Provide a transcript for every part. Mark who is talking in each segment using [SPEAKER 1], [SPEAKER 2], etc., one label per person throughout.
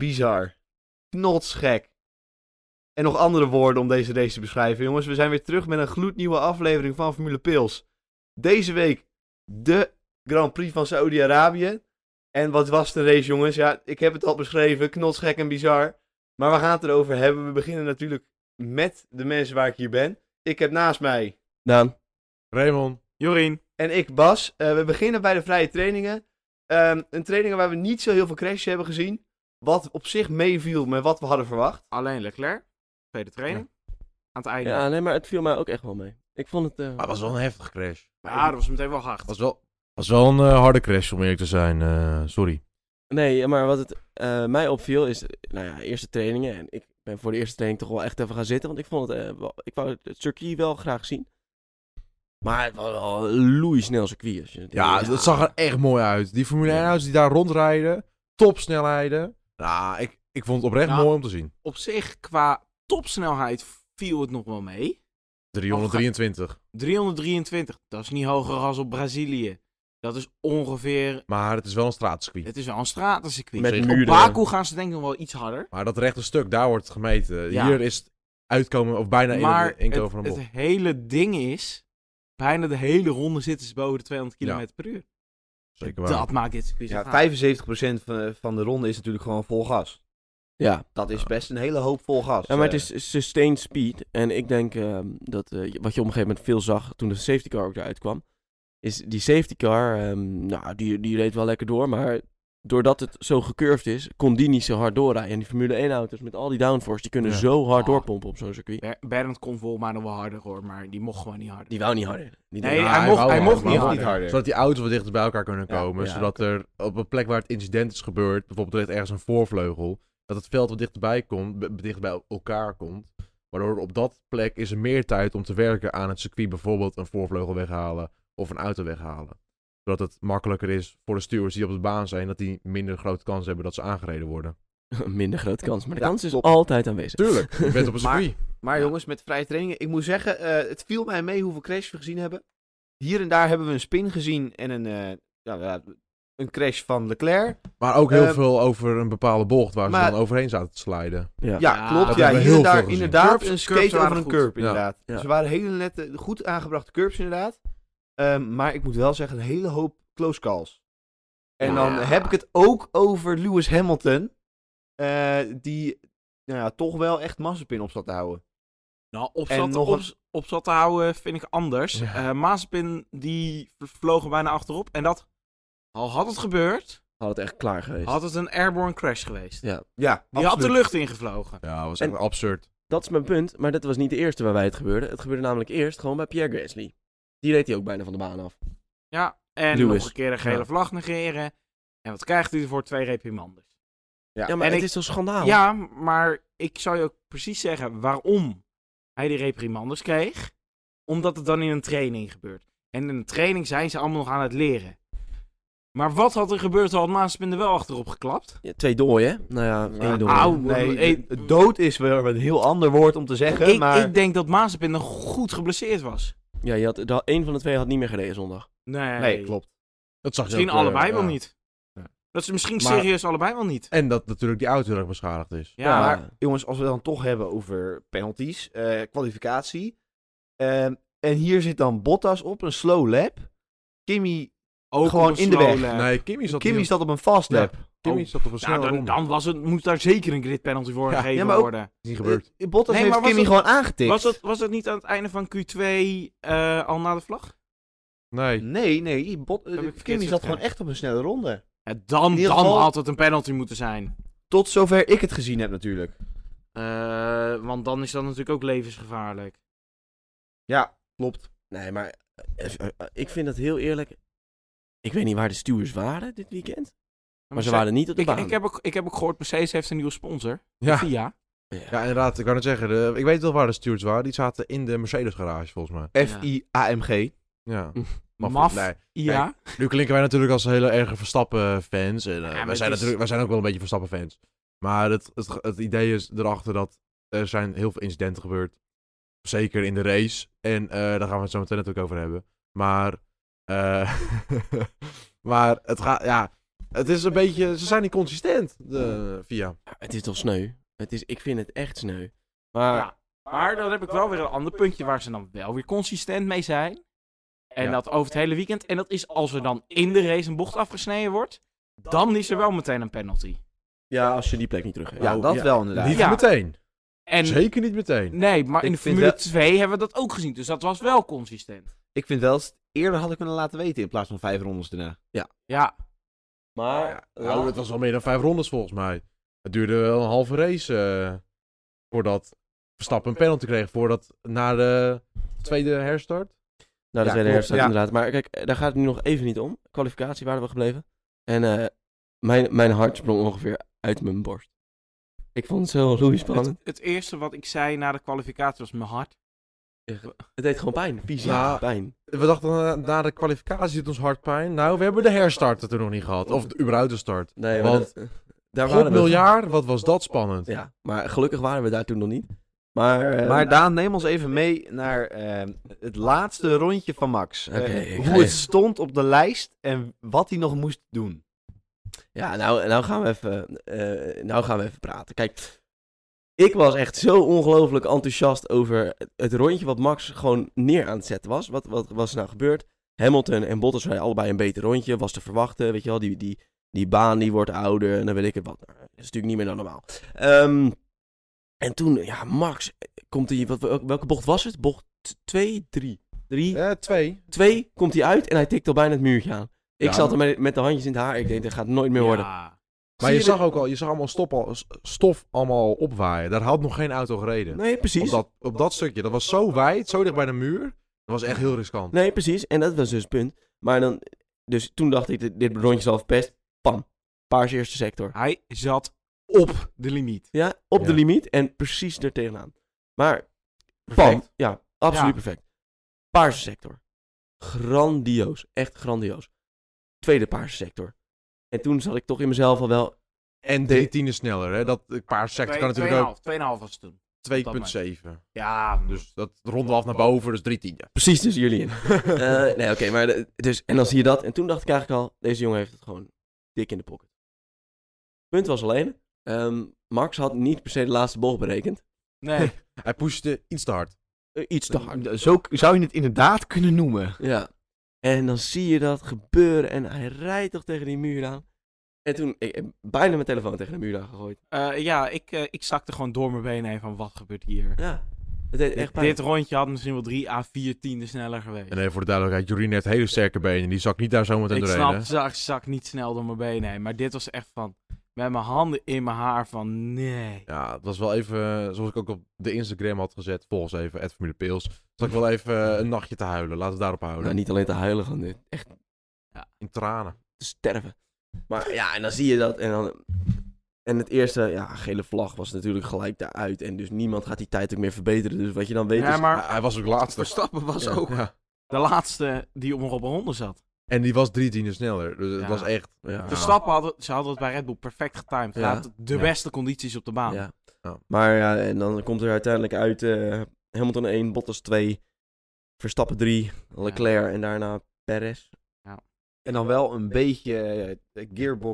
[SPEAKER 1] Bizar. Knotsgek. En nog andere woorden om deze race te beschrijven. Jongens, we zijn weer terug met een gloednieuwe aflevering van Formule Pils. Deze week de Grand Prix van Saudi-Arabië. En wat was het een race, jongens? Ja, ik heb het al beschreven. Knotsgek en bizar. Maar we gaan het erover hebben. We beginnen natuurlijk met de mensen waar ik hier ben. Ik heb naast mij
[SPEAKER 2] Daan.
[SPEAKER 3] Raymond.
[SPEAKER 4] Jorien.
[SPEAKER 1] en ik, Bas. Eh, we beginnen bij de vrije trainingen. Ehm, een training waar we niet zo heel veel crashes hebben gezien. Wat op zich meeviel met wat we hadden verwacht.
[SPEAKER 4] Alleen Leclerc. Tweede training. Aan het einde. Ja,
[SPEAKER 2] Ja, nee, maar het viel mij ook echt wel mee. Ik vond het... eh,
[SPEAKER 3] Maar het was wel een heftige crash.
[SPEAKER 4] dat was meteen wel hard.
[SPEAKER 3] Was wel... was wel een eh, harde crash, om eerlijk te zijn. eh, sorry.
[SPEAKER 2] Nee, maar wat het eh, mij opviel is, nou ja, eerste trainingen. En ik ben voor de eerste training toch wel echt even gaan zitten. Want ik vond het, eh, wel- ik wou het- het circuit wel graag zien. Maar het was wel een loeisnel circuit. Als je het
[SPEAKER 3] Ja, dat zag er echt mooi uit. Die Formule
[SPEAKER 2] Ja.
[SPEAKER 3] 1-auto's die daar rondrijden. Topsnelheden. Nou, ik, ik vond het oprecht
[SPEAKER 4] Nou.
[SPEAKER 3] mooi om te zien.
[SPEAKER 4] Op zich, qua topsnelheid viel het nog wel mee. Oh,
[SPEAKER 3] 323.
[SPEAKER 4] 323, dat is niet hoger als op Brazilië. Dat is ongeveer...
[SPEAKER 3] Maar het is wel een straatcircuit.
[SPEAKER 4] Het is wel een stratencircuit.
[SPEAKER 2] Met
[SPEAKER 3] Op
[SPEAKER 4] op
[SPEAKER 2] muren.
[SPEAKER 4] Baku gaan ze denk ik nog wel iets harder.
[SPEAKER 3] Maar dat rechte stuk, daar wordt het gemeten.
[SPEAKER 4] Ja.
[SPEAKER 3] Hier is het uitkomen, of bijna één
[SPEAKER 4] maar
[SPEAKER 3] op de- één keer
[SPEAKER 4] het,
[SPEAKER 3] over een
[SPEAKER 4] het
[SPEAKER 3] bocht.
[SPEAKER 4] hele ding is... Bijna de hele ronde zitten ze boven de 200
[SPEAKER 3] Ja.
[SPEAKER 4] km per uur.
[SPEAKER 3] Zeker waar.
[SPEAKER 4] Dat maakt dit circuit zo
[SPEAKER 1] Ja,
[SPEAKER 4] gaaf.
[SPEAKER 1] 75% van, van de ronde is natuurlijk gewoon vol gas.
[SPEAKER 2] Ja.
[SPEAKER 1] Dat is best een hele hoop vol gas.
[SPEAKER 2] Ja, maar
[SPEAKER 1] Eh,
[SPEAKER 2] het is sustained speed. En ik denk ehm, dat eh, wat je op een gegeven moment veel zag toen de safety car ook eruit kwam. Is die safety car, ehm, nou, die, die reed wel lekker door. Maar doordat het zo gecurved is, kon die niet zo hard doorrijden. En die Formule 1-auto's met al die downforce, die kunnen
[SPEAKER 3] Ja.
[SPEAKER 2] zo hard
[SPEAKER 4] Ah.
[SPEAKER 2] doorpompen op zo'n circuit.
[SPEAKER 4] Ber- Bernd kon volgens mij nog wel harder hoor, maar die mocht gewoon niet harder.
[SPEAKER 2] Die wou niet harder. Die "Ah,
[SPEAKER 4] Nee,
[SPEAKER 2] deed-
[SPEAKER 3] Ja, hij
[SPEAKER 4] hij
[SPEAKER 1] Oh,
[SPEAKER 4] mocht,
[SPEAKER 3] wou
[SPEAKER 4] hij
[SPEAKER 3] harder,
[SPEAKER 4] mocht
[SPEAKER 1] maar
[SPEAKER 4] niet
[SPEAKER 1] hij mocht
[SPEAKER 4] harder.
[SPEAKER 1] niet harder.
[SPEAKER 3] Zodat die auto's wat dichter bij elkaar kunnen
[SPEAKER 1] Ja,
[SPEAKER 3] komen.
[SPEAKER 1] ja,
[SPEAKER 3] zodat er op een plek waar het incident is gebeurd, bijvoorbeeld er ligt ergens een voorvleugel, dat het veld wat dichterbij komt, be- dichter bij elkaar komt. Waardoor op dat plek is er meer tijd om te werken aan het circuit, bijvoorbeeld een voorvleugel weghalen of een auto weghalen. Zodat het makkelijker is voor de stewards die op de baan zijn, dat die minder grote kans hebben dat ze aangereden worden.
[SPEAKER 2] Minder grote kans. Maar de
[SPEAKER 1] Ja,
[SPEAKER 2] kans is
[SPEAKER 1] klopt.
[SPEAKER 2] altijd aanwezig.
[SPEAKER 3] Tuurlijk, je bent op een
[SPEAKER 1] Maar-
[SPEAKER 3] circuit.
[SPEAKER 1] Maar
[SPEAKER 4] Ja.
[SPEAKER 1] jongens, met vrije trainingen. Ik moet zeggen, eh, het viel mij mee hoeveel crashes we gezien hebben. Hier en daar hebben we een spin gezien en een, eh, ja, ja, een crash van Leclerc.
[SPEAKER 3] Maar, ook heel
[SPEAKER 1] Eh,
[SPEAKER 3] veel over een bepaalde bocht waar
[SPEAKER 1] maar-
[SPEAKER 3] ze dan overheen zaten te sliden.
[SPEAKER 2] Ja.
[SPEAKER 1] Ja,
[SPEAKER 4] Ja,
[SPEAKER 1] klopt.
[SPEAKER 4] dat
[SPEAKER 1] Ja,
[SPEAKER 3] hebben we
[SPEAKER 1] hier en
[SPEAKER 3] heel
[SPEAKER 1] daar
[SPEAKER 3] veel gezien.
[SPEAKER 1] inderdaad
[SPEAKER 4] Curves-
[SPEAKER 1] een skate
[SPEAKER 4] curves waren
[SPEAKER 1] over een
[SPEAKER 4] goed.
[SPEAKER 1] curb,
[SPEAKER 3] Ja.
[SPEAKER 1] inderdaad. Dus
[SPEAKER 2] Ja.
[SPEAKER 1] Ze waren hele nette, goed aangebrachte curbs inderdaad. Ehm, maar ik moet wel zeggen, een hele hoop close calls. En
[SPEAKER 4] Ja.
[SPEAKER 1] dan heb ik het ook over Lewis Hamilton. eh, die nou ja, toch wel echt Mazepin op zat te houden.
[SPEAKER 4] Nou, op
[SPEAKER 1] En
[SPEAKER 4] zat,
[SPEAKER 1] nog
[SPEAKER 4] op,
[SPEAKER 1] een-
[SPEAKER 4] op zat te houden vind ik anders.
[SPEAKER 3] Ja.
[SPEAKER 4] Eh Mazepin, die vlogen bijna achterop. En dat, al had het gebeurd,
[SPEAKER 2] Had het echt klaar geweest.
[SPEAKER 4] had het een airborne crash geweest.
[SPEAKER 2] Ja.
[SPEAKER 1] Ja,
[SPEAKER 4] Die had de lucht ingevlogen.
[SPEAKER 3] Ja, was
[SPEAKER 2] echt
[SPEAKER 3] echt absurd.
[SPEAKER 2] Dat is mijn punt. Maar dat was niet de eerste waarbij het gebeurde. Het gebeurde namelijk eerst gewoon bij Pierre Gasly. Die reed hij ook bijna van de baan af.
[SPEAKER 4] Ja, en
[SPEAKER 2] Lewis.
[SPEAKER 4] nog een keer een gele
[SPEAKER 2] Ja.
[SPEAKER 4] vlag negeren. En wat krijgt hij ervoor? Twee reprimanders.
[SPEAKER 1] Ja,
[SPEAKER 2] Ja, maar
[SPEAKER 4] en
[SPEAKER 2] het
[SPEAKER 4] ik-
[SPEAKER 2] is toch schandaal?
[SPEAKER 1] Nou.
[SPEAKER 4] Ja, maar ik zou je ook precies zeggen waarom hij die reprimanders kreeg. Omdat het dan in een training gebeurt. En in een training zijn ze allemaal nog aan het leren. Maar wat had er gebeurd had Maaspin er wel achterop geklapt?
[SPEAKER 2] Ja, twee dooien, hè? Nou ja, één dooi.
[SPEAKER 4] au.
[SPEAKER 1] nee,
[SPEAKER 4] eh,
[SPEAKER 1] d- dood is wel een heel ander woord om te zeggen,
[SPEAKER 4] ik,
[SPEAKER 1] maar
[SPEAKER 4] ik denk dat Maaspin nog goed geblesseerd was.
[SPEAKER 2] Ja, je had, de- één van de twee had niet meer gereden zondag.
[SPEAKER 4] Nee,
[SPEAKER 1] nee, klopt.
[SPEAKER 3] Dat zag je
[SPEAKER 4] Misschien
[SPEAKER 3] ook, eh,
[SPEAKER 4] allebei wel
[SPEAKER 3] ja.
[SPEAKER 4] niet.
[SPEAKER 1] Ja.
[SPEAKER 4] Dat ze misschien
[SPEAKER 3] Maar-
[SPEAKER 4] serieus allebei wel niet.
[SPEAKER 3] En dat natuurlijk die auto heel erg beschadigd is.
[SPEAKER 4] Ja, maar
[SPEAKER 1] Maar jongens, als we dan toch hebben over penalties, eh, kwalificatie. ehm, en hier zit dan Bottas op, een slow lap. Kimi,
[SPEAKER 4] ook op
[SPEAKER 1] gewoon
[SPEAKER 4] een
[SPEAKER 1] in de
[SPEAKER 4] slow
[SPEAKER 1] weg.
[SPEAKER 4] lap.
[SPEAKER 3] Nee, Kimmy zat,
[SPEAKER 1] Kimi
[SPEAKER 3] niet
[SPEAKER 1] staat op een fast
[SPEAKER 3] Ja.
[SPEAKER 1] lap.
[SPEAKER 3] op- Kimmy
[SPEAKER 4] Oh.
[SPEAKER 3] zat op een
[SPEAKER 4] Nou,
[SPEAKER 3] snelle
[SPEAKER 4] dan,
[SPEAKER 3] ronde.
[SPEAKER 4] dan was het, moest daar zeker een grid penalty voor
[SPEAKER 3] Ja,
[SPEAKER 4] gegeven
[SPEAKER 1] ja, maar ook-
[SPEAKER 4] worden.
[SPEAKER 3] is niet gebeurd.
[SPEAKER 1] Eh, Bottas
[SPEAKER 4] Nee,
[SPEAKER 1] heeft
[SPEAKER 4] maar was
[SPEAKER 1] Kimi
[SPEAKER 4] het-
[SPEAKER 1] gewoon aangetikt.
[SPEAKER 4] Was dat, was dat niet aan het einde van Q2 eh, al na de vlag?
[SPEAKER 3] Nee.
[SPEAKER 1] Nee, nee, Bot, eh,
[SPEAKER 4] Heb ik verkeerd
[SPEAKER 1] Kimi zat
[SPEAKER 4] zitten
[SPEAKER 1] gewoon echt op een snelle ronde.
[SPEAKER 4] Ja, dan
[SPEAKER 1] In ieder
[SPEAKER 4] dan
[SPEAKER 1] geval-
[SPEAKER 4] had het een penalty moeten zijn.
[SPEAKER 1] Tot zover ik het gezien heb natuurlijk.
[SPEAKER 4] Eh, want dan is dat natuurlijk ook levensgevaarlijk.
[SPEAKER 1] Ja, klopt.
[SPEAKER 2] Nee, maar eh, eh, eh, ik vind dat heel eerlijk. Ik weet niet waar de stewards waren dit weekend. Maar ze waren niet op de
[SPEAKER 4] Ik,
[SPEAKER 2] baan.
[SPEAKER 4] ik, heb ook, ik heb ook gehoord, Mercedes heeft een nieuwe sponsor.
[SPEAKER 3] Ja.
[SPEAKER 4] Via.
[SPEAKER 3] ja, inderdaad. Ik kan het zeggen. de- ik weet wel waar de stewards waren. Die zaten in de Mercedes garage volgens mij.
[SPEAKER 1] F-I-A-M-G.
[SPEAKER 3] Ja.
[SPEAKER 4] Maf.
[SPEAKER 3] Nee.
[SPEAKER 4] Ja.
[SPEAKER 3] Nu klinken wij natuurlijk als hele erge Verstappen fans. En, eh,
[SPEAKER 4] maar
[SPEAKER 3] wij,
[SPEAKER 4] het
[SPEAKER 3] zijn
[SPEAKER 4] is-
[SPEAKER 3] natuurlijk, wij zijn ook wel een beetje Verstappen fans. Maar het, het, het idee is erachter dat er zijn heel veel incidenten gebeurd. Zeker in de race. En eh, daar gaan we het zo meteen natuurlijk over hebben. Maar, eh, maar het gaat, ja, Het is een beetje, ze zijn niet consistent, de eh, VIA.
[SPEAKER 2] Ja, het is toch sneu? Het is, ik vind het echt sneu. Maar
[SPEAKER 4] Ja. Maar dan heb ik wel weer een ander puntje waar ze dan wel weer consistent mee zijn. En
[SPEAKER 3] Ja.
[SPEAKER 4] dat over het hele weekend. En dat is als er dan in de race een bocht afgesneden wordt. Dan is er wel meteen een penalty.
[SPEAKER 2] ja, als je die plek niet terug hebt.
[SPEAKER 1] Ja,
[SPEAKER 2] Oh,
[SPEAKER 1] dat wel inderdaad.
[SPEAKER 3] Niet
[SPEAKER 4] Ja.
[SPEAKER 3] meteen.
[SPEAKER 4] En
[SPEAKER 3] Zeker niet meteen.
[SPEAKER 4] nee, maar in
[SPEAKER 1] Ik
[SPEAKER 4] de
[SPEAKER 1] vind
[SPEAKER 4] Formule
[SPEAKER 1] wel-
[SPEAKER 4] 2 hebben we dat ook gezien. Dus dat was wel consistent.
[SPEAKER 1] Ik vind wel, eens- eerder had ik me laten weten in plaats van vijf rondes daarna.
[SPEAKER 4] Ja,
[SPEAKER 2] Maar
[SPEAKER 3] Nou, het was wel meer dan vijf rondes volgens mij. Het duurde wel een halve race eh, voordat Verstappen een penalty kreeg. Voordat na de tweede herstart.
[SPEAKER 2] Nou,
[SPEAKER 1] Ja,
[SPEAKER 2] dat tweede
[SPEAKER 1] klopt,
[SPEAKER 2] herfst
[SPEAKER 1] ja.
[SPEAKER 2] inderdaad. Maar kijk, daar gaat het nu nog even niet om. Kwalificatie waren we gebleven. En eh, mijn, mijn hart sprong ongeveer uit mijn borst. Ik vond het zo
[SPEAKER 4] het,
[SPEAKER 2] loeispannend.
[SPEAKER 4] het eerste wat ik zei na de kwalificatie was mijn hart.
[SPEAKER 2] Het deed gewoon pijn. Fysiek
[SPEAKER 3] Ja.
[SPEAKER 2] pijn.
[SPEAKER 3] We dachten eh, na de kwalificatie doet ons hard pijn. Nou, we hebben de herstart er toen nog niet gehad. Of de- überhaupt de start.
[SPEAKER 2] Nee,
[SPEAKER 3] Want-
[SPEAKER 2] dat- eh, daar
[SPEAKER 3] God
[SPEAKER 2] we-
[SPEAKER 3] miljard, wat was dat spannend.
[SPEAKER 2] Ja, maar gelukkig waren we daar toen nog niet. Maar, eh,
[SPEAKER 1] maar Daan, neem ons even mee naar ehm, het laatste rondje van Max. Eh,
[SPEAKER 2] Oké, ik ga
[SPEAKER 1] hoe het
[SPEAKER 2] even-
[SPEAKER 1] stond op de lijst en wat hij nog moest doen.
[SPEAKER 2] Ja, nou, nou, gaan we even, eh, nou gaan we even praten. Kijk, ik was echt zo ongelooflijk enthousiast over het- het rondje wat Max gewoon neer aan het zetten was. Wat, wat was er nou gebeurd? Hamilton en Bottas rijden allebei een beter rondje, was te verwachten. Weet je wel, die, die, die baan die wordt ouder en dan weet ik het wat. Nou, dat is natuurlijk niet meer dan normaal. Ehm, en toen, ja, Max, komt hij, wat, welke bocht was het? Bocht 2, 3. 3,
[SPEAKER 3] Eh, twee.
[SPEAKER 2] 2 komt hij uit en hij tikt al bijna het muurtje aan. Ik
[SPEAKER 3] Ja,
[SPEAKER 2] zat er met, met de handjes in het haar. Ik denk, dat gaat nooit meer worden.
[SPEAKER 4] Ja.
[SPEAKER 3] Maar
[SPEAKER 2] Zie
[SPEAKER 3] je,
[SPEAKER 2] je
[SPEAKER 3] zag
[SPEAKER 2] dit?
[SPEAKER 3] ook al, je zag allemaal stof, al, s- stof allemaal opwaaien. Daar had nog geen auto gereden.
[SPEAKER 2] Nee, precies.
[SPEAKER 3] Op dat, op dat stukje. Dat was zo wijd, zo dicht bij de muur. Dat was echt heel riskant.
[SPEAKER 2] Nee, precies. En dat was dus het punt. Maar dan, dus toen dacht ik, dit, dit rondje is al verpest. Pam. Paars eerste sector.
[SPEAKER 4] Hij zat op de limiet.
[SPEAKER 2] Ja, op de
[SPEAKER 3] Ja.
[SPEAKER 2] limiet en precies er tegenaan. Maar, pam.
[SPEAKER 3] Perfect.
[SPEAKER 2] Ja, absoluut
[SPEAKER 4] Ja.
[SPEAKER 2] perfect. Paarse sector. Grandioos. Echt grandioos. Tweede paarse sector. En toen zat ik toch in mezelf al wel...
[SPEAKER 3] En drie tienden sneller. Hè? Dat eh, paar sector kan natuurlijk ook
[SPEAKER 4] 2,5 was het toen. dat
[SPEAKER 3] 2,7.
[SPEAKER 4] Ja, dus.
[SPEAKER 3] Dus dat ronden we af naar boven, dus drie tienden.
[SPEAKER 2] Precies dus jullie in. Eh, nee, oké. maar de- dus, en dan zie je dat. En toen dacht ik eigenlijk al, deze jongen heeft het gewoon dik in de pocket. Punt was alleen, ehm, Max had niet per se de laatste bocht berekend.
[SPEAKER 4] Nee.
[SPEAKER 3] Hij pushte iets te hard.
[SPEAKER 2] Eh, iets te hard.
[SPEAKER 1] Zo k- zou je het inderdaad kunnen noemen.
[SPEAKER 2] Ja. En dan zie je dat gebeuren en hij rijdt toch tegen die muur aan. En toen, ik heb bijna mijn telefoon tegen de muur aan gegooid.
[SPEAKER 4] Eh, ja, ik, eh, ik zakte gewoon door mijn benen heen van wat gebeurt hier.
[SPEAKER 2] Ja. Het deed echt
[SPEAKER 4] Dit,
[SPEAKER 2] pijn.
[SPEAKER 4] dit rondje had misschien wel 3 à 4 tienden sneller geweest.
[SPEAKER 3] En even voor de duidelijkheid, Jorien heeft hele sterke benen. Die zak niet daar zo meteen
[SPEAKER 4] ik
[SPEAKER 3] doorheen.
[SPEAKER 4] snap,
[SPEAKER 3] hè?
[SPEAKER 4] het, zak, zak niet snel door mijn benen heen. Maar dit was echt van, met mijn handen in mijn haar van, nee.
[SPEAKER 3] Ja, het was wel even, eh, zoals ik ook op de Instagram had gezet, volgens even, at Formule Peels. Zat ik wel even eh, een nachtje te huilen. Laten we daarop houden.
[SPEAKER 2] Nou, niet alleen te huilen van dit. Echt
[SPEAKER 3] In tranen.
[SPEAKER 2] te sterven. Maar ja, en dan zie je dat. En, dan, en het eerste, ja, gele vlag was natuurlijk gelijk daaruit. En dus niemand gaat die tijd ook meer verbeteren. Dus wat je dan weet
[SPEAKER 4] Ja,
[SPEAKER 2] is...
[SPEAKER 4] maar
[SPEAKER 3] Hij, hij was ook laatste.
[SPEAKER 2] Verstappen was
[SPEAKER 3] Ja, ja.
[SPEAKER 4] de laatste die om op een ronde zat.
[SPEAKER 3] En die was drie tienden sneller. Dus
[SPEAKER 4] Ja.
[SPEAKER 3] het was echt...
[SPEAKER 2] Ja.
[SPEAKER 4] De stappen hadden, ze hadden het bij Red Bull perfect getimed. Ze
[SPEAKER 2] Ja.
[SPEAKER 4] hadden de
[SPEAKER 3] Ja.
[SPEAKER 4] beste condities op de baan.
[SPEAKER 2] Ja.
[SPEAKER 3] Ja.
[SPEAKER 2] Maar ja, en dan komt er uiteindelijk uit eh, Hamilton 1, Bottas 2, Verstappen 3, Leclerc en daarna Perez.
[SPEAKER 1] En dan wel een beetje eh,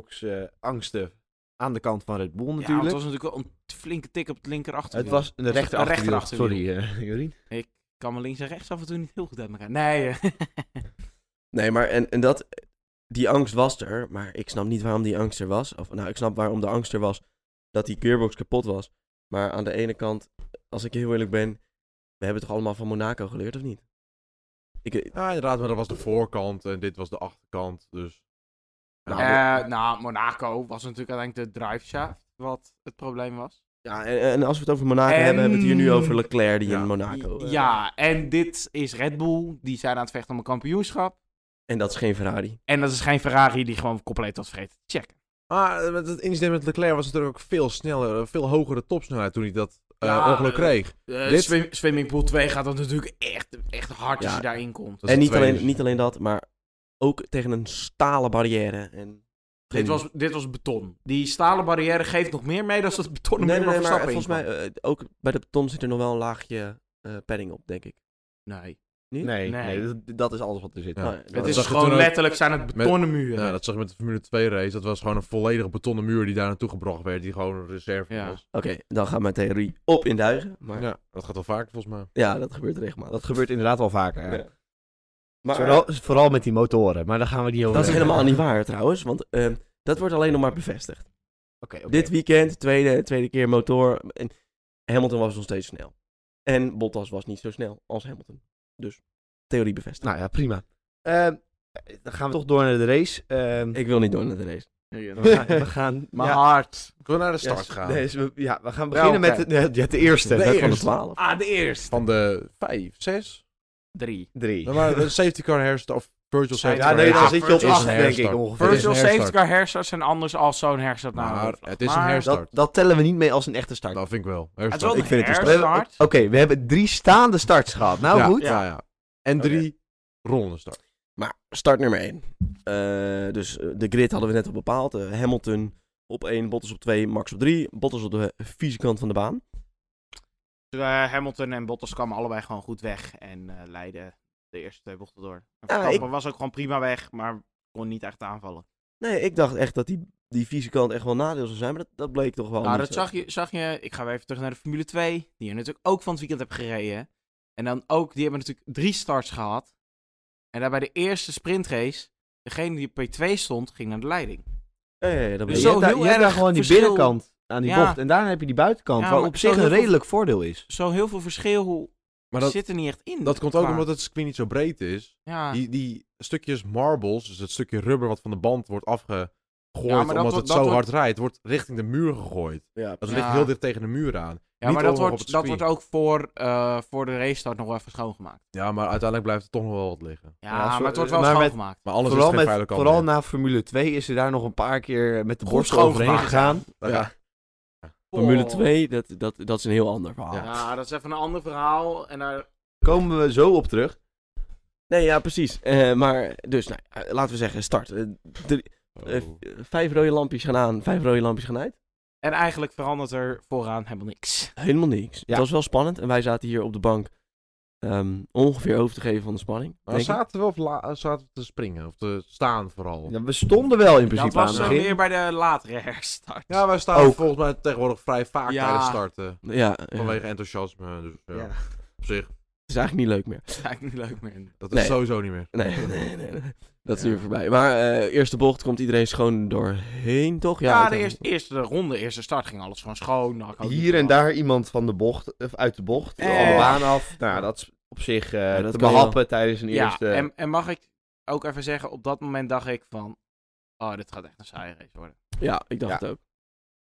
[SPEAKER 1] gearbox-angsten aan de kant van Red Bull
[SPEAKER 4] Ja,
[SPEAKER 1] natuurlijk.
[SPEAKER 4] want het was natuurlijk wel een flinke tik op het linkerachterwiel.
[SPEAKER 1] Het was een rechter
[SPEAKER 4] Een rechter achterwiel.
[SPEAKER 1] Sorry, eh Jorien.
[SPEAKER 4] Ik kan me links en rechts af en toe niet heel goed uit elkaar. Nee, eh,
[SPEAKER 2] Nee, maar en, en dat, die angst was er, maar ik snap niet waarom die angst er was. Of nou, ik snap waarom de angst er was dat die gearbox kapot was. Maar aan de ene kant, als ik heel eerlijk ben, we hebben toch allemaal van Monaco geleerd, of niet? Ik, eh,
[SPEAKER 3] Ja, inderdaad, maar dat was de voorkant en dit was de achterkant. Dus...
[SPEAKER 2] Nou,
[SPEAKER 3] Ja,
[SPEAKER 4] Eh, nou, Monaco was natuurlijk uiteindelijk de drive shaft wat het probleem was.
[SPEAKER 2] ja, en, en als we het over Monaco
[SPEAKER 4] En-
[SPEAKER 2] hebben, hebben we het hier nu over Leclerc die
[SPEAKER 3] Ja.
[SPEAKER 2] in Monaco... eh,
[SPEAKER 4] ja, en dit is Red Bull. Die zijn aan het vechten om een kampioenschap.
[SPEAKER 2] En dat is geen Ferrari.
[SPEAKER 4] En dat is geen Ferrari die gewoon compleet was vergeten te checken.
[SPEAKER 3] Maar eh, met het incident met Leclerc was natuurlijk ook veel sneller, veel hogere topsnelheid toen hij dat eh,
[SPEAKER 4] Ja,
[SPEAKER 3] ongeluk
[SPEAKER 4] eh,
[SPEAKER 3] kreeg. Dit-
[SPEAKER 4] swim, swimmingpool 2 gaat dan natuurlijk echt, echt hard
[SPEAKER 2] Ja.
[SPEAKER 4] als je daarin komt.
[SPEAKER 3] Dat is
[SPEAKER 2] En
[SPEAKER 3] de
[SPEAKER 2] niet
[SPEAKER 3] tweede.
[SPEAKER 2] alleen, niet alleen dat, maar ook tegen een stalen barrière. En
[SPEAKER 4] Dit was, dit was beton. Die stalen barrière geeft nog meer mee dan dat betonnen
[SPEAKER 2] Nee, nee,
[SPEAKER 4] muur
[SPEAKER 2] nee,
[SPEAKER 4] waar
[SPEAKER 2] maar
[SPEAKER 4] Verstappen
[SPEAKER 2] volgens
[SPEAKER 4] in
[SPEAKER 2] mij, eh, ook bij de beton zit er nog wel een laagje eh, padding op, denk ik.
[SPEAKER 4] kwam. Nee.
[SPEAKER 2] Niet?
[SPEAKER 1] Nee,
[SPEAKER 4] Nee.
[SPEAKER 1] nee. dat, dat is alles wat er zit.
[SPEAKER 3] Ja.
[SPEAKER 2] Nou, dat
[SPEAKER 4] Het
[SPEAKER 3] dat
[SPEAKER 4] is
[SPEAKER 3] zag je
[SPEAKER 4] gewoon
[SPEAKER 3] toen ook
[SPEAKER 4] letterlijk zijn het betonnen muren.
[SPEAKER 3] Ja, dat zag je met de Formule 2 race. Dat was gewoon een volledige betonnen muur die daar naartoe gebracht werd. Die gewoon een reserve
[SPEAKER 4] Ja.
[SPEAKER 3] was.
[SPEAKER 2] Oké, dan gaat mijn theorie op in duigen. Maar ja,
[SPEAKER 3] Ja, dat gaat wel vaak volgens mij.
[SPEAKER 2] dat gebeurt regelmatig.
[SPEAKER 1] Dat gebeurt inderdaad wel vaker. ja.
[SPEAKER 2] Ja. Maar eh,
[SPEAKER 1] Vooral, vooral met die motoren, maar daar gaan we die over.
[SPEAKER 2] dat is
[SPEAKER 1] hebben.
[SPEAKER 2] helemaal niet waar trouwens, want ehm, dat wordt alleen nog maar bevestigd.
[SPEAKER 1] Oké, oké.
[SPEAKER 2] Dit weekend, tweede, tweede keer motor. En Hamilton was nog steeds snel. En Bottas was niet zo snel als Hamilton. Dus, theorie bevestigd.
[SPEAKER 1] Nou ja, prima. Ehm, dan gaan we toch door naar de race. Ehm,
[SPEAKER 2] ik wil niet door naar de race.
[SPEAKER 1] we gaan. We gaan
[SPEAKER 4] Mijn
[SPEAKER 1] ja,
[SPEAKER 4] hart.
[SPEAKER 3] Kunnen we naar de start
[SPEAKER 1] yes,
[SPEAKER 3] gaan?
[SPEAKER 1] nee, dus we- ja, we gaan beginnen
[SPEAKER 4] oké.
[SPEAKER 1] met de, ja, de eerste.
[SPEAKER 3] De
[SPEAKER 1] Dat
[SPEAKER 2] Van
[SPEAKER 1] van
[SPEAKER 2] de
[SPEAKER 3] eerste.
[SPEAKER 2] 12.
[SPEAKER 4] Ah, de eerste.
[SPEAKER 3] Van de vijf, zes?
[SPEAKER 4] Drie.
[SPEAKER 1] Drie.
[SPEAKER 3] Dan waren de safety car herstart of virtual safety
[SPEAKER 1] Ja,
[SPEAKER 3] car
[SPEAKER 1] nee, dan zit
[SPEAKER 3] herstart.
[SPEAKER 1] je op
[SPEAKER 4] Is een
[SPEAKER 1] acht, denk
[SPEAKER 3] herstart.
[SPEAKER 1] ik ongeveer.
[SPEAKER 3] Het is
[SPEAKER 4] Virtual
[SPEAKER 3] een
[SPEAKER 4] safety
[SPEAKER 3] herstart.
[SPEAKER 4] car herstart zijn anders als zo'n herstart naar
[SPEAKER 3] Maar
[SPEAKER 4] hoofdvlag.
[SPEAKER 3] het is een
[SPEAKER 4] Maar
[SPEAKER 3] herstart.
[SPEAKER 1] Dat, dat tellen we niet mee als een echte start.
[SPEAKER 3] Dat vind ik wel.
[SPEAKER 4] Het is wel
[SPEAKER 3] Herstart.
[SPEAKER 4] een
[SPEAKER 2] Ik vind het een
[SPEAKER 1] We hebben-
[SPEAKER 4] herstart.
[SPEAKER 1] Oké, we hebben drie staande starts gehad. Nou
[SPEAKER 3] ja,
[SPEAKER 1] goed.
[SPEAKER 3] Ja, ja. En
[SPEAKER 2] Oké.
[SPEAKER 3] drie ronden start.
[SPEAKER 2] Maar start nummer 1. dus eh, de grid hadden we net al bepaald. Eh, Hamilton op 1, Bottas op 2, Max op 3. Bottas op de vieze kant van de baan.
[SPEAKER 4] Eh, Hamilton en Bottas kwamen allebei gewoon goed weg en eh, leidden de eerste twee bochten door. En
[SPEAKER 2] Ja,
[SPEAKER 4] Verstappen was ook gewoon prima weg, maar kon niet echt aanvallen.
[SPEAKER 2] Nee, ik dacht echt dat die, die vieze kant echt wel een nadeel zou zijn. Maar dat, dat bleek toch wel
[SPEAKER 4] nou,
[SPEAKER 2] niet zo.
[SPEAKER 4] dat zag je, zag je. Ik ga weer even terug naar de Formule 2, die je natuurlijk ook van het weekend hebt gereden. En dan ook, die hebben natuurlijk drie starts gehad. En daarbij de eerste sprintrace, degene die op P2 stond, ging naar de leiding.
[SPEAKER 2] Ja, ja, ja, dat
[SPEAKER 4] Dus
[SPEAKER 2] bleek.
[SPEAKER 4] zo
[SPEAKER 1] hebt daar-
[SPEAKER 4] heel
[SPEAKER 1] jij hebt daar
[SPEAKER 4] erg
[SPEAKER 1] gewoon die
[SPEAKER 4] verschil.
[SPEAKER 1] binnenkant aan die
[SPEAKER 4] Ja.
[SPEAKER 1] bocht. En daarna heb je die buitenkant,
[SPEAKER 4] Ja,
[SPEAKER 1] waar
[SPEAKER 4] maar
[SPEAKER 1] op
[SPEAKER 4] zo
[SPEAKER 1] zich een
[SPEAKER 4] heel veel-
[SPEAKER 1] redelijk voordeel is.
[SPEAKER 4] Zo heel veel verschil
[SPEAKER 3] Maar dat,
[SPEAKER 4] zit er niet echt in.
[SPEAKER 3] dat komt ook
[SPEAKER 4] Maar-
[SPEAKER 3] omdat het circuit niet zo breed is.
[SPEAKER 4] Ja.
[SPEAKER 3] Die, die stukjes marbles, dus het stukje rubber wat van de band wordt afgegooid
[SPEAKER 4] dat
[SPEAKER 3] omdat
[SPEAKER 4] wordt-
[SPEAKER 3] het
[SPEAKER 4] dat
[SPEAKER 3] zo
[SPEAKER 4] wordt-
[SPEAKER 3] hard rijdt, wordt richting de muur gegooid.
[SPEAKER 2] Ja,
[SPEAKER 3] Dat
[SPEAKER 4] Ja.
[SPEAKER 3] ligt heel dicht tegen de muur aan.
[SPEAKER 4] Ja,
[SPEAKER 3] Niet
[SPEAKER 4] maar dat
[SPEAKER 3] overal
[SPEAKER 4] wordt,
[SPEAKER 3] op
[SPEAKER 4] dat
[SPEAKER 3] het
[SPEAKER 4] wordt
[SPEAKER 3] circuit.
[SPEAKER 4] ook voor, eh, voor de race start nog wel even schoongemaakt.
[SPEAKER 3] Ja, maar uiteindelijk blijft er toch nog wel wat liggen.
[SPEAKER 4] Ja,
[SPEAKER 1] Ja, zo-
[SPEAKER 4] maar het wordt wel
[SPEAKER 1] maar met-
[SPEAKER 4] schoongemaakt.
[SPEAKER 3] eh, Maar anders
[SPEAKER 1] vooral
[SPEAKER 3] is het geen
[SPEAKER 1] met,
[SPEAKER 3] veilige
[SPEAKER 1] vooral
[SPEAKER 3] kant
[SPEAKER 1] na Formule 2 is er daar nog een paar keer met de
[SPEAKER 4] Goed
[SPEAKER 1] borst overheen
[SPEAKER 4] schoongemaakt.
[SPEAKER 1] gegaan.
[SPEAKER 3] meer.
[SPEAKER 2] Ja. Formule
[SPEAKER 4] Oh.
[SPEAKER 2] 2, dat, dat, dat is een heel ander verhaal.
[SPEAKER 4] Ja, dat is even een ander verhaal. En daar...
[SPEAKER 1] Komen we zo op terug.
[SPEAKER 2] Nee, ja, precies. Eh, maar dus, nou, eh, laten we zeggen, start. Eh, drie- eh,
[SPEAKER 3] Oh.
[SPEAKER 2] v- vijf rode lampjes gaan aan, vijf rode lampjes gaan uit.
[SPEAKER 4] En eigenlijk verandert er vooraan helemaal niks.
[SPEAKER 2] Helemaal niks.
[SPEAKER 1] Ja.
[SPEAKER 2] Het was wel spannend. En wij zaten hier op de bank ehm, ongeveer over te geven van de spanning.
[SPEAKER 3] Maar
[SPEAKER 2] denk ik.
[SPEAKER 3] zaten we of la- eh, zaten we te springen of te staan vooral? Ja,
[SPEAKER 1] Ja, we stonden wel in
[SPEAKER 4] Dat
[SPEAKER 1] principe aan
[SPEAKER 4] was eh,
[SPEAKER 1] het
[SPEAKER 4] dan
[SPEAKER 1] begin.
[SPEAKER 4] weer bij de latere herstart.
[SPEAKER 3] wij staan
[SPEAKER 1] Ook.
[SPEAKER 3] volgens mij tegenwoordig vrij vaak
[SPEAKER 4] Ja.
[SPEAKER 3] tijdens starten.
[SPEAKER 2] Ja, ja.
[SPEAKER 3] Vanwege enthousiasme. Dus ja,
[SPEAKER 1] Ja.
[SPEAKER 3] op zich,
[SPEAKER 2] het is eigenlijk niet leuk meer.
[SPEAKER 4] is eigenlijk niet leuk meer.
[SPEAKER 3] dat is
[SPEAKER 2] Nee.
[SPEAKER 3] sowieso niet meer.
[SPEAKER 2] Nee, nee, nee. nee. Dat is
[SPEAKER 3] Ja.
[SPEAKER 2] nu voorbij. Maar eh, eerste bocht komt iedereen schoon doorheen, toch?
[SPEAKER 4] Ja, de
[SPEAKER 2] uiteindelijk.
[SPEAKER 4] eerste, eerste ronde, eerste start ging alles gewoon schoon. Nou, ik hou niet
[SPEAKER 1] Hier en
[SPEAKER 4] van.
[SPEAKER 1] daar iemand van de bocht, of uit de bocht,
[SPEAKER 4] Eh.
[SPEAKER 1] van de baan af. Nou, dat is op zich eh,
[SPEAKER 2] Ja, dat
[SPEAKER 1] te
[SPEAKER 2] kan
[SPEAKER 1] behappen tijdens een
[SPEAKER 4] Ja,
[SPEAKER 1] eerste...
[SPEAKER 4] en, en mag ik ook even zeggen, op dat moment dacht ik van... Oh, dit gaat echt een saaie race worden.
[SPEAKER 2] Ja, ik dacht
[SPEAKER 1] Ja.
[SPEAKER 2] het ook.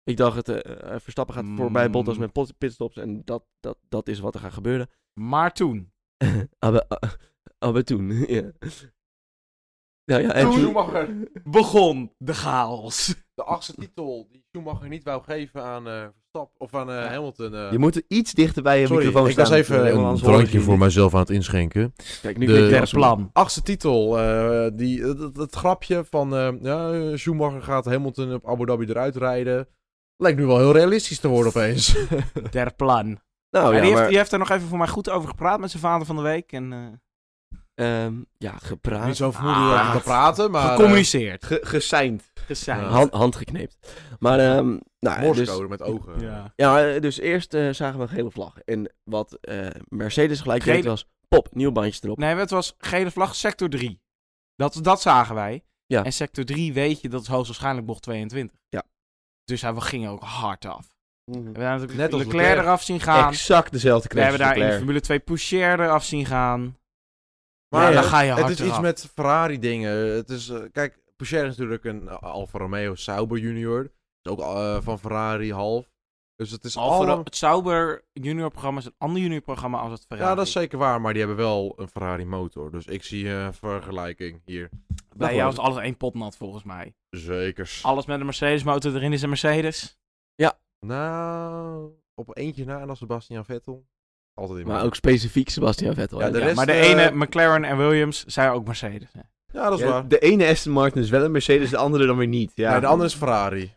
[SPEAKER 2] Ik dacht, het, eh, eh, Verstappen gaat voorbij
[SPEAKER 4] Mm.
[SPEAKER 2] Bottas met pot- pitstops. En dat, dat, dat is wat er gaat gebeuren.
[SPEAKER 4] Maar toen...
[SPEAKER 2] Abbe, a- abbe toen. ja. Nou ja, en
[SPEAKER 4] Toen-
[SPEAKER 2] toen...
[SPEAKER 4] begon de chaos.
[SPEAKER 3] de achtste titel die Schumacher niet wou geven aan eh Verstappen of aan eh,
[SPEAKER 4] Ja.
[SPEAKER 3] Hamilton. eh.
[SPEAKER 1] Je moet er iets dichter bij je
[SPEAKER 3] Sorry,
[SPEAKER 1] microfoon
[SPEAKER 3] ik
[SPEAKER 1] staan.
[SPEAKER 3] was even
[SPEAKER 1] Helemaal
[SPEAKER 3] een
[SPEAKER 1] anders hoor ik
[SPEAKER 3] drankje
[SPEAKER 1] je
[SPEAKER 3] voor
[SPEAKER 1] niet.
[SPEAKER 3] mijzelf aan het inschenken.
[SPEAKER 2] Kijk, nu
[SPEAKER 3] De-
[SPEAKER 2] klinkt het
[SPEAKER 4] Per
[SPEAKER 2] echt
[SPEAKER 4] plan.
[SPEAKER 3] Achtste titel, eh, die, dat, dat- dat grapje van eh, ja, Schumacher gaat Hamilton op Abu Dhabi eruit rijden. Lijkt nu wel heel realistisch te worden opeens.
[SPEAKER 4] Der plan.
[SPEAKER 1] Oh
[SPEAKER 2] Nou
[SPEAKER 4] die,
[SPEAKER 2] ja,
[SPEAKER 4] heeft,
[SPEAKER 2] maar...
[SPEAKER 4] die heeft er nog even voor mij goed over gepraat met zijn vader van de week. En, eh,
[SPEAKER 2] ehm, ja, gepraat.
[SPEAKER 3] Niet zo
[SPEAKER 4] Ah,
[SPEAKER 3] vermoedelijk te praten, maar... eh,
[SPEAKER 4] gecommuniceerd.
[SPEAKER 1] Ge- geseind.
[SPEAKER 4] Gezegd.
[SPEAKER 3] Ja.
[SPEAKER 2] Hand, handgekneept. Maar, ehm nou, dus,
[SPEAKER 3] Morsecode met ogen.
[SPEAKER 2] ja, eh, dus eerst eh, zagen we een gele vlag. En wat eh, Mercedes gelijk
[SPEAKER 4] Gele-
[SPEAKER 2] deed was, pop, nieuw bandje erop.
[SPEAKER 4] Nee, het was gele vlag, sector 3. Dat, dat zagen wij.
[SPEAKER 2] Ja.
[SPEAKER 4] En sector 3 weet je, dat is hoogstwaarschijnlijk bocht 22.
[SPEAKER 2] Ja.
[SPEAKER 4] Dus hij, we gingen ook hard af. We hebben natuurlijk
[SPEAKER 3] Net als
[SPEAKER 4] Leclerc,
[SPEAKER 3] Leclerc.
[SPEAKER 4] eraf zien gaan.
[SPEAKER 1] Exact dezelfde
[SPEAKER 4] we hebben
[SPEAKER 1] crash als
[SPEAKER 4] daar in de
[SPEAKER 1] Leclerc.
[SPEAKER 4] Formule 2 Poucher eraf zien gaan.
[SPEAKER 3] Maar
[SPEAKER 4] Maar ja, dan
[SPEAKER 3] het,
[SPEAKER 4] ga je hard
[SPEAKER 3] het is iets
[SPEAKER 4] eraf.
[SPEAKER 3] met Ferrari dingen. Het is, eh, kijk, Pocher is natuurlijk een eh, Alfa Romeo Sauber junior. Is ook eh, van Ferrari half. Dus het is
[SPEAKER 4] Alfa,
[SPEAKER 3] allemaal-
[SPEAKER 4] het Sauber junior programma is een ander junior programma als het Ferrari.
[SPEAKER 3] Ja, dat is zeker waar, maar die hebben wel een Ferrari motor. Dus ik zie eh, een vergelijking hier.
[SPEAKER 4] Bij
[SPEAKER 2] Dat
[SPEAKER 4] jou
[SPEAKER 2] was
[SPEAKER 4] is alles één pot nat volgens mij.
[SPEAKER 3] Zekers.
[SPEAKER 4] Alles met een Mercedes motor erin is een Mercedes.
[SPEAKER 3] Nou, op eentje na en dan Sebastian Vettel. Altijd in
[SPEAKER 2] Maar
[SPEAKER 3] mijn-
[SPEAKER 2] ook specifiek Sebastian Vettel.
[SPEAKER 3] Ja,
[SPEAKER 2] hè?
[SPEAKER 3] de
[SPEAKER 4] Ja,
[SPEAKER 3] rest,
[SPEAKER 4] maar de
[SPEAKER 3] eh,
[SPEAKER 4] ene, McLaren en Williams, zijn ook Mercedes. hè.
[SPEAKER 3] Ja, dat is
[SPEAKER 1] Ja,
[SPEAKER 3] waar.
[SPEAKER 1] de ene Aston Martin is wel een Mercedes, de andere dan weer niet. Ja.
[SPEAKER 3] Nee, de andere is Ferrari.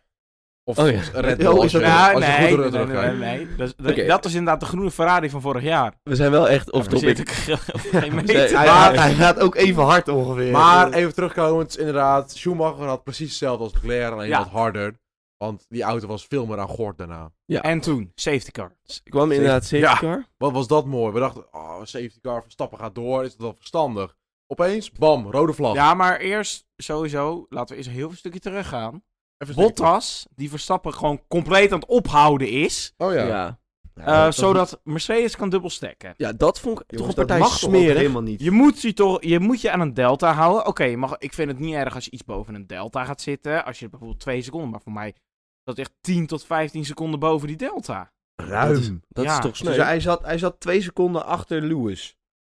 [SPEAKER 3] Of
[SPEAKER 2] Oh ja.
[SPEAKER 3] Red Bull.
[SPEAKER 1] Oh, is
[SPEAKER 3] als je,
[SPEAKER 1] dat-
[SPEAKER 3] als
[SPEAKER 4] Nou,
[SPEAKER 3] je goed
[SPEAKER 4] nee,
[SPEAKER 3] door
[SPEAKER 4] nee,
[SPEAKER 3] het
[SPEAKER 4] nee,
[SPEAKER 3] rood
[SPEAKER 4] nee,
[SPEAKER 3] kijkt.
[SPEAKER 4] nee. Dat, is- dat-
[SPEAKER 2] Oké.
[SPEAKER 4] dat is inderdaad de groene Ferrari van vorig jaar.
[SPEAKER 2] We zijn wel echt off
[SPEAKER 4] Daar zit
[SPEAKER 2] topic.
[SPEAKER 4] ik geen
[SPEAKER 2] Nee,
[SPEAKER 4] meter.
[SPEAKER 1] Hij,
[SPEAKER 2] Maar-
[SPEAKER 1] gaat- hij gaat ook even hard ongeveer.
[SPEAKER 3] Maar even terugkomend, inderdaad, Schumacher had precies hetzelfde als Leclerc, alleen
[SPEAKER 4] Ja.
[SPEAKER 3] wat harder. Want die auto was veel meer aan gort daarna.
[SPEAKER 4] En toen, safety car.
[SPEAKER 2] Ik kwam inderdaad safety
[SPEAKER 3] Ja.
[SPEAKER 2] car.
[SPEAKER 3] Wat was dat mooi? We dachten, oh, safety car, Verstappen gaat door, is dat wel verstandig? Opeens, bam, rode vlag.
[SPEAKER 4] Ja, maar eerst sowieso, laten we eens een heel veel stukje teruggaan.
[SPEAKER 3] Even een stukje.
[SPEAKER 4] Bottas, die Verstappen gewoon compleet aan het ophouden is.
[SPEAKER 3] Oh
[SPEAKER 2] Ja.
[SPEAKER 3] ja.
[SPEAKER 2] Ja.
[SPEAKER 4] eh, zodat Mercedes kan dubbelstekken.
[SPEAKER 2] dat vond ik
[SPEAKER 1] Jongens,
[SPEAKER 2] eh, toch een
[SPEAKER 1] dat
[SPEAKER 2] partij
[SPEAKER 1] mag toch ook
[SPEAKER 2] smerig.
[SPEAKER 1] helemaal niet.
[SPEAKER 4] Je moet je, toch, je moet je aan een delta houden. Oké, je mag- ik vind het niet erg als je iets boven een delta gaat zitten. Als je bijvoorbeeld twee seconden, maar voor mij dat is echt 10 tot 15 seconden boven die delta.
[SPEAKER 2] Dat is, dat
[SPEAKER 4] Ja.
[SPEAKER 2] is toch sneu.
[SPEAKER 1] Dus hij zat, hij zat twee seconden achter Lewis.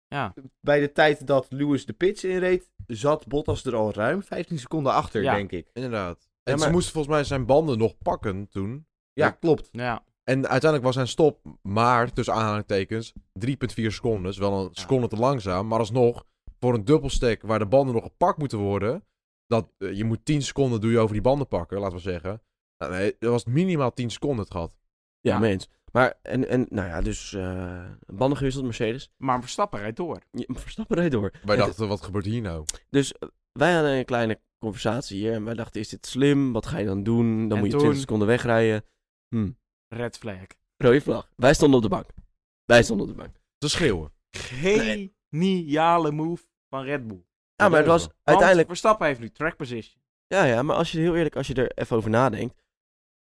[SPEAKER 4] Ja.
[SPEAKER 1] Bij de tijd dat Lewis de pits inreed, zat Bottas er al ruim 15 seconden achter,
[SPEAKER 4] Ja.
[SPEAKER 1] denk ik.
[SPEAKER 3] Inderdaad.
[SPEAKER 1] Ja,
[SPEAKER 3] En
[SPEAKER 1] maar-
[SPEAKER 3] ze moesten volgens mij zijn banden nog pakken toen.
[SPEAKER 1] Ja,
[SPEAKER 3] Ja.
[SPEAKER 1] klopt.
[SPEAKER 4] Ja,
[SPEAKER 3] En uiteindelijk was zijn stop maar, tussen aanhalingstekens, 3,4 seconden. Dus wel een seconde te langzaam. Maar alsnog, voor een dubbelstek waar de banden nog gepakt moeten worden. Dat, eh, je moet 10 seconden doe je over die banden pakken, laten we zeggen. Nou, nee, dat was minimaal 10 seconden het gehad.
[SPEAKER 2] Ja,
[SPEAKER 4] Ja.
[SPEAKER 2] mee eens. Maar, en, en nou ja, dus eh banden gewisseld, Mercedes.
[SPEAKER 4] maar Verstappen rijdt door.
[SPEAKER 2] Je- Verstappen reed door.
[SPEAKER 3] Wij
[SPEAKER 2] Het-
[SPEAKER 3] dachten, wat gebeurt hier nou?
[SPEAKER 2] Dus eh, wij hadden een kleine conversatie hier. En wij dachten, is dit slim? Wat ga je dan doen? Dan
[SPEAKER 4] En
[SPEAKER 2] moet je
[SPEAKER 4] toen-
[SPEAKER 2] 20 seconden wegrijden. Hm,
[SPEAKER 4] Red flag.
[SPEAKER 2] rode vlag. Wij stonden op de bank. Wij stonden op de bank.
[SPEAKER 3] Te schreeuwen.
[SPEAKER 4] Geniale move van Red Bull.
[SPEAKER 2] Ja, maar het was
[SPEAKER 3] Want
[SPEAKER 4] Uiteindelijk.
[SPEAKER 2] uiteindelijk...
[SPEAKER 4] Verstappen heeft nu track position.
[SPEAKER 2] Ja, ja, maar als je heel eerlijk, als je er even over nadenkt...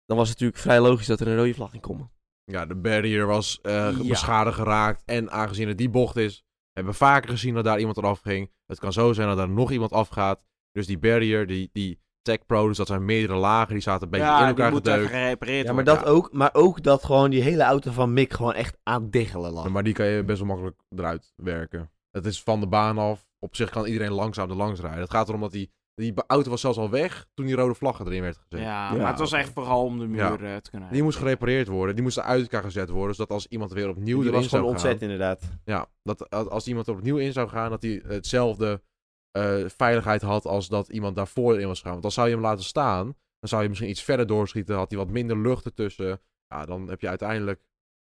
[SPEAKER 2] Dan was het natuurlijk vrij logisch dat er een rode vlag in kwam.
[SPEAKER 3] Ja, de barrier was eh,
[SPEAKER 4] Ja.
[SPEAKER 3] beschadigd geraakt. En aangezien het die bocht is, hebben we vaker gezien dat daar iemand eraf ging. Het kan zo zijn dat daar nog iemand afgaat. Dus die barrier, die, die Tech Pro, dus dat zijn meerdere lagen, die zaten een beetje in
[SPEAKER 4] ja, die
[SPEAKER 3] elkaar
[SPEAKER 4] moet even
[SPEAKER 3] gedeukt.
[SPEAKER 4] gerepareerd
[SPEAKER 1] Ja, maar
[SPEAKER 4] worden.
[SPEAKER 1] dat ook. Maar ook dat gewoon die hele auto van Mick gewoon echt aan diggelen lag.
[SPEAKER 3] Maar die kan je best wel makkelijk eruit werken. Het is van de baan af. Op zich kan iedereen langzaam er langs rijden. Het gaat erom dat die, die auto was zelfs al weg toen die rode vlaggen erin werd gezet.
[SPEAKER 4] Ja,
[SPEAKER 2] Ja,
[SPEAKER 4] maar het was
[SPEAKER 2] oké.
[SPEAKER 4] echt vooral om de muur eh, te kunnen
[SPEAKER 3] Die moest gerepareerd worden. Die moest uit elkaar gezet worden. Zodat als iemand weer opnieuw
[SPEAKER 1] die
[SPEAKER 3] erin
[SPEAKER 1] was
[SPEAKER 3] zou
[SPEAKER 1] gewoon
[SPEAKER 3] gaan...
[SPEAKER 1] ontzet, inderdaad.
[SPEAKER 3] Ja, dat a- als iemand er opnieuw in zou gaan, dat hij hetzelfde eh, veiligheid had als dat iemand daarvoor in was gegaan. Want dan zou je hem laten staan, dan zou je misschien iets verder doorschieten, had hij wat minder lucht ertussen. Ja, dan heb je uiteindelijk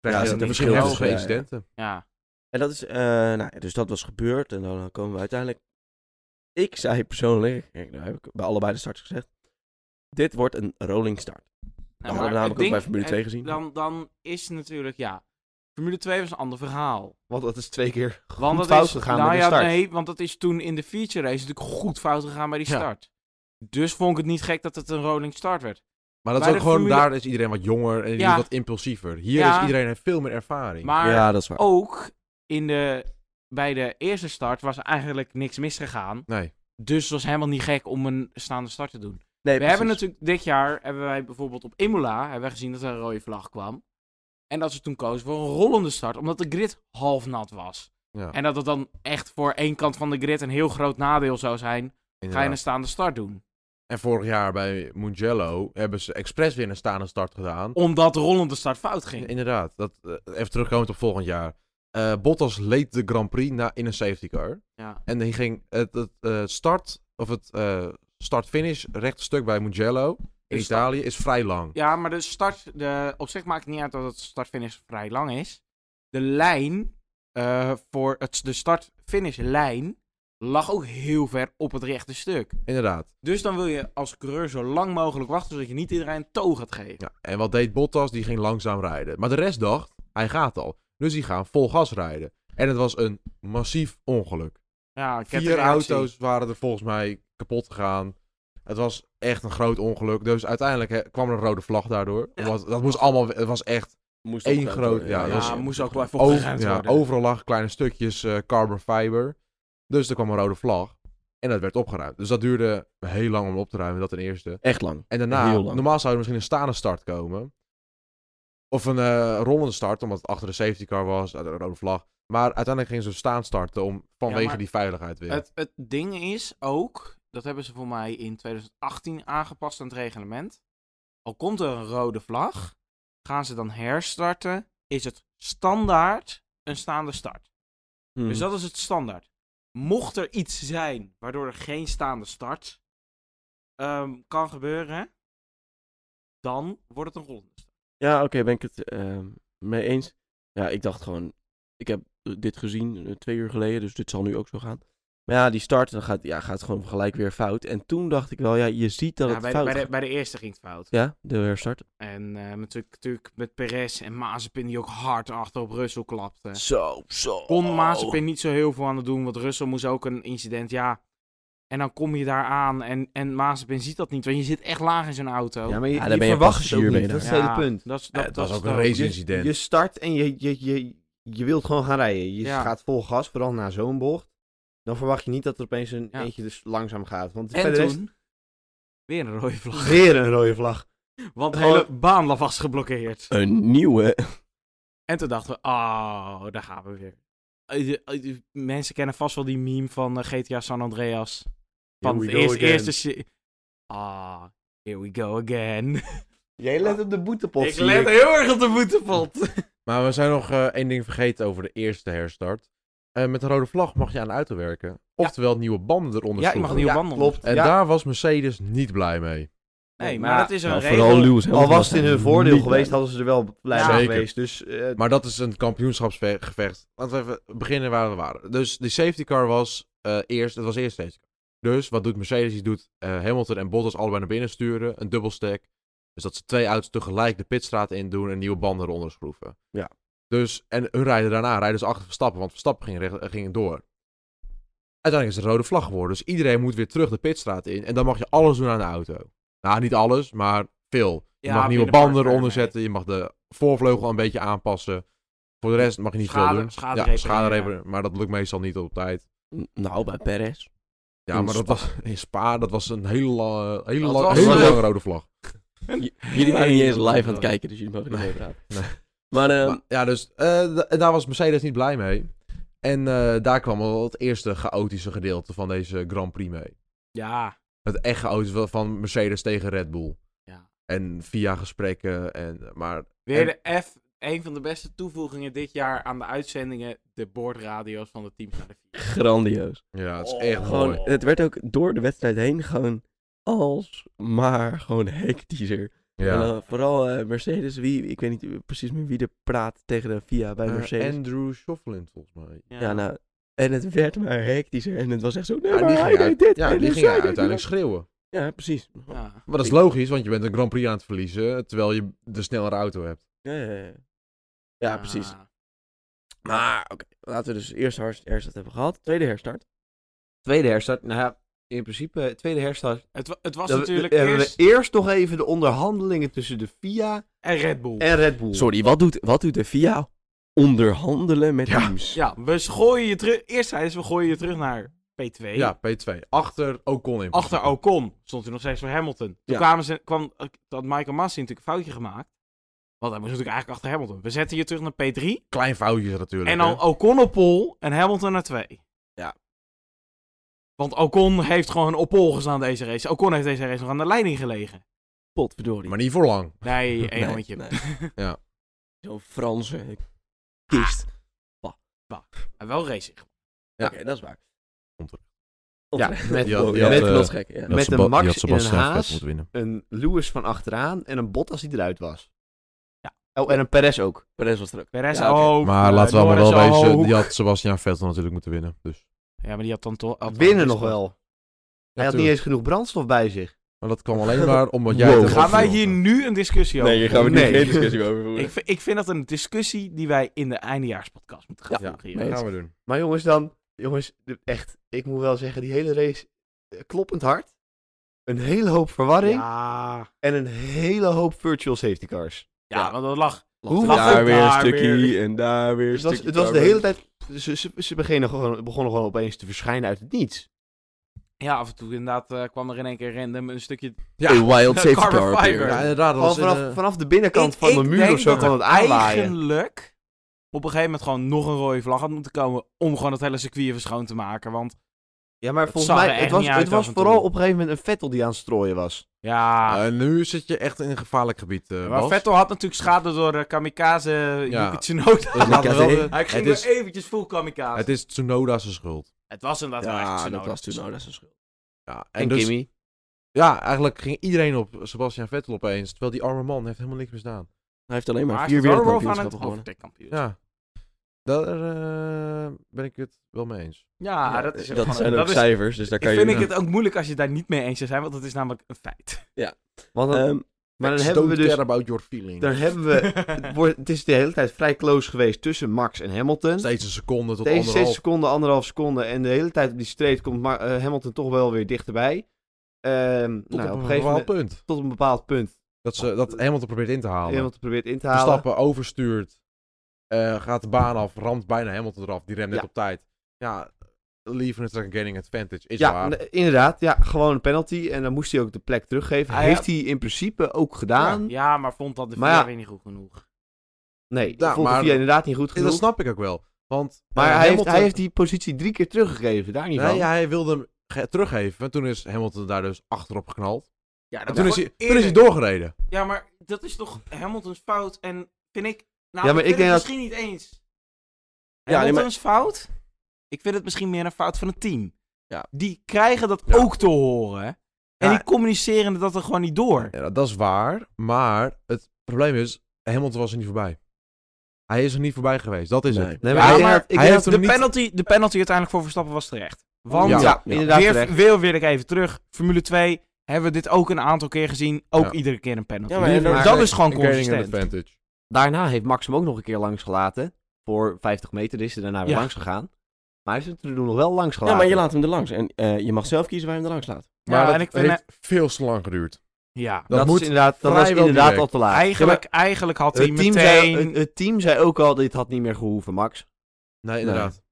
[SPEAKER 3] krijg je
[SPEAKER 2] Ja, er zit
[SPEAKER 3] dan
[SPEAKER 2] een
[SPEAKER 3] misschien
[SPEAKER 2] verschil
[SPEAKER 3] heftige
[SPEAKER 2] tussen, ja, ja.
[SPEAKER 3] incidenten.
[SPEAKER 4] Ja,
[SPEAKER 2] En dat is... eh, nou ja, dus dat was gebeurd. En dan komen we uiteindelijk... Ik zei persoonlijk... Kijk, nou heb ik bij allebei de starts gezegd. Dit wordt een rolling start.
[SPEAKER 4] Nou,
[SPEAKER 2] hadden we
[SPEAKER 4] maar
[SPEAKER 2] namelijk
[SPEAKER 4] het
[SPEAKER 2] ook
[SPEAKER 4] ding-
[SPEAKER 2] bij Formule
[SPEAKER 4] het-
[SPEAKER 2] 2 gezien.
[SPEAKER 4] Dan, dan is natuurlijk, ja, Formule 2 was een ander verhaal.
[SPEAKER 1] Want dat is twee keer
[SPEAKER 4] Want
[SPEAKER 1] goed
[SPEAKER 4] dat
[SPEAKER 1] fout
[SPEAKER 4] is,
[SPEAKER 1] gegaan
[SPEAKER 4] nou
[SPEAKER 1] met de
[SPEAKER 4] ja,
[SPEAKER 1] start.
[SPEAKER 4] Nee, want dat is toen in de feature race natuurlijk goed fout gegaan bij die
[SPEAKER 3] Ja.
[SPEAKER 4] start. Dus vond ik het niet gek dat het een rolling start werd.
[SPEAKER 3] Maar dat
[SPEAKER 4] Bij
[SPEAKER 3] is ook
[SPEAKER 4] de
[SPEAKER 3] gewoon,
[SPEAKER 4] Formule-
[SPEAKER 3] daar is iedereen wat jonger en
[SPEAKER 4] Ja.
[SPEAKER 3] wat impulsiever. Hier
[SPEAKER 4] Ja.
[SPEAKER 3] is iedereen heeft veel meer ervaring.
[SPEAKER 4] Maar
[SPEAKER 2] ja, dat is waar.
[SPEAKER 4] ook in de, bij de eerste start was er eigenlijk niks misgegaan.
[SPEAKER 3] Nee.
[SPEAKER 4] Dus het was helemaal niet gek om een staande start te doen. We
[SPEAKER 2] nee,
[SPEAKER 4] hebben
[SPEAKER 2] precies.
[SPEAKER 4] natuurlijk dit jaar, hebben wij bijvoorbeeld op Imola, hebben wij gezien dat er een rode vlag kwam. En dat ze toen kozen voor een rollende start, omdat de grid half nat was.
[SPEAKER 3] Ja,
[SPEAKER 4] En dat het dan echt voor één kant van de grid een heel groot nadeel zou zijn. Ga je
[SPEAKER 3] inderdaad.
[SPEAKER 4] een staande start doen?
[SPEAKER 3] En vorig jaar bij Mugello hebben ze expres weer een staande start gedaan.
[SPEAKER 4] Omdat de rollende start fout
[SPEAKER 3] Ja,
[SPEAKER 4] ging.
[SPEAKER 3] Inderdaad, dat, eh, even terugkomend op volgend jaar. Eh, Bottas leed de Grand Prix na, in een safety car.
[SPEAKER 4] Ja.
[SPEAKER 3] En hij ging het, het eh, start, of het eh, start-finish rechte stuk bij Mugello in
[SPEAKER 4] Dus dat-
[SPEAKER 3] Italië is vrij lang.
[SPEAKER 4] Ja, maar de start, de, op zich maakt het niet uit dat het start-finish vrij lang is. De lijn eh, voor het, de start-finish lijn lag ook heel ver op het rechte stuk.
[SPEAKER 3] Inderdaad.
[SPEAKER 4] Dus dan wil je als coureur zo lang mogelijk wachten, zodat je niet iedereen een toog gaat geven.
[SPEAKER 3] Ja. En wat deed Bottas? Die ging langzaam rijden. Maar de rest dacht, hij gaat al. Dus die gaan vol gas rijden. En het was een massief ongeluk.
[SPEAKER 4] Ja,
[SPEAKER 3] Vier auto's waren er volgens mij kapot gegaan. Het was echt een groot ongeluk. Dus uiteindelijk hè, kwam er een rode vlag daardoor. Want dat moest allemaal... Het was echt
[SPEAKER 2] moest
[SPEAKER 3] één
[SPEAKER 2] opgeruimd
[SPEAKER 3] groot-
[SPEAKER 2] worden.
[SPEAKER 3] ja,
[SPEAKER 4] Ja,
[SPEAKER 3] dat was-
[SPEAKER 4] moest ook wel even
[SPEAKER 3] Over-
[SPEAKER 4] opgeruimd
[SPEAKER 3] ja,
[SPEAKER 4] worden.
[SPEAKER 3] overal lag kleine stukjes eh, carbon fiber. Dus er kwam een rode vlag. En dat werd opgeruimd. Dus dat duurde heel lang om op te ruimen, dat ten eerste.
[SPEAKER 2] Echt lang.
[SPEAKER 3] En daarna,
[SPEAKER 2] Heel lang.
[SPEAKER 3] normaal zou er misschien een staande start komen. Of een eh, rollende start, omdat het achter de safety car was, uit de rode vlag. Maar uiteindelijk gingen ze staan starten om, vanwege
[SPEAKER 4] maar
[SPEAKER 3] die veiligheid weer.
[SPEAKER 4] Het, het ding is ook, dat hebben ze voor mij in 2018 aangepast aan het reglement. Al komt er een rode vlag, gaan ze dan herstarten, is het standaard een staande start.
[SPEAKER 2] Hmm.
[SPEAKER 4] Dus dat is het standaard. Mocht er iets zijn waardoor er geen staande start ehm, kan gebeuren, dan wordt het een rollende start.
[SPEAKER 2] Ja, oké, ben ik het ehm, mee eens. Ja, ik dacht gewoon, ik heb eh, dit gezien eh, twee uur geleden, dus dit zal nu ook zo gaan. Maar ja, die start, dan gaat, ja, gaat gewoon gelijk weer fout. En toen dacht ik wel, ja, je ziet dat
[SPEAKER 4] Ja,
[SPEAKER 2] het
[SPEAKER 4] bij, de,
[SPEAKER 2] fout
[SPEAKER 4] bij, de,
[SPEAKER 2] gaat.
[SPEAKER 4] bij de eerste ging het fout.
[SPEAKER 2] Ja, de herstart.
[SPEAKER 4] En eh, natuurlijk, natuurlijk met Perez en Mazepin die ook hard achter op Russell klapte.
[SPEAKER 2] Zo, zo.
[SPEAKER 3] Oh.
[SPEAKER 4] kon Mazepin niet zo heel veel aan het doen, want Russell moest ook een incident, ja. En dan kom je daar aan en, en Mazepin ziet dat niet, want je zit echt laag in zo'n auto.
[SPEAKER 1] Ja, maar je,
[SPEAKER 2] Ja, dan
[SPEAKER 1] je
[SPEAKER 2] ben je
[SPEAKER 1] verwacht het ook
[SPEAKER 2] passagier, ben
[SPEAKER 1] niet.
[SPEAKER 2] je
[SPEAKER 1] Dat is
[SPEAKER 4] Ja,
[SPEAKER 1] het hele punt.
[SPEAKER 4] Dat, is-
[SPEAKER 3] Ja, Eh,
[SPEAKER 4] dat,
[SPEAKER 3] het
[SPEAKER 4] dat
[SPEAKER 3] was
[SPEAKER 4] is
[SPEAKER 3] ook een
[SPEAKER 4] het
[SPEAKER 3] race
[SPEAKER 1] Je,
[SPEAKER 3] incident.
[SPEAKER 1] je start en je, je, je, je wilt gewoon gaan rijden. Je
[SPEAKER 4] Ja.
[SPEAKER 1] gaat vol gas, vooral na zo'n bocht. Dan verwacht je niet dat er opeens een
[SPEAKER 4] Ja.
[SPEAKER 1] eentje dus langzaam gaat. Want
[SPEAKER 4] En
[SPEAKER 1] verder is
[SPEAKER 4] toen weer een rode vlag.
[SPEAKER 1] weer een rode vlag.
[SPEAKER 4] Want de
[SPEAKER 3] Oh.
[SPEAKER 1] Gewoon-
[SPEAKER 4] hele baan lag vast geblokkeerd.
[SPEAKER 2] Een nieuwe.
[SPEAKER 4] En toen dachten we, oh, daar gaan we weer. Eh, de- eh, de- Mensen kennen vast wel die meme van eh, GTA San Andreas. Van
[SPEAKER 1] we
[SPEAKER 4] het
[SPEAKER 1] go
[SPEAKER 4] eerste,
[SPEAKER 1] again.
[SPEAKER 4] eerste... se- Ah, here we go again.
[SPEAKER 1] Jij let op de boetepot.
[SPEAKER 4] ik
[SPEAKER 1] zie
[SPEAKER 4] let
[SPEAKER 1] ik.
[SPEAKER 4] heel erg op de boetepot.
[SPEAKER 3] Maar we zijn nog eh, één ding vergeten over de eerste herstart. Eh, met een rode vlag mag je aan de auto werken. Oftewel nieuwe banden eronder
[SPEAKER 4] Ja, ik mag
[SPEAKER 3] schroeven.
[SPEAKER 4] nieuw
[SPEAKER 1] Ja,
[SPEAKER 4] wandelen.
[SPEAKER 1] klopt.
[SPEAKER 3] En
[SPEAKER 1] Ja.
[SPEAKER 3] daar was Mercedes niet blij mee.
[SPEAKER 4] Nee, maar
[SPEAKER 1] Maar-
[SPEAKER 4] dat is een
[SPEAKER 2] Nou,
[SPEAKER 4] regel.
[SPEAKER 2] vooral Lewis Hamilton.
[SPEAKER 1] Al was het in hun
[SPEAKER 2] daar
[SPEAKER 1] voordeel
[SPEAKER 2] niet
[SPEAKER 1] geweest,
[SPEAKER 2] bij.
[SPEAKER 1] hadden ze er wel blij
[SPEAKER 4] Ja.
[SPEAKER 1] mee
[SPEAKER 3] Zeker.
[SPEAKER 1] geweest. Dus eh,
[SPEAKER 3] Maar dat is een kampioenschapsgevecht. Laten we even beginnen waar we waren. Dus de safety car was eh, eerst, het was eerst safety car. Dus wat doet Mercedes? Die doet eh, Hamilton en Bottas allebei naar binnen sturen. Een dubbelstack. Dus dat ze twee auto's tegelijk de pitstraat in doen en nieuwe banden eronder schroeven.
[SPEAKER 2] Ja.
[SPEAKER 3] Dus, en hun rijden daarna, rijden ze achter Verstappen, want Verstappen ging, recht- eh, ging door. Uiteindelijk is het een rode vlag geworden. Dus iedereen moet weer terug de pitstraat in. En dan mag je alles doen aan de auto. Nou, niet alles, maar veel. Je
[SPEAKER 4] Ja,
[SPEAKER 3] mag nieuwe
[SPEAKER 4] binnen een paar
[SPEAKER 3] banden eronder
[SPEAKER 4] schermen.
[SPEAKER 3] zetten. Je mag de voorvleugel een beetje aanpassen. Voor de rest mag je niet
[SPEAKER 4] Schade-
[SPEAKER 3] veel doen.
[SPEAKER 4] schade
[SPEAKER 3] ja,
[SPEAKER 4] repareren,
[SPEAKER 3] schade
[SPEAKER 4] ja.
[SPEAKER 3] repareren, Maar dat lukt meestal niet op tijd.
[SPEAKER 2] Nou, bij Perez.
[SPEAKER 3] Ja,
[SPEAKER 2] In
[SPEAKER 3] maar dat
[SPEAKER 2] Spa.
[SPEAKER 3] was in Spa, dat was een hele, lange- hele,
[SPEAKER 4] Dat
[SPEAKER 3] lange-
[SPEAKER 4] was
[SPEAKER 3] hele
[SPEAKER 2] een-
[SPEAKER 3] lange rode vlag.
[SPEAKER 2] J- jullie waren niet eens
[SPEAKER 4] Helemaal
[SPEAKER 2] live aan het
[SPEAKER 4] goed.
[SPEAKER 2] kijken, dus jullie mogen niet
[SPEAKER 3] Nee.
[SPEAKER 2] meepraten.
[SPEAKER 3] Nee.
[SPEAKER 2] Maar,
[SPEAKER 4] Ehm,
[SPEAKER 2] eh,
[SPEAKER 3] Maar, ja, dus eh, da- daar was Mercedes niet blij mee. En eh, daar kwam al het eerste chaotische gedeelte van deze Grand Prix mee.
[SPEAKER 4] Ja,
[SPEAKER 3] Het echt chaotisch wel van Mercedes tegen Red Bull.
[SPEAKER 4] Ja.
[SPEAKER 3] En via gesprekken. En, maar
[SPEAKER 4] weer de F. Een van de beste toevoegingen dit jaar aan de uitzendingen. De boordradio's van de teams naar de vier.
[SPEAKER 2] grandioos.
[SPEAKER 3] ja, het is echt
[SPEAKER 2] Gewoon,
[SPEAKER 3] mooi.
[SPEAKER 2] het werd ook door de wedstrijd heen gewoon als maar gewoon hectischer. En
[SPEAKER 3] Ja.
[SPEAKER 2] dan vooral eh, Mercedes, wie, ik weet niet precies meer wie er praat tegen de VIA bij
[SPEAKER 3] Eh,
[SPEAKER 2] Mercedes.
[SPEAKER 3] Andrew Shoflin, volgens mij.
[SPEAKER 2] ja, nou, en het werd maar hectischer en het was echt zo, nee,
[SPEAKER 3] Ja,
[SPEAKER 2] maar
[SPEAKER 3] die
[SPEAKER 2] hij
[SPEAKER 3] ging,
[SPEAKER 2] deed
[SPEAKER 3] uit-
[SPEAKER 2] dit.
[SPEAKER 3] ja,
[SPEAKER 2] en
[SPEAKER 3] die
[SPEAKER 2] dus
[SPEAKER 3] ging
[SPEAKER 2] hij deed
[SPEAKER 3] uiteindelijk
[SPEAKER 2] dat.
[SPEAKER 3] schreeuwen.
[SPEAKER 2] Ja, precies.
[SPEAKER 4] Ja.
[SPEAKER 3] Maar dat is logisch, want je bent een Grand Prix aan het verliezen, terwijl je de snellere auto hebt.
[SPEAKER 2] Ja, ja, ja. ja precies.
[SPEAKER 4] Ah.
[SPEAKER 2] Maar, oké, laten we dus eerst hard- herstart hebben gehad, tweede herstart.
[SPEAKER 1] tweede herstart, nou ja, in principe eh, tweede herstart.
[SPEAKER 4] Het, wa- het was
[SPEAKER 1] Dan
[SPEAKER 4] natuurlijk
[SPEAKER 1] hebben we
[SPEAKER 4] eerst
[SPEAKER 1] eerst nog even de onderhandelingen tussen de FIA
[SPEAKER 4] en Red Bull.
[SPEAKER 1] en Red Bull.
[SPEAKER 2] Sorry, wat doet, wat doet de VIA? Onderhandelen met
[SPEAKER 3] Ja.
[SPEAKER 2] teams.
[SPEAKER 4] Ja, we gooien je terug. Eerst zeiden ze, we gooien je terug naar P2.
[SPEAKER 3] Ja, P2. Achter Ocon in.
[SPEAKER 4] Achter Ocon stond hij nog steeds voor Hamilton. Toen
[SPEAKER 2] Ja.
[SPEAKER 4] kwamen ze, kwam, had Michael Massi natuurlijk een foutje gemaakt. Want hij moest natuurlijk eigenlijk achter Hamilton. We zetten je terug naar P3.
[SPEAKER 3] Klein foutjes natuurlijk.
[SPEAKER 4] En
[SPEAKER 3] hè.
[SPEAKER 4] dan Ocon op pol en Hamilton naar 2.
[SPEAKER 2] Ja.
[SPEAKER 4] Want Ocon heeft gewoon op pol gestaan deze race. Ocon heeft deze race nog aan de leiding gelegen.
[SPEAKER 2] Potverdorie.
[SPEAKER 3] Maar niet voor lang.
[SPEAKER 4] Nee,
[SPEAKER 2] Nee,
[SPEAKER 4] één handje.
[SPEAKER 2] nee.
[SPEAKER 3] Ja.
[SPEAKER 2] Zo'n Franse kist.
[SPEAKER 4] Maar wel racing.
[SPEAKER 3] Ja.
[SPEAKER 2] Oké, dat is waar.
[SPEAKER 3] Onterecht.
[SPEAKER 1] Ja,
[SPEAKER 2] Onterecht.
[SPEAKER 1] met,
[SPEAKER 3] Die had-
[SPEAKER 1] met,
[SPEAKER 3] die had, eh,
[SPEAKER 2] dat is gek, ja.
[SPEAKER 1] Met een Max in een haas.
[SPEAKER 3] winnen.
[SPEAKER 1] een Lewis van achteraan en een Bottas die eruit was.
[SPEAKER 4] Ja.
[SPEAKER 1] Oh, en een Perez ook.
[SPEAKER 2] Perez was er ook.
[SPEAKER 4] Perez
[SPEAKER 2] Ja, oké.
[SPEAKER 4] ook.
[SPEAKER 3] Maar
[SPEAKER 4] eh,
[SPEAKER 3] laten we allemaal wel
[SPEAKER 4] Norris
[SPEAKER 3] wezen,
[SPEAKER 4] ook.
[SPEAKER 3] die had Sebastian Vettel natuurlijk moeten winnen. Dus.
[SPEAKER 4] Ja, maar die had dan toch... had dan
[SPEAKER 1] Winnen
[SPEAKER 4] dus
[SPEAKER 1] nog wel.
[SPEAKER 3] Ja,
[SPEAKER 1] Hij had niet
[SPEAKER 3] tuurlijk.
[SPEAKER 1] eens genoeg brandstof bij zich.
[SPEAKER 3] Maar dat kwam alleen maar omdat jij...
[SPEAKER 2] Wow.
[SPEAKER 3] het erop
[SPEAKER 4] Gaan wij
[SPEAKER 3] viel.
[SPEAKER 4] hier nu een discussie over?
[SPEAKER 2] hier
[SPEAKER 1] gaan we nu geen
[SPEAKER 2] discussie over voeren.
[SPEAKER 4] Ik, vi- ik vind dat een discussie die wij in de eindejaarspodcast moeten gaan
[SPEAKER 3] Ja,
[SPEAKER 4] voeren. hier.
[SPEAKER 3] dat gaan we doen.
[SPEAKER 1] Maar jongens dan, jongens, de- echt, ik moet wel zeggen, die hele race eh, kloppend hard. Een hele hoop verwarring
[SPEAKER 4] Ja,
[SPEAKER 1] en een hele hoop virtual safety cars.
[SPEAKER 4] ja, want dat lag.
[SPEAKER 1] Hoe
[SPEAKER 4] Lag
[SPEAKER 2] daar
[SPEAKER 4] ook
[SPEAKER 2] weer een
[SPEAKER 4] daar
[SPEAKER 2] stukje
[SPEAKER 4] weer.
[SPEAKER 2] en daar weer een
[SPEAKER 1] Het was,
[SPEAKER 2] stukje.
[SPEAKER 1] het was de
[SPEAKER 2] daar
[SPEAKER 1] hele
[SPEAKER 2] weer.
[SPEAKER 1] tijd, ze, ze, ze beginnen gewoon, begonnen gewoon opeens te verschijnen uit het niets.
[SPEAKER 4] Ja, af en toe inderdaad eh, kwam er in één keer random een stukje.
[SPEAKER 3] Ja,
[SPEAKER 2] Een wild safety
[SPEAKER 4] Carbon
[SPEAKER 2] car.
[SPEAKER 4] fiber.
[SPEAKER 2] appearance.
[SPEAKER 3] Ja, inderdaad. Dat
[SPEAKER 1] Gewoon
[SPEAKER 3] was in,
[SPEAKER 1] vanaf,
[SPEAKER 3] eh,
[SPEAKER 1] vanaf de binnenkant
[SPEAKER 4] Ik-
[SPEAKER 1] van de
[SPEAKER 4] ik
[SPEAKER 1] muur of
[SPEAKER 4] denk
[SPEAKER 1] zo
[SPEAKER 4] dat
[SPEAKER 1] kan het
[SPEAKER 4] er
[SPEAKER 1] aanwaaien.
[SPEAKER 4] Eigenlijk op een gegeven moment gewoon nog een rode vlag had moeten komen. om gewoon het hele circuit even schoon te maken. Want
[SPEAKER 1] Ja, maar
[SPEAKER 4] Het
[SPEAKER 1] volgens
[SPEAKER 4] zag
[SPEAKER 1] mij,
[SPEAKER 4] er
[SPEAKER 1] het
[SPEAKER 4] echt
[SPEAKER 1] was,
[SPEAKER 4] niet uit
[SPEAKER 1] het was
[SPEAKER 4] af en toe.
[SPEAKER 1] vooral op een gegeven moment een Vettel die aan het strooien was.
[SPEAKER 4] ja.
[SPEAKER 3] eh, nu zit je echt in een gevaarlijk gebied, eh,
[SPEAKER 4] maar
[SPEAKER 3] Bas.
[SPEAKER 4] Vettel had natuurlijk schade door eh, kamikaze
[SPEAKER 3] Ja.
[SPEAKER 4] Yuki Tsunoda.
[SPEAKER 3] Dus laten we wel de-
[SPEAKER 4] Hij ging
[SPEAKER 3] het, is,
[SPEAKER 4] er eventjes vol kamikaze.
[SPEAKER 3] het is Tsunoda's schuld.
[SPEAKER 4] Het was inderdaad wel echt
[SPEAKER 2] Ja,
[SPEAKER 4] Tsunoda.
[SPEAKER 2] dat was toen nou, dat is een schuld.
[SPEAKER 4] Ehm,
[SPEAKER 3] Ja, en,
[SPEAKER 1] En,
[SPEAKER 3] dus
[SPEAKER 1] Kimmy.
[SPEAKER 3] Ja, eigenlijk ging iedereen op Sebastian Vettel opeens. Terwijl die arme man heeft helemaal niks misdaan.
[SPEAKER 2] Hij heeft alleen maar,
[SPEAKER 4] Maar hij
[SPEAKER 2] vier
[SPEAKER 4] is wel Rolf aan het
[SPEAKER 2] wereldkampioenschappen gewonnen.
[SPEAKER 4] overtake-kampioen. Ja,
[SPEAKER 3] Ja. Daar eh, ben ik het wel mee eens.
[SPEAKER 4] dat is
[SPEAKER 2] dat
[SPEAKER 4] gewoon-
[SPEAKER 2] zijn ook
[SPEAKER 4] dat is-
[SPEAKER 2] cijfers, dus daar
[SPEAKER 4] Ik
[SPEAKER 2] kan je...
[SPEAKER 4] vind ik het ook moeilijk als je daar niet mee eens zou zijn, want dat is namelijk een feit.
[SPEAKER 1] Want dan-
[SPEAKER 2] Ehm,
[SPEAKER 1] maar dan
[SPEAKER 3] Facts
[SPEAKER 1] hebben we
[SPEAKER 3] don't
[SPEAKER 1] dus...
[SPEAKER 3] care about your feeling.
[SPEAKER 1] Dan hebben we... Het, wordt, het is de hele tijd vrij close geweest tussen Max en Hamilton.
[SPEAKER 3] Steeds een seconde tot
[SPEAKER 1] Deze 6
[SPEAKER 3] anderhalf.
[SPEAKER 1] seconden, anderhalf seconde. En de hele tijd op die streep komt Ma- eh, Hamilton toch wel weer dichterbij. Ehm,
[SPEAKER 3] Tot
[SPEAKER 1] nou,
[SPEAKER 3] op
[SPEAKER 1] op
[SPEAKER 3] een
[SPEAKER 1] een gegeven
[SPEAKER 3] bepaald
[SPEAKER 1] moment
[SPEAKER 3] punt.
[SPEAKER 1] tot een bepaald punt.
[SPEAKER 3] Dat, ze, dat Hamilton probeert in te halen.
[SPEAKER 1] Hamilton probeert in te
[SPEAKER 3] De
[SPEAKER 1] halen.
[SPEAKER 3] stappen overstuurt. eh, gaat de baan af. Ramt bijna Hamilton eraf. Die remt net
[SPEAKER 1] Ja.
[SPEAKER 3] op tijd. Ja, leaving it like gaining advantage. Is
[SPEAKER 1] Ja,
[SPEAKER 3] waar.
[SPEAKER 1] n- inderdaad. Ja, gewoon een penalty. En dan moest hij ook de plek teruggeven.
[SPEAKER 4] Ah, ja.
[SPEAKER 1] Heeft hij in principe ook gedaan.
[SPEAKER 4] Ja, maar vond dat de
[SPEAKER 1] Maar ja.
[SPEAKER 4] VIA weer niet goed genoeg.
[SPEAKER 1] Nee,
[SPEAKER 3] Ja,
[SPEAKER 1] dat vond
[SPEAKER 3] maar-
[SPEAKER 1] hij inderdaad niet goed
[SPEAKER 3] Ja,
[SPEAKER 1] genoeg.
[SPEAKER 3] dat snap ik ook wel. Want
[SPEAKER 1] maar
[SPEAKER 3] eh,
[SPEAKER 1] hij, heeft,
[SPEAKER 3] Hamilton-
[SPEAKER 1] hij heeft die positie drie keer teruggegeven. Daar niet
[SPEAKER 3] Nee,
[SPEAKER 1] van.
[SPEAKER 3] ja, hij wilde hem ge- teruggeven. En toen is Hamilton daar dus achterop geknald.
[SPEAKER 4] Ja,
[SPEAKER 3] En
[SPEAKER 4] dat
[SPEAKER 3] toen, is
[SPEAKER 4] was
[SPEAKER 3] hij,
[SPEAKER 4] gewoon
[SPEAKER 3] toen is hij
[SPEAKER 4] eerder.
[SPEAKER 3] doorgereden.
[SPEAKER 4] Ja, maar dat is toch Hamilton's fout en vind ik... Nou,
[SPEAKER 1] Ja, maar
[SPEAKER 4] ik,
[SPEAKER 1] ik
[SPEAKER 4] vind
[SPEAKER 1] denk
[SPEAKER 4] het
[SPEAKER 1] dat-
[SPEAKER 4] misschien niet eens.
[SPEAKER 2] nee, maar-
[SPEAKER 4] Hamilton's fout? Ik vind het misschien meer een fout van het team.
[SPEAKER 2] Ja.
[SPEAKER 4] Die krijgen dat
[SPEAKER 3] Ja.
[SPEAKER 4] ook te horen. En
[SPEAKER 3] Ja.
[SPEAKER 4] die communiceren dat er gewoon niet door.
[SPEAKER 3] Ja, dat is waar. Maar het probleem is, Hamilton was er niet voorbij. Hij is er niet voorbij geweest. Dat is
[SPEAKER 2] Nee.
[SPEAKER 3] het.
[SPEAKER 1] Nee,
[SPEAKER 4] Ja,
[SPEAKER 1] maar ik denk
[SPEAKER 4] maar
[SPEAKER 1] dat- ik
[SPEAKER 3] hij
[SPEAKER 1] denk
[SPEAKER 3] heeft
[SPEAKER 1] dat-
[SPEAKER 4] De
[SPEAKER 3] niet-
[SPEAKER 4] penalty, de penalty uiteindelijk voor Verstappen was terecht. Want
[SPEAKER 1] Ja,
[SPEAKER 2] Ja, ja.
[SPEAKER 1] inderdaad.
[SPEAKER 4] weer,
[SPEAKER 1] terecht.
[SPEAKER 4] weer wil ik even terug. Formule 2 hebben we dit ook een aantal keer gezien. Ook
[SPEAKER 3] Ja.
[SPEAKER 4] iedere keer een penalty.
[SPEAKER 2] Ja, maar- en
[SPEAKER 4] dat
[SPEAKER 1] maar-
[SPEAKER 4] is gewoon
[SPEAKER 3] Gaining an
[SPEAKER 4] consistent.
[SPEAKER 3] advantage.
[SPEAKER 1] Daarna heeft Max hem ook nog een keer langs gelaten. Voor 50 meter is hij daarna weer
[SPEAKER 4] Ja.
[SPEAKER 1] langs gegaan. Maar hij is hem toen nog wel langs
[SPEAKER 2] ja,
[SPEAKER 1] gelaten.
[SPEAKER 2] maar je laat hem er langs. En eh, je mag zelf kiezen waar je hem er langs laat.
[SPEAKER 4] Ja,
[SPEAKER 3] Maar dat
[SPEAKER 4] en ik vind, eh,
[SPEAKER 3] heeft veel te lang geduurd.
[SPEAKER 4] ja.
[SPEAKER 1] dat
[SPEAKER 3] Dat
[SPEAKER 1] moet
[SPEAKER 3] moet
[SPEAKER 1] is inderdaad, dat was
[SPEAKER 3] vrijwel
[SPEAKER 1] inderdaad
[SPEAKER 3] direct.
[SPEAKER 1] al te laat.
[SPEAKER 4] Eigenlijk, eigenlijk had
[SPEAKER 1] Ja, maar
[SPEAKER 4] hij
[SPEAKER 1] het, team
[SPEAKER 4] meteen...
[SPEAKER 1] zei, het, het team zei ook al, dit had niet meer gehoeven, Max.
[SPEAKER 3] Nee,
[SPEAKER 2] inderdaad.
[SPEAKER 3] inderdaad.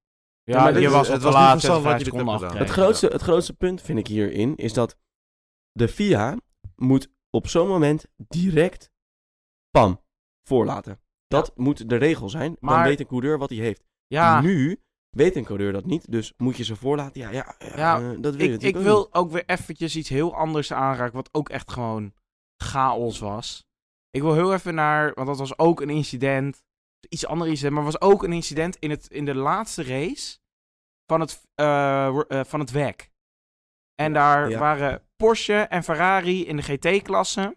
[SPEAKER 4] Ja,
[SPEAKER 2] Ja, maar
[SPEAKER 4] je
[SPEAKER 2] dit is-
[SPEAKER 4] was
[SPEAKER 3] het
[SPEAKER 4] al te
[SPEAKER 3] was niet
[SPEAKER 4] laat en
[SPEAKER 3] verstandig
[SPEAKER 4] vijf
[SPEAKER 3] wat je dit
[SPEAKER 4] seconden
[SPEAKER 3] hebt gedaan.
[SPEAKER 2] Het
[SPEAKER 4] afkrijgen.
[SPEAKER 2] grootste, het grootste punt vind ik hierin is dat de FIA moet op zo'n moment direct pam voorlaten. Dat moet de regel zijn.
[SPEAKER 4] Maar-
[SPEAKER 2] Dan weet een coureur wat hij heeft.
[SPEAKER 4] Ja,
[SPEAKER 2] Nu weet een coureur dat niet, dus moet je ze voorlaten. Ja, ja, ja,
[SPEAKER 4] Ja,
[SPEAKER 2] eh, dat wil je
[SPEAKER 4] ik, ik
[SPEAKER 2] natuurlijk ook niet.
[SPEAKER 4] wil ook weer eventjes iets heel anders aanraken, wat ook echt gewoon chaos was. Ik wil heel even naar, want dat was ook een incident, iets ander incident, maar was ook een incident in, het, in de laatste race van het, eh, wo- eh, van het WEC. En daar
[SPEAKER 2] ja.
[SPEAKER 4] waren Porsche en Ferrari in de GT-klasse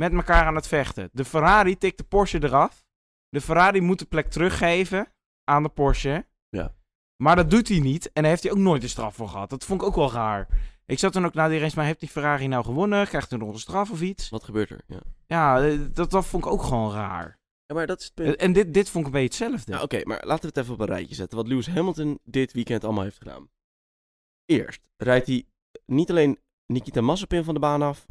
[SPEAKER 4] met elkaar aan het vechten. De Ferrari tikt de Porsche eraf. De Ferrari moet de plek teruggeven aan de Porsche.
[SPEAKER 2] Ja.
[SPEAKER 4] Maar dat doet hij niet. En daar heeft hij ook nooit een straf voor gehad. Dat vond ik ook wel raar. Ik zat toen ook na die race, maar heeft die Ferrari nou gewonnen? Krijgt hij nog een straf of iets?
[SPEAKER 2] Wat gebeurt er? Ja,
[SPEAKER 4] Ja, eh, dat, dat vond ik ook gewoon raar.
[SPEAKER 2] ja maar dat is het punt.
[SPEAKER 4] En en dit, dit vond ik een beetje hetzelfde.
[SPEAKER 2] Ja, Nou, Oké, maar laten we het even op een rijtje zetten. Wat Lewis Hamilton dit weekend allemaal heeft gedaan. Eerst rijdt hij niet alleen Nikita Mazepin van de baan af.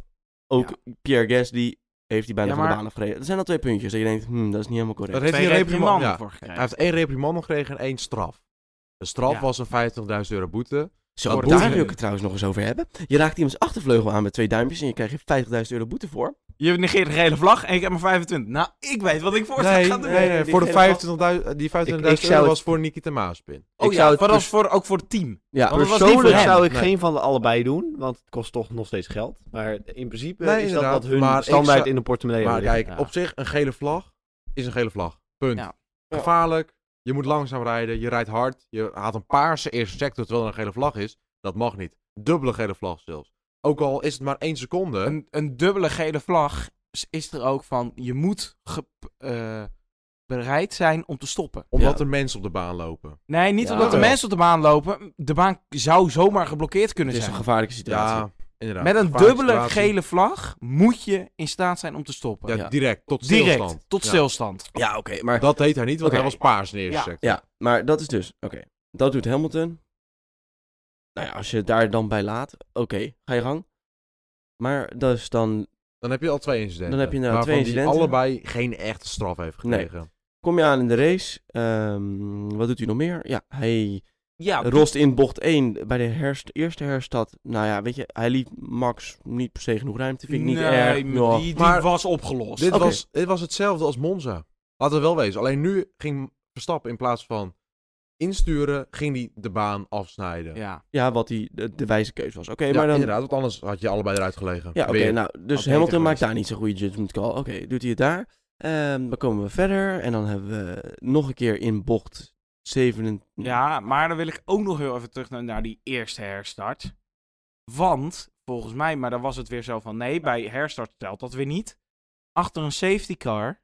[SPEAKER 2] Ook Pierre Gasly heeft hij bijna
[SPEAKER 4] Ja,
[SPEAKER 2] van
[SPEAKER 4] maar-
[SPEAKER 2] de baan afgereden. Dat zijn al twee puntjes. En je denkt, hmm, dat is niet helemaal
[SPEAKER 3] Dat
[SPEAKER 2] correct.
[SPEAKER 3] heeft
[SPEAKER 4] Twee
[SPEAKER 3] hij, een reprimand,
[SPEAKER 4] reprimanden
[SPEAKER 3] ja.
[SPEAKER 4] voor gekregen.
[SPEAKER 3] hij heeft één reprimand gekregen en één straf. De straf
[SPEAKER 4] Ja.
[SPEAKER 3] was een 50.000 euro boete.
[SPEAKER 2] Zo,
[SPEAKER 3] dat
[SPEAKER 2] daar
[SPEAKER 3] boeit-
[SPEAKER 2] wil ik het trouwens nog eens over hebben. Je raakt iemands achtervleugel aan met twee duimpjes en je krijgt er 50.000 euro boete voor.
[SPEAKER 4] Je negeert de gele vlag en ik heb maar 25. Nou, ik weet wat ik voor
[SPEAKER 3] nee,
[SPEAKER 4] ga doen.
[SPEAKER 3] nee,
[SPEAKER 2] nee,
[SPEAKER 3] nee,
[SPEAKER 2] die
[SPEAKER 3] voor de
[SPEAKER 2] gele vlag-
[SPEAKER 3] 25.000 die 25.000
[SPEAKER 1] Ik- ik zou
[SPEAKER 3] euro
[SPEAKER 1] het-
[SPEAKER 3] was voor Nikita Maaspin.
[SPEAKER 4] Oh
[SPEAKER 1] Ik
[SPEAKER 4] ja,
[SPEAKER 1] zou het
[SPEAKER 4] maar dat is
[SPEAKER 1] pers-
[SPEAKER 4] voor, ook voor het team.
[SPEAKER 2] Ja,
[SPEAKER 4] Want het was niet
[SPEAKER 1] Persoonlijk
[SPEAKER 4] voor hem.
[SPEAKER 1] zou ik
[SPEAKER 3] Nee.
[SPEAKER 1] geen van de allebei doen, want het kost toch nog steeds geld. Maar in principe
[SPEAKER 3] Nee,
[SPEAKER 1] is dat
[SPEAKER 3] inderdaad,
[SPEAKER 1] wat hun
[SPEAKER 3] maar ik
[SPEAKER 1] standaard
[SPEAKER 3] zou-
[SPEAKER 1] in de portemonnee
[SPEAKER 3] Maar
[SPEAKER 1] hebben
[SPEAKER 3] kijk,
[SPEAKER 1] liggen.
[SPEAKER 3] op zich, een gele vlag is een gele vlag. Punt.
[SPEAKER 4] Ja.
[SPEAKER 3] Gevaarlijk, je moet langzaam rijden, je rijdt hard, je haalt een paarse eerste sector terwijl er een gele vlag is. Dat mag niet. Dubbele gele vlag zelfs. Ook al is het maar één seconde.
[SPEAKER 4] Een, een dubbele gele vlag is- is er ook van, je moet ge- eh, bereid zijn om te stoppen.
[SPEAKER 3] Omdat
[SPEAKER 2] Ja.
[SPEAKER 3] er mensen op de baan lopen.
[SPEAKER 4] Nee, niet
[SPEAKER 2] Ja.
[SPEAKER 4] omdat de
[SPEAKER 2] Wel.
[SPEAKER 4] mensen op de baan lopen. De baan zou zomaar geblokkeerd kunnen
[SPEAKER 2] het is een
[SPEAKER 4] zijn.
[SPEAKER 2] gevaarlijke situatie.
[SPEAKER 3] Ja, inderdaad.
[SPEAKER 4] Met een
[SPEAKER 3] Gevaarlijke
[SPEAKER 4] dubbele
[SPEAKER 3] situatie.
[SPEAKER 4] gele vlag moet je in staat zijn om te stoppen.
[SPEAKER 3] Ja,
[SPEAKER 2] Ja.
[SPEAKER 3] direct. Tot stilstand.
[SPEAKER 4] Direct, tot
[SPEAKER 3] Ja.
[SPEAKER 4] stilstand.
[SPEAKER 2] Ja, oké, maar
[SPEAKER 3] Dat deed hij niet, want
[SPEAKER 2] Oké.
[SPEAKER 3] hij was paars in de eerste
[SPEAKER 4] Ja.
[SPEAKER 3] sector.
[SPEAKER 2] Ja, maar dat is dus. Oké, dat doet Hamilton. Nou ja, als je het daar dan bij laat, oké, ga je gang. Maar dat is dan.
[SPEAKER 3] Dan heb je al twee incidenten.
[SPEAKER 2] Dan heb je inderdaad
[SPEAKER 3] waarvan
[SPEAKER 2] twee
[SPEAKER 3] die
[SPEAKER 2] incidenten.
[SPEAKER 3] allebei geen echte straf heeft gekregen.
[SPEAKER 2] Kom je aan in de race. ehm, wat doet hij nog meer? Ja, hij
[SPEAKER 4] Ja,
[SPEAKER 2] rost in bocht 1 bij de herst, eerste herstad. Nou ja, weet je, hij liet Max niet per se genoeg ruimte. Vind ik niet
[SPEAKER 4] nee,
[SPEAKER 2] erg.
[SPEAKER 4] maar
[SPEAKER 2] Ja.
[SPEAKER 4] Die, die
[SPEAKER 3] Maar-
[SPEAKER 4] was opgelost.
[SPEAKER 3] Dit,
[SPEAKER 2] Oké.
[SPEAKER 3] was, dit was hetzelfde als Monza. Laten we wel wezen. Alleen nu ging Verstappen in plaats van insturen, ging hij de baan afsnijden. Ja,
[SPEAKER 4] Ja.
[SPEAKER 2] Ja, wat die, de, de wijze keus was. Oké, maar dan.
[SPEAKER 3] inderdaad. Want anders had je allebei eruit gelegen.
[SPEAKER 2] Ja, oké,
[SPEAKER 3] Weer.
[SPEAKER 2] nou, dus
[SPEAKER 4] beter
[SPEAKER 2] Hamilton maakt
[SPEAKER 4] geweest.
[SPEAKER 2] daar niet zo'n goede judgment call. Oké, doet hij het daar. Ehm, dan komen we verder. En dan hebben we nog een keer in bocht 7.
[SPEAKER 4] ja, maar dan wil ik ook nog heel even terug naar, naar die eerste herstart. Want volgens mij, maar dan was het weer zo van nee, bij herstart telt dat weer niet. Achter een safety car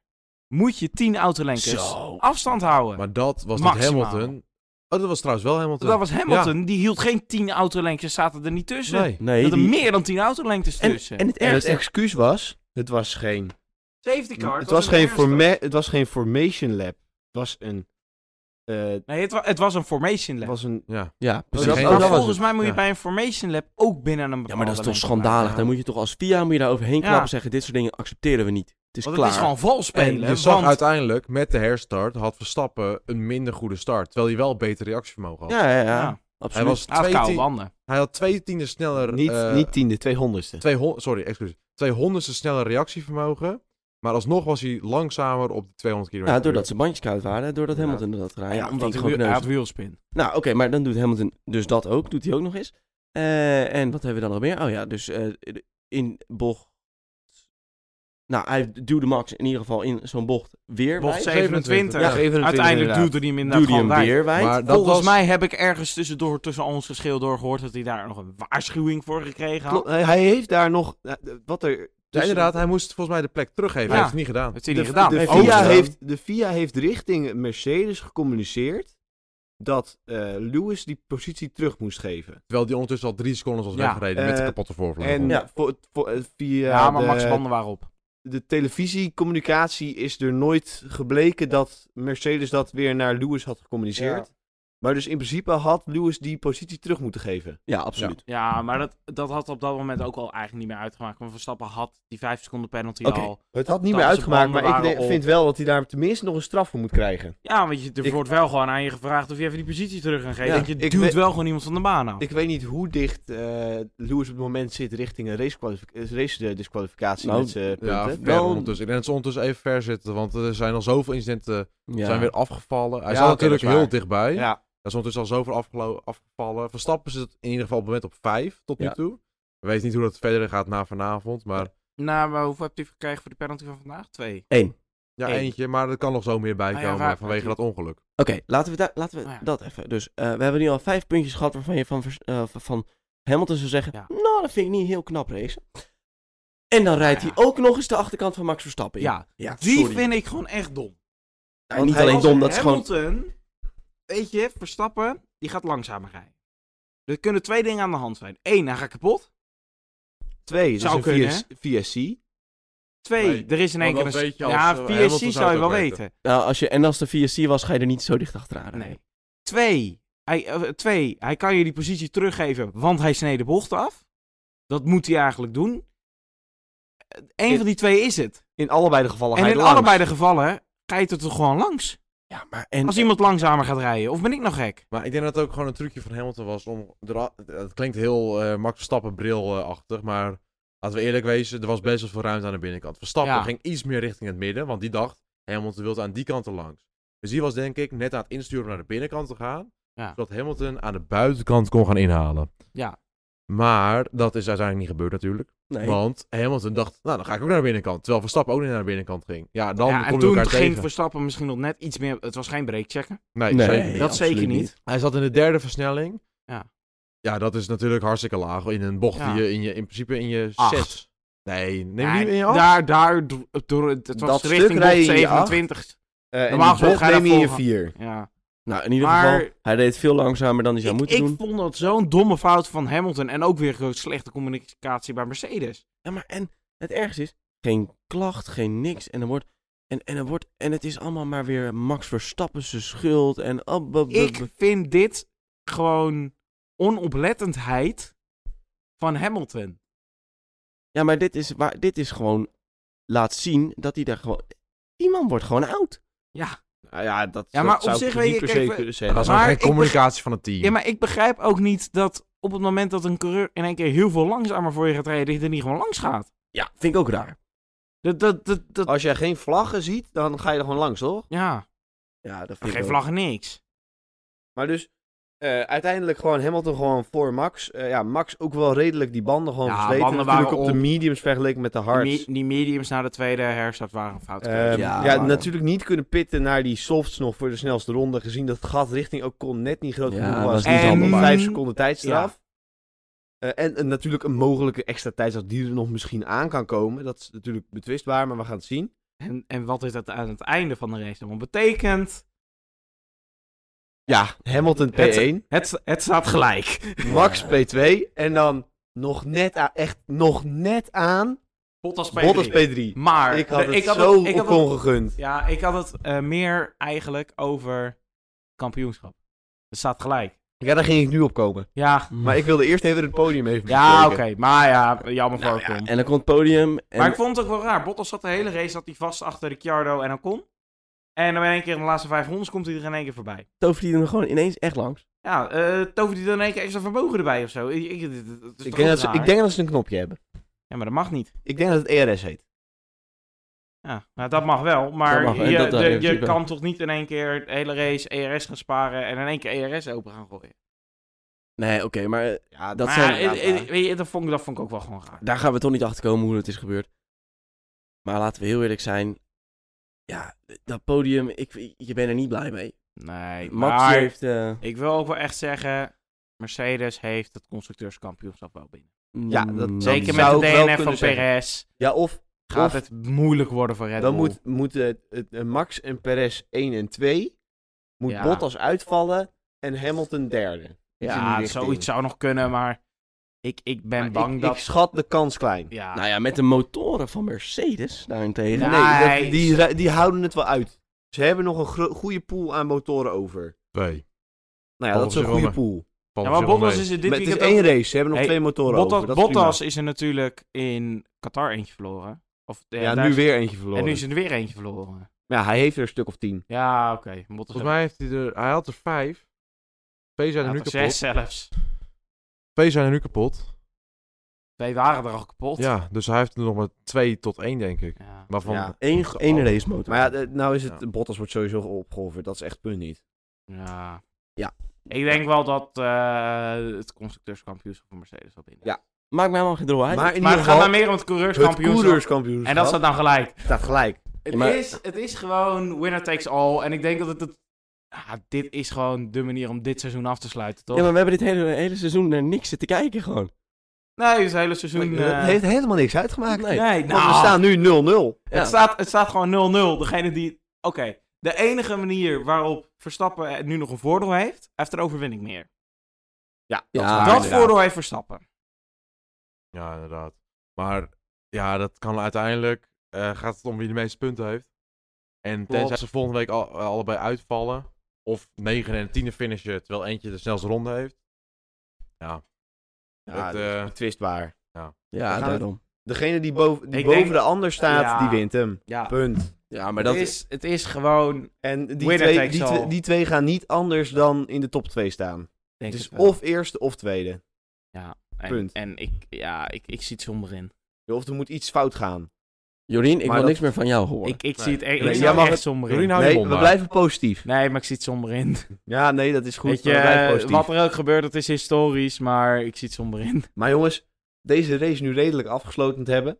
[SPEAKER 4] moet je 10 autolenkers
[SPEAKER 2] Zo.
[SPEAKER 4] afstand
[SPEAKER 2] eh,
[SPEAKER 4] houden.
[SPEAKER 3] Maar dat was niet
[SPEAKER 4] Maximaal.
[SPEAKER 3] Hamilton. Oh, dat was trouwens wel Hamilton.
[SPEAKER 4] dat was Hamilton, die hield geen 10 autolengtes, zaten er niet tussen.
[SPEAKER 3] Nee.
[SPEAKER 2] Nee,
[SPEAKER 4] Er zaten
[SPEAKER 2] die-
[SPEAKER 4] meer dan 10 autolengtes
[SPEAKER 2] en,
[SPEAKER 4] tussen.
[SPEAKER 2] en het
[SPEAKER 1] En het
[SPEAKER 2] ergste...
[SPEAKER 1] excuus was, het was geen,
[SPEAKER 4] safety car.
[SPEAKER 1] het was
[SPEAKER 4] een
[SPEAKER 1] geen,
[SPEAKER 4] herstart.
[SPEAKER 1] forma- het was geen formation lab. Het was een, eh,
[SPEAKER 4] Nee, het, wa- het was een formation
[SPEAKER 1] het
[SPEAKER 4] lab.
[SPEAKER 1] was een
[SPEAKER 3] Ja.
[SPEAKER 2] Ja, precies.
[SPEAKER 3] dat-
[SPEAKER 2] Oh,
[SPEAKER 3] geen-
[SPEAKER 4] maar
[SPEAKER 2] dat was
[SPEAKER 4] volgens
[SPEAKER 2] het.
[SPEAKER 4] mij moet je
[SPEAKER 3] Ja.
[SPEAKER 4] bij een formation lab ook binnen een bepaalde
[SPEAKER 2] Ja, maar dat is toch
[SPEAKER 4] lengte
[SPEAKER 2] schandalig.
[SPEAKER 4] blijven.
[SPEAKER 2] Dan moet je toch als VIA moet je daar overheen
[SPEAKER 4] Ja.
[SPEAKER 2] klappen en zeggen, dit soort dingen accepteren we niet. Het is
[SPEAKER 4] Want
[SPEAKER 2] klaar.
[SPEAKER 4] het is gewoon vals spelen.
[SPEAKER 3] En je zag
[SPEAKER 4] want-
[SPEAKER 3] uiteindelijk, met de herstart, had Verstappen een minder goede start. Terwijl hij wel beter reactievermogen had.
[SPEAKER 2] Ja, ja, ja.
[SPEAKER 4] Ja.
[SPEAKER 3] Hij,
[SPEAKER 2] Absoluut.
[SPEAKER 3] was
[SPEAKER 4] Hij had
[SPEAKER 3] twee
[SPEAKER 4] koude
[SPEAKER 3] tien-
[SPEAKER 4] banden.
[SPEAKER 3] hij had twee tienden sneller...
[SPEAKER 1] niet,
[SPEAKER 3] eh,
[SPEAKER 1] niet tiende, tweehonderdste.
[SPEAKER 3] twee hon- sorry, excuus. Twee honderdste sneller reactievermogen. Maar alsnog was hij langzamer op de 200 km.
[SPEAKER 2] Ja, doordat ze bandjes koud waren, doordat
[SPEAKER 3] Ja.
[SPEAKER 2] Hamilton dat gedaan. Ja, omdat hij
[SPEAKER 4] hij
[SPEAKER 2] gewoon
[SPEAKER 4] wiel- hij
[SPEAKER 2] kneuzen.
[SPEAKER 4] had wielspin.
[SPEAKER 2] Nou, oké, maar dan doet Hamilton dus dat ook. Doet hij ook nog eens. Eh, en wat hebben we dan nog meer? Oh ja, dus eh, in bocht... Nou, hij duwde Max in ieder geval in zo'n bocht weer
[SPEAKER 4] Bocht
[SPEAKER 2] wijd.
[SPEAKER 4] 27.
[SPEAKER 2] Ja,
[SPEAKER 4] Uiteindelijk
[SPEAKER 1] inderdaad.
[SPEAKER 4] duwde hij hem inderdaad
[SPEAKER 2] Duwde hij
[SPEAKER 4] gewoon
[SPEAKER 2] hem
[SPEAKER 4] bij.
[SPEAKER 2] weer wijd.
[SPEAKER 3] Maar dat
[SPEAKER 4] Volgens
[SPEAKER 3] was...
[SPEAKER 4] mij heb ik ergens tussendoor, tussen al ons geschil door gehoord dat hij daar nog een waarschuwing voor gekregen had.
[SPEAKER 1] Klopt, hij- hij heeft daar nog, eh, wat er...
[SPEAKER 3] Ja,
[SPEAKER 1] tussen-
[SPEAKER 3] inderdaad, hij moest volgens mij de plek teruggeven.
[SPEAKER 4] Ja.
[SPEAKER 3] Hij heeft het niet gedaan.
[SPEAKER 4] Dat heeft hij niet
[SPEAKER 1] de,
[SPEAKER 4] gedaan. Oh,
[SPEAKER 1] de
[SPEAKER 4] Heeft hij
[SPEAKER 1] FIA
[SPEAKER 4] niet gedaan.
[SPEAKER 1] heeft, de FIA heeft richting Mercedes gecommuniceerd dat eh, Lewis die positie terug moest geven.
[SPEAKER 3] Terwijl die ondertussen al drie seconden was
[SPEAKER 4] Ja.
[SPEAKER 3] weggereden met de
[SPEAKER 1] Eh,
[SPEAKER 3] kapotte voorvleugel.
[SPEAKER 1] En
[SPEAKER 2] Ja.
[SPEAKER 1] voor, voor, eh, via
[SPEAKER 4] Ja, maar
[SPEAKER 1] de,
[SPEAKER 4] Max Banden waren op.
[SPEAKER 1] de televisiecommunicatie is er nooit gebleken dat Mercedes dat weer naar Lewis had gecommuniceerd. Maar dus in principe had Lewis die positie terug moeten geven.
[SPEAKER 2] Ja, absoluut.
[SPEAKER 4] Ja, maar dat, dat had op dat moment ook al eigenlijk niet meer uitgemaakt. Want Verstappen had die 5 seconden penalty
[SPEAKER 2] Oké.
[SPEAKER 4] al.
[SPEAKER 1] Het had niet
[SPEAKER 4] Dat
[SPEAKER 1] meer
[SPEAKER 4] ze
[SPEAKER 1] uitgemaakt,
[SPEAKER 4] banden
[SPEAKER 1] maar ik
[SPEAKER 4] waren
[SPEAKER 1] denk-
[SPEAKER 4] op.
[SPEAKER 1] vind wel dat hij daar tenminste nog een straf voor moet krijgen.
[SPEAKER 4] Ja, want je, er
[SPEAKER 1] Ik-
[SPEAKER 4] wordt wel gewoon aan je gevraagd of je even die positie terug gaat geven.
[SPEAKER 2] Ja,
[SPEAKER 4] Want je
[SPEAKER 1] ik
[SPEAKER 4] duwt
[SPEAKER 1] weet-
[SPEAKER 4] wel gewoon iemand van de baan af.
[SPEAKER 1] Ik weet niet hoe dicht eh, Lewis op het moment zit richting een racekwalif- eh, race-disqualificatie
[SPEAKER 2] Nou,
[SPEAKER 1] met zijn punten.
[SPEAKER 3] ja, ver
[SPEAKER 2] Wel-
[SPEAKER 3] ondertussen. Ik denk dat ze ondertussen even ver zitten, want er zijn al zoveel incidenten
[SPEAKER 2] Ja.
[SPEAKER 3] zijn weer afgevallen. Hij
[SPEAKER 1] Ja,
[SPEAKER 3] zat
[SPEAKER 1] oké,
[SPEAKER 3] natuurlijk
[SPEAKER 1] dat is waar.
[SPEAKER 3] heel dichtbij.
[SPEAKER 1] ja.
[SPEAKER 3] Daar is ondertussen al zoveel afgelo- afgevallen. Verstappen zit in ieder geval op het moment op vijf tot
[SPEAKER 2] Ja.
[SPEAKER 3] nu toe. We weten niet hoe dat verder gaat na vanavond, maar
[SPEAKER 4] Nou, maar hoeveel hebt hij gekregen voor de penalty van vandaag? Twee.
[SPEAKER 2] Eén.
[SPEAKER 3] ja,
[SPEAKER 4] Eén.
[SPEAKER 3] eentje. Maar er kan nog zo meer bij
[SPEAKER 4] Ah
[SPEAKER 3] komen
[SPEAKER 4] ja, waar-
[SPEAKER 3] vanwege dat ongeluk.
[SPEAKER 2] Oké, laten we, daar- laten we
[SPEAKER 4] Nou ja.
[SPEAKER 2] dat even. Dus eh, we hebben nu al vijf puntjes gehad waarvan je van, vers- eh, van Hamilton zou zeggen...
[SPEAKER 4] Ja.
[SPEAKER 2] Nou, dat vind ik niet heel knap racen. En dan rijdt
[SPEAKER 4] Nou Ja.
[SPEAKER 2] hij ook nog eens de achterkant van Max Verstappen in.
[SPEAKER 4] Ja,
[SPEAKER 2] ja
[SPEAKER 4] die
[SPEAKER 2] sorry.
[SPEAKER 4] vind ik gewoon echt dom.
[SPEAKER 2] Nou,
[SPEAKER 1] want
[SPEAKER 2] niet
[SPEAKER 1] hij
[SPEAKER 2] alleen
[SPEAKER 1] was
[SPEAKER 2] dom, dat is gewoon...
[SPEAKER 4] Hamilton, weet je, Verstappen, die gaat langzamer rijden. Er kunnen twee dingen aan de hand zijn. Eén, hij gaat kapot.
[SPEAKER 1] Twee, dat
[SPEAKER 4] Zou
[SPEAKER 1] is een
[SPEAKER 4] kunnen,
[SPEAKER 1] VS VSC.
[SPEAKER 4] Twee,
[SPEAKER 3] Nee,
[SPEAKER 4] er is in één
[SPEAKER 3] want
[SPEAKER 4] keer een...
[SPEAKER 3] dat weet je als,
[SPEAKER 4] ja,
[SPEAKER 3] eh,
[SPEAKER 4] VSC
[SPEAKER 3] Hamilton zou
[SPEAKER 4] zou je
[SPEAKER 3] het
[SPEAKER 4] wel
[SPEAKER 3] ook
[SPEAKER 4] weten.
[SPEAKER 2] Nou, als je, en als de VSC was, ga je er niet zo dicht achteraan. rijden.
[SPEAKER 4] Nee. Twee, hij, eh, twee, hij kan je die positie teruggeven, want hij sneed de bocht af. Dat moet hij eigenlijk doen. Eén
[SPEAKER 1] In-
[SPEAKER 4] van die twee is het.
[SPEAKER 1] In allebei de gevallen
[SPEAKER 4] En
[SPEAKER 1] ga je
[SPEAKER 4] in
[SPEAKER 1] er langs.
[SPEAKER 4] allebei de gevallen ga je er toch gewoon langs.
[SPEAKER 2] Ja, maar en...
[SPEAKER 4] Als iemand langzamer gaat rijden. Of ben ik nog gek?
[SPEAKER 3] Maar ik denk dat het ook gewoon een trucje van Hamilton was om... era- Het klinkt heel eh Max Verstappen brilachtig, maar laten we eerlijk wezen, er was best wel veel ruimte aan de binnenkant. Verstappen
[SPEAKER 4] Ja.
[SPEAKER 3] ging iets meer richting het midden, want die dacht Hamilton wilde aan die kant er langs. Dus die was denk ik net aan het insturen om naar de binnenkant te gaan,
[SPEAKER 4] Ja.
[SPEAKER 3] zodat Hamilton aan de buitenkant kon gaan inhalen.
[SPEAKER 4] Ja.
[SPEAKER 3] Maar dat is uiteindelijk niet gebeurd natuurlijk.
[SPEAKER 2] Nee.
[SPEAKER 3] Want Hamilton dacht, nou dan ga ik ook naar de binnenkant. Terwijl Verstappen ook niet naar de binnenkant ging. Ja, dan
[SPEAKER 4] ja,
[SPEAKER 3] kom je
[SPEAKER 4] en toen
[SPEAKER 3] elkaar
[SPEAKER 4] ging
[SPEAKER 3] tegen.
[SPEAKER 4] Verstappen misschien nog net iets meer... Het was geen breakchecken.
[SPEAKER 3] Nee,
[SPEAKER 2] Nee,
[SPEAKER 3] zeker niet.
[SPEAKER 4] dat
[SPEAKER 2] absoluut
[SPEAKER 4] zeker niet.
[SPEAKER 3] Hij zat in de derde versnelling.
[SPEAKER 4] Ja.
[SPEAKER 3] Ja, dat is natuurlijk hartstikke laag. In een bocht
[SPEAKER 4] Ja.
[SPEAKER 3] die je in, je in principe in je
[SPEAKER 4] Acht.
[SPEAKER 3] zes... Nee, neem
[SPEAKER 4] Ja,
[SPEAKER 3] niet in je acht.
[SPEAKER 4] Daar, daar, do- door, het het was
[SPEAKER 1] Dat
[SPEAKER 4] richting
[SPEAKER 1] stuk
[SPEAKER 4] bocht
[SPEAKER 1] rij je in je
[SPEAKER 4] 27.
[SPEAKER 1] Eh, en
[SPEAKER 4] Normaal
[SPEAKER 1] Normaal
[SPEAKER 4] gesproken ga je
[SPEAKER 1] neem je
[SPEAKER 4] daar
[SPEAKER 1] in je
[SPEAKER 4] vol-
[SPEAKER 1] vier.
[SPEAKER 4] Ja.
[SPEAKER 2] Nou, in ieder
[SPEAKER 4] Maar-
[SPEAKER 2] geval, hij deed veel langzamer dan hij zou
[SPEAKER 4] Ik,
[SPEAKER 2] moeten
[SPEAKER 4] ik
[SPEAKER 2] doen.
[SPEAKER 4] vond dat zo'n domme fout van Hamilton. En ook weer gewoon slechte communicatie bij Mercedes.
[SPEAKER 2] Ja, maar en het ergste is, geen klacht, geen niks. En dan wordt... En, en, dan wordt, en het is allemaal maar weer Max Verstappen zijn schuld en... ab- ab- ab-
[SPEAKER 4] Ik vind dit gewoon onoplettendheid van Hamilton.
[SPEAKER 2] Ja, maar dit is, waar, dit is gewoon... Laat zien dat hij daar gewoon... Die man wordt gewoon oud.
[SPEAKER 4] Ja.
[SPEAKER 1] Nou ja, dat,
[SPEAKER 4] Ja, maar
[SPEAKER 1] dat
[SPEAKER 4] op
[SPEAKER 1] zou
[SPEAKER 4] zich
[SPEAKER 1] ik
[SPEAKER 4] weet
[SPEAKER 1] niet
[SPEAKER 4] je,
[SPEAKER 1] per
[SPEAKER 4] kijk,
[SPEAKER 1] se
[SPEAKER 4] we-
[SPEAKER 1] kunnen
[SPEAKER 3] Ja,
[SPEAKER 1] zeggen.
[SPEAKER 3] dat is
[SPEAKER 4] Maar
[SPEAKER 3] maar geen
[SPEAKER 4] ik beg-
[SPEAKER 3] communicatie van het team.
[SPEAKER 4] Ja, maar ik begrijp ook niet dat op het moment dat een coureur in één keer heel veel langzamer voor je gaat rijden, dat je er niet gewoon langs gaat.
[SPEAKER 2] Ja, vind ik ook raar.
[SPEAKER 4] Dat, dat, dat, dat,
[SPEAKER 1] Als jij geen vlaggen ziet, dan ga je er gewoon langs, toch?
[SPEAKER 4] ja,
[SPEAKER 2] Ja, dat vind ik
[SPEAKER 4] geen
[SPEAKER 2] ook.
[SPEAKER 4] vlaggen niks.
[SPEAKER 1] Maar dus, eh, uiteindelijk gewoon Hamilton gewoon voor Max. Eh, ja, Max ook wel redelijk die banden gewoon
[SPEAKER 4] Ja,
[SPEAKER 1] versleten.
[SPEAKER 4] banden
[SPEAKER 1] natuurlijk
[SPEAKER 4] waren
[SPEAKER 1] op de
[SPEAKER 4] op.
[SPEAKER 1] mediums vergeleken met de
[SPEAKER 4] Die,
[SPEAKER 1] hards.
[SPEAKER 4] me- die mediums na de tweede herstart waren een fout.
[SPEAKER 1] Ehm,
[SPEAKER 2] Ja,
[SPEAKER 1] ja,
[SPEAKER 2] maar-
[SPEAKER 1] natuurlijk niet kunnen pitten naar die softs nog voor de snelste ronde. Gezien dat het gat richting ook kon net niet groot
[SPEAKER 2] Ja,
[SPEAKER 1] genoeg
[SPEAKER 2] was
[SPEAKER 1] was.
[SPEAKER 2] niet
[SPEAKER 1] En
[SPEAKER 2] handelbaar.
[SPEAKER 1] vijf seconden tijdstraf. Eh, en, en natuurlijk een mogelijke extra tijdstraf die er nog misschien aan kan komen. Dat is natuurlijk betwistbaar, maar we gaan het zien.
[SPEAKER 4] En, en wat is dat aan het einde van de race allemaal betekent?
[SPEAKER 1] Ja, Hamilton P1,
[SPEAKER 4] Het, het staat gelijk.
[SPEAKER 1] Max P2 en dan nog net aan, echt nog net aan
[SPEAKER 4] Bottas P3.
[SPEAKER 1] Bottas P3.
[SPEAKER 4] Maar
[SPEAKER 1] Ik had
[SPEAKER 4] de-
[SPEAKER 1] het zo
[SPEAKER 4] ik
[SPEAKER 1] op
[SPEAKER 4] had het-
[SPEAKER 1] kon gegund.
[SPEAKER 4] Ja, ik had het eh, meer eigenlijk over kampioenschap. Het staat gelijk.
[SPEAKER 1] Ja, daar ging ik nu op komen.
[SPEAKER 4] Ja,
[SPEAKER 2] Mm.
[SPEAKER 1] Maar ik wilde eerst even het podium even
[SPEAKER 4] ja oké.
[SPEAKER 1] bespreken.
[SPEAKER 4] Maar ja, jammer voor
[SPEAKER 2] Nou ja,
[SPEAKER 4] Ocon.
[SPEAKER 2] en dan komt het podium. En
[SPEAKER 4] Maar ik vond het ook wel raar. Bottas zat de hele race zat hij vast achter Ricciardo en Ocon. En dan in één keer in de laatste vijf rondes komt hij er in één keer voorbij.
[SPEAKER 2] tovert hij hem gewoon ineens echt langs.
[SPEAKER 4] Ja, eh tovert hij dan in één keer extra vermogen erbij of zo? Ik, ik, het- het- het is
[SPEAKER 1] Ik
[SPEAKER 4] toch
[SPEAKER 1] denk,
[SPEAKER 4] ook
[SPEAKER 1] dat ze,
[SPEAKER 4] raar?
[SPEAKER 1] ik denk dat ze een knopje hebben.
[SPEAKER 4] Ja, maar dat mag niet.
[SPEAKER 1] Ik denk dat het ERS heet.
[SPEAKER 4] Ja, nou, dat mag wel. Maar
[SPEAKER 2] Dat mag wel, en
[SPEAKER 4] je,
[SPEAKER 1] eh,
[SPEAKER 2] dat- dat
[SPEAKER 4] de-
[SPEAKER 2] heeft
[SPEAKER 4] je
[SPEAKER 2] hij wel.
[SPEAKER 4] kan toch niet in één keer de hele race ERS gaan sparen en in één keer ERS open gaan gooien?
[SPEAKER 2] Nee, oké, maar eh,
[SPEAKER 1] Ja,
[SPEAKER 2] dat
[SPEAKER 4] maar
[SPEAKER 2] zijn
[SPEAKER 4] ja, het- het- weet je, dat, vond, ik- dat vond ik ook wel gewoon raar.
[SPEAKER 2] daar gaan we toch niet achter komen hoe het is gebeurd. Maar laten we heel eerlijk zijn. Ja, dat podium, ik, je bent er niet blij mee.
[SPEAKER 4] Nee,
[SPEAKER 2] Max
[SPEAKER 4] maar
[SPEAKER 2] heeft. eh,
[SPEAKER 4] ik wil ook wel echt zeggen, Mercedes heeft het constructeurskampioenschap wel binnen.
[SPEAKER 1] Ja, dat-
[SPEAKER 2] mm,
[SPEAKER 4] Zeker met
[SPEAKER 1] zou
[SPEAKER 4] de
[SPEAKER 1] ik wel
[SPEAKER 4] DNF van
[SPEAKER 1] kunnen zeggen.
[SPEAKER 4] Perez
[SPEAKER 1] Ja, of
[SPEAKER 4] gaat
[SPEAKER 1] Of-
[SPEAKER 4] het moeilijk worden voor Red
[SPEAKER 1] dan
[SPEAKER 4] Bull.
[SPEAKER 1] moet, moeten het- het- eh, Max en Perez 1 en 2. Moet
[SPEAKER 4] Ja.
[SPEAKER 1] Bottas uitvallen en Hamilton derde. Iets in die
[SPEAKER 4] ja,
[SPEAKER 1] richting.
[SPEAKER 4] zoiets zou nog kunnen, maar ik, ik ben
[SPEAKER 1] Maar
[SPEAKER 4] bang
[SPEAKER 1] ik,
[SPEAKER 4] dat...
[SPEAKER 1] ik schat de kans klein.
[SPEAKER 4] ja.
[SPEAKER 2] Nou ja, met de motoren van Mercedes daarentegen.
[SPEAKER 4] Ja.
[SPEAKER 1] Nee,
[SPEAKER 4] Nice.
[SPEAKER 1] dat- die, ru- die houden het wel uit. Ze hebben nog een gro- goede pool aan motoren over.
[SPEAKER 3] Twee.
[SPEAKER 1] Nou ja, dat
[SPEAKER 3] Volgens
[SPEAKER 1] is een
[SPEAKER 3] Rome.
[SPEAKER 1] goede pool.
[SPEAKER 4] ja, maar Bottas is er dit
[SPEAKER 1] Maar het is
[SPEAKER 4] weekend
[SPEAKER 1] één
[SPEAKER 4] ook-
[SPEAKER 1] race, ze hebben nog
[SPEAKER 4] Hey,
[SPEAKER 1] twee motoren
[SPEAKER 4] Bottas,
[SPEAKER 1] over. dat is
[SPEAKER 4] Bottas is er natuurlijk in Qatar eentje verloren. Of,
[SPEAKER 1] prima.
[SPEAKER 4] eh,
[SPEAKER 1] Ja,
[SPEAKER 4] daar
[SPEAKER 1] nu
[SPEAKER 4] is-
[SPEAKER 1] weer eentje verloren.
[SPEAKER 4] En nu is er weer eentje verloren.
[SPEAKER 1] Ja, hij heeft er een stuk of tien.
[SPEAKER 4] Ja, oké. Bottas
[SPEAKER 3] Volgens mij heeft hij er... Hij had er vijf. Twee zijn er nu
[SPEAKER 4] heeft er zes
[SPEAKER 3] kapot.
[SPEAKER 4] zelfs.
[SPEAKER 3] Twee zijn er nu kapot.
[SPEAKER 4] Twee waren er al kapot.
[SPEAKER 3] Ja, dus hij heeft er nog maar twee tot één, denk ik.
[SPEAKER 4] Ja.
[SPEAKER 3] Waarvan...
[SPEAKER 1] Ja.
[SPEAKER 2] Eén, één race motor.
[SPEAKER 1] Maar ja, de- nou is het,
[SPEAKER 3] Ja.
[SPEAKER 1] Bottas wordt sowieso opgeofferd, dat is echt punt niet.
[SPEAKER 4] Ja.
[SPEAKER 1] Ja.
[SPEAKER 4] Ik denk wel dat eh, het constructeurskampioenschap van Mercedes wel binnen.
[SPEAKER 1] Ja,
[SPEAKER 2] Maakt mij helemaal geen drol uit.
[SPEAKER 1] Maar in ieder
[SPEAKER 4] maar het gaat
[SPEAKER 1] geval,
[SPEAKER 4] maar meer om het
[SPEAKER 1] het
[SPEAKER 4] coureurskampioenschap.
[SPEAKER 1] coureurskampioenschap
[SPEAKER 4] en dat staat dan gelijk.
[SPEAKER 1] staat gelijk.
[SPEAKER 4] Het,
[SPEAKER 2] Maar-
[SPEAKER 4] is, het is gewoon winner takes all. En ik denk dat het... het ja, dit is gewoon de manier om dit seizoen af te sluiten, toch?
[SPEAKER 2] Ja, maar we hebben dit hele, hele seizoen naar niks zitten kijken gewoon.
[SPEAKER 4] Nee, het hele seizoen... eh,
[SPEAKER 1] Het heeft helemaal niks uitgemaakt.
[SPEAKER 2] Nee.
[SPEAKER 4] nee,
[SPEAKER 1] Want
[SPEAKER 4] nou,
[SPEAKER 1] we staan nu 0-0.
[SPEAKER 2] Ja.
[SPEAKER 4] het, staat, het staat gewoon 0-0. Degene die... Oké, de enige manier waarop Verstappen eh, nu nog een voordeel heeft... Hij heeft een overwinning meer.
[SPEAKER 1] Ja, is
[SPEAKER 2] Ja,
[SPEAKER 1] waar,
[SPEAKER 2] Ah,
[SPEAKER 4] dat
[SPEAKER 1] inderdaad.
[SPEAKER 4] voordeel heeft Verstappen.
[SPEAKER 3] Ja, inderdaad. Maar ja, dat kan uiteindelijk. eh, gaat het om wie de meeste punten heeft. En tenzij ze volgende week al- eh, allebei uitvallen. Of 9 en 10 finishen, terwijl eentje de snelste ronde heeft.
[SPEAKER 1] Ja,
[SPEAKER 3] Het,
[SPEAKER 1] dat is
[SPEAKER 3] eh,
[SPEAKER 1] betwistbaar.
[SPEAKER 2] Ja,
[SPEAKER 1] gaan het-
[SPEAKER 2] daarom.
[SPEAKER 1] Degene die boven, die
[SPEAKER 4] Ik
[SPEAKER 1] boven
[SPEAKER 4] denk-
[SPEAKER 1] de ander staat,
[SPEAKER 4] Ja.
[SPEAKER 1] die wint hem.
[SPEAKER 4] Ja,
[SPEAKER 1] Punt.
[SPEAKER 2] Ja, maar
[SPEAKER 4] het,
[SPEAKER 2] dat
[SPEAKER 4] is, het is gewoon...
[SPEAKER 1] En die
[SPEAKER 4] Winner
[SPEAKER 1] twee,
[SPEAKER 4] takes
[SPEAKER 1] die,
[SPEAKER 4] all.
[SPEAKER 1] twee, die twee gaan niet anders dan in de top 2 staan.
[SPEAKER 4] Denk
[SPEAKER 1] Het is
[SPEAKER 4] ik eh, wel.
[SPEAKER 1] of eerste of tweede.
[SPEAKER 4] En,
[SPEAKER 1] Punt.
[SPEAKER 4] En ik, ja, ik, ik zie het somber in.
[SPEAKER 1] Of er moet iets fout gaan.
[SPEAKER 2] Jorien, ik
[SPEAKER 1] Maar
[SPEAKER 2] wil
[SPEAKER 1] dat-
[SPEAKER 2] niks meer van jou horen.
[SPEAKER 4] Ik, ik
[SPEAKER 3] Nee.
[SPEAKER 4] zie het e- ik
[SPEAKER 1] Nee,
[SPEAKER 4] zie
[SPEAKER 1] jij
[SPEAKER 4] het
[SPEAKER 1] mag
[SPEAKER 4] echt
[SPEAKER 1] het-
[SPEAKER 4] somber in.
[SPEAKER 3] Jorien, hou je
[SPEAKER 1] Nee,
[SPEAKER 3] mond
[SPEAKER 1] we
[SPEAKER 3] maar.
[SPEAKER 1] blijven positief.
[SPEAKER 4] Nee, maar ik zie het somber in.
[SPEAKER 1] Ja, nee, dat is goed.
[SPEAKER 4] Weet je,
[SPEAKER 1] we blijven
[SPEAKER 4] eh,
[SPEAKER 1] positief.
[SPEAKER 4] wat er ook gebeurt, dat is historisch, maar ik zie het somber in.
[SPEAKER 1] Maar jongens, deze race nu redelijk afgesloten te hebben.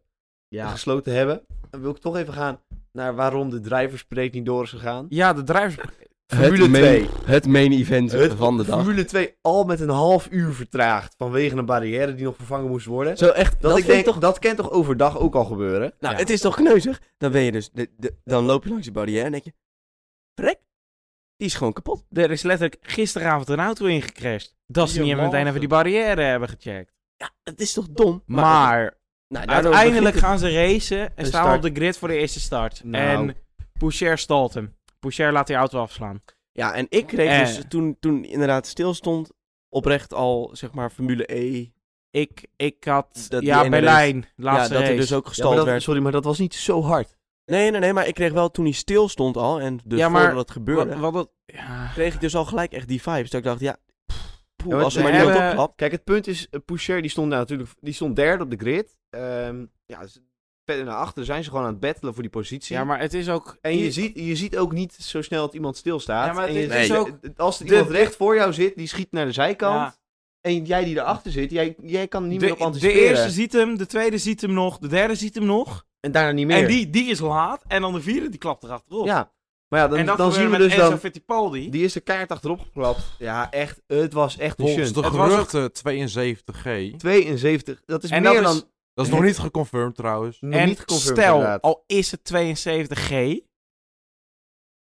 [SPEAKER 1] Gesloten hebben. Dan wil ik toch even gaan naar waarom de driversbreed niet door is gegaan.
[SPEAKER 4] Ja, de drivers...
[SPEAKER 1] Formule
[SPEAKER 2] het main,
[SPEAKER 1] 2.
[SPEAKER 2] Het main event
[SPEAKER 1] Het-
[SPEAKER 2] van de dag.
[SPEAKER 1] Formule 2 al met een half uur vertraagd vanwege een barrière die nog vervangen moest worden.
[SPEAKER 2] Zo echt,
[SPEAKER 1] Dat,
[SPEAKER 2] dat,
[SPEAKER 1] ik denk, dat kan toch overdag ook al gebeuren?
[SPEAKER 2] Nou,
[SPEAKER 4] Ja.
[SPEAKER 2] het is toch kneuzig? Dan ben je dus, de, de- dan loop je langs die barrière en denk je, vrek, die is gewoon kapot.
[SPEAKER 4] Er is letterlijk gisteravond een auto ingecrashed. Dat ze niet even meteen even die barrière hebben gecheckt.
[SPEAKER 2] Ja, het is toch dom?
[SPEAKER 4] Maar,
[SPEAKER 2] nou, daardoor
[SPEAKER 4] uiteindelijk
[SPEAKER 2] begint
[SPEAKER 4] gaan ze racen en
[SPEAKER 1] Een
[SPEAKER 4] staan
[SPEAKER 1] start.
[SPEAKER 4] op de grid voor de eerste start.
[SPEAKER 1] Nou.
[SPEAKER 4] En Poucher stalt hem. Poucher laat die auto afslaan.
[SPEAKER 2] het- Ja, en ik kreeg
[SPEAKER 4] Eh.
[SPEAKER 2] dus toen, toen inderdaad stilstond, oprecht al, zeg maar, Formule E.
[SPEAKER 4] Ik, ik had...
[SPEAKER 2] Dat die
[SPEAKER 4] ja,
[SPEAKER 2] ene
[SPEAKER 4] Berlijn,
[SPEAKER 2] Ja,
[SPEAKER 4] laatste
[SPEAKER 2] dat er
[SPEAKER 4] race.
[SPEAKER 2] dus ook
[SPEAKER 1] Ja, maar
[SPEAKER 2] gestald
[SPEAKER 1] dat-
[SPEAKER 2] werd.
[SPEAKER 1] sorry, maar dat was niet zo hard.
[SPEAKER 2] Nee, nee, nee, maar ik kreeg wel toen hij stilstond al, en dus
[SPEAKER 4] Ja, maar-
[SPEAKER 2] voordat het gebeurde,
[SPEAKER 4] Wat, wat dat... Ja.
[SPEAKER 2] kreeg ik dus al gelijk echt die vibes. Dat ik dacht, ja, pff, poeh,
[SPEAKER 1] maar
[SPEAKER 2] als ze
[SPEAKER 1] ze
[SPEAKER 2] maar niet
[SPEAKER 4] hebben-
[SPEAKER 2] opklapt.
[SPEAKER 1] Kijk, het punt is, eh, Poucher die stond daar natuurlijk die stond derde op de grid. Ehm, ja, ze- verder naar achter zijn ze gewoon aan het battelen voor die positie.
[SPEAKER 4] ja, maar het is ook...
[SPEAKER 1] En je ziet, je ziet ook niet zo snel dat iemand stilstaat.
[SPEAKER 4] Ja, maar het
[SPEAKER 1] En je
[SPEAKER 4] is
[SPEAKER 1] ziet
[SPEAKER 2] dus
[SPEAKER 1] ook- als er
[SPEAKER 4] de-
[SPEAKER 1] iemand recht voor jou zit, die schiet naar de zijkant.
[SPEAKER 4] Ja.
[SPEAKER 1] En jij die erachter zit, jij, jij kan er niet
[SPEAKER 4] de,
[SPEAKER 1] meer op
[SPEAKER 4] de
[SPEAKER 1] anticiperen.
[SPEAKER 4] eerste ziet hem, de tweede ziet hem nog, de derde ziet hem nog.
[SPEAKER 1] En daarna niet meer.
[SPEAKER 4] En die, die is laat. En dan de vierde, die klapt erachterop.
[SPEAKER 1] Ja. Maar ja, dan,
[SPEAKER 4] en
[SPEAKER 1] dan,
[SPEAKER 4] dat dan
[SPEAKER 1] zien we dus dan...
[SPEAKER 4] Fittipaldi.
[SPEAKER 1] Die is de kaart achterop geklapt. Ja, echt. Het was echt een
[SPEAKER 3] Volgens
[SPEAKER 1] shunt.
[SPEAKER 3] de
[SPEAKER 4] Het was ook-
[SPEAKER 3] geruchten 72G.
[SPEAKER 1] 72. Dat is
[SPEAKER 4] en
[SPEAKER 1] meer
[SPEAKER 4] dat
[SPEAKER 1] dan...
[SPEAKER 4] is,
[SPEAKER 3] Dat is nog niet geconfirmed trouwens.
[SPEAKER 1] nog
[SPEAKER 4] en
[SPEAKER 1] niet geconfirmed
[SPEAKER 4] stel,
[SPEAKER 1] inderdaad.
[SPEAKER 4] al is het 72G,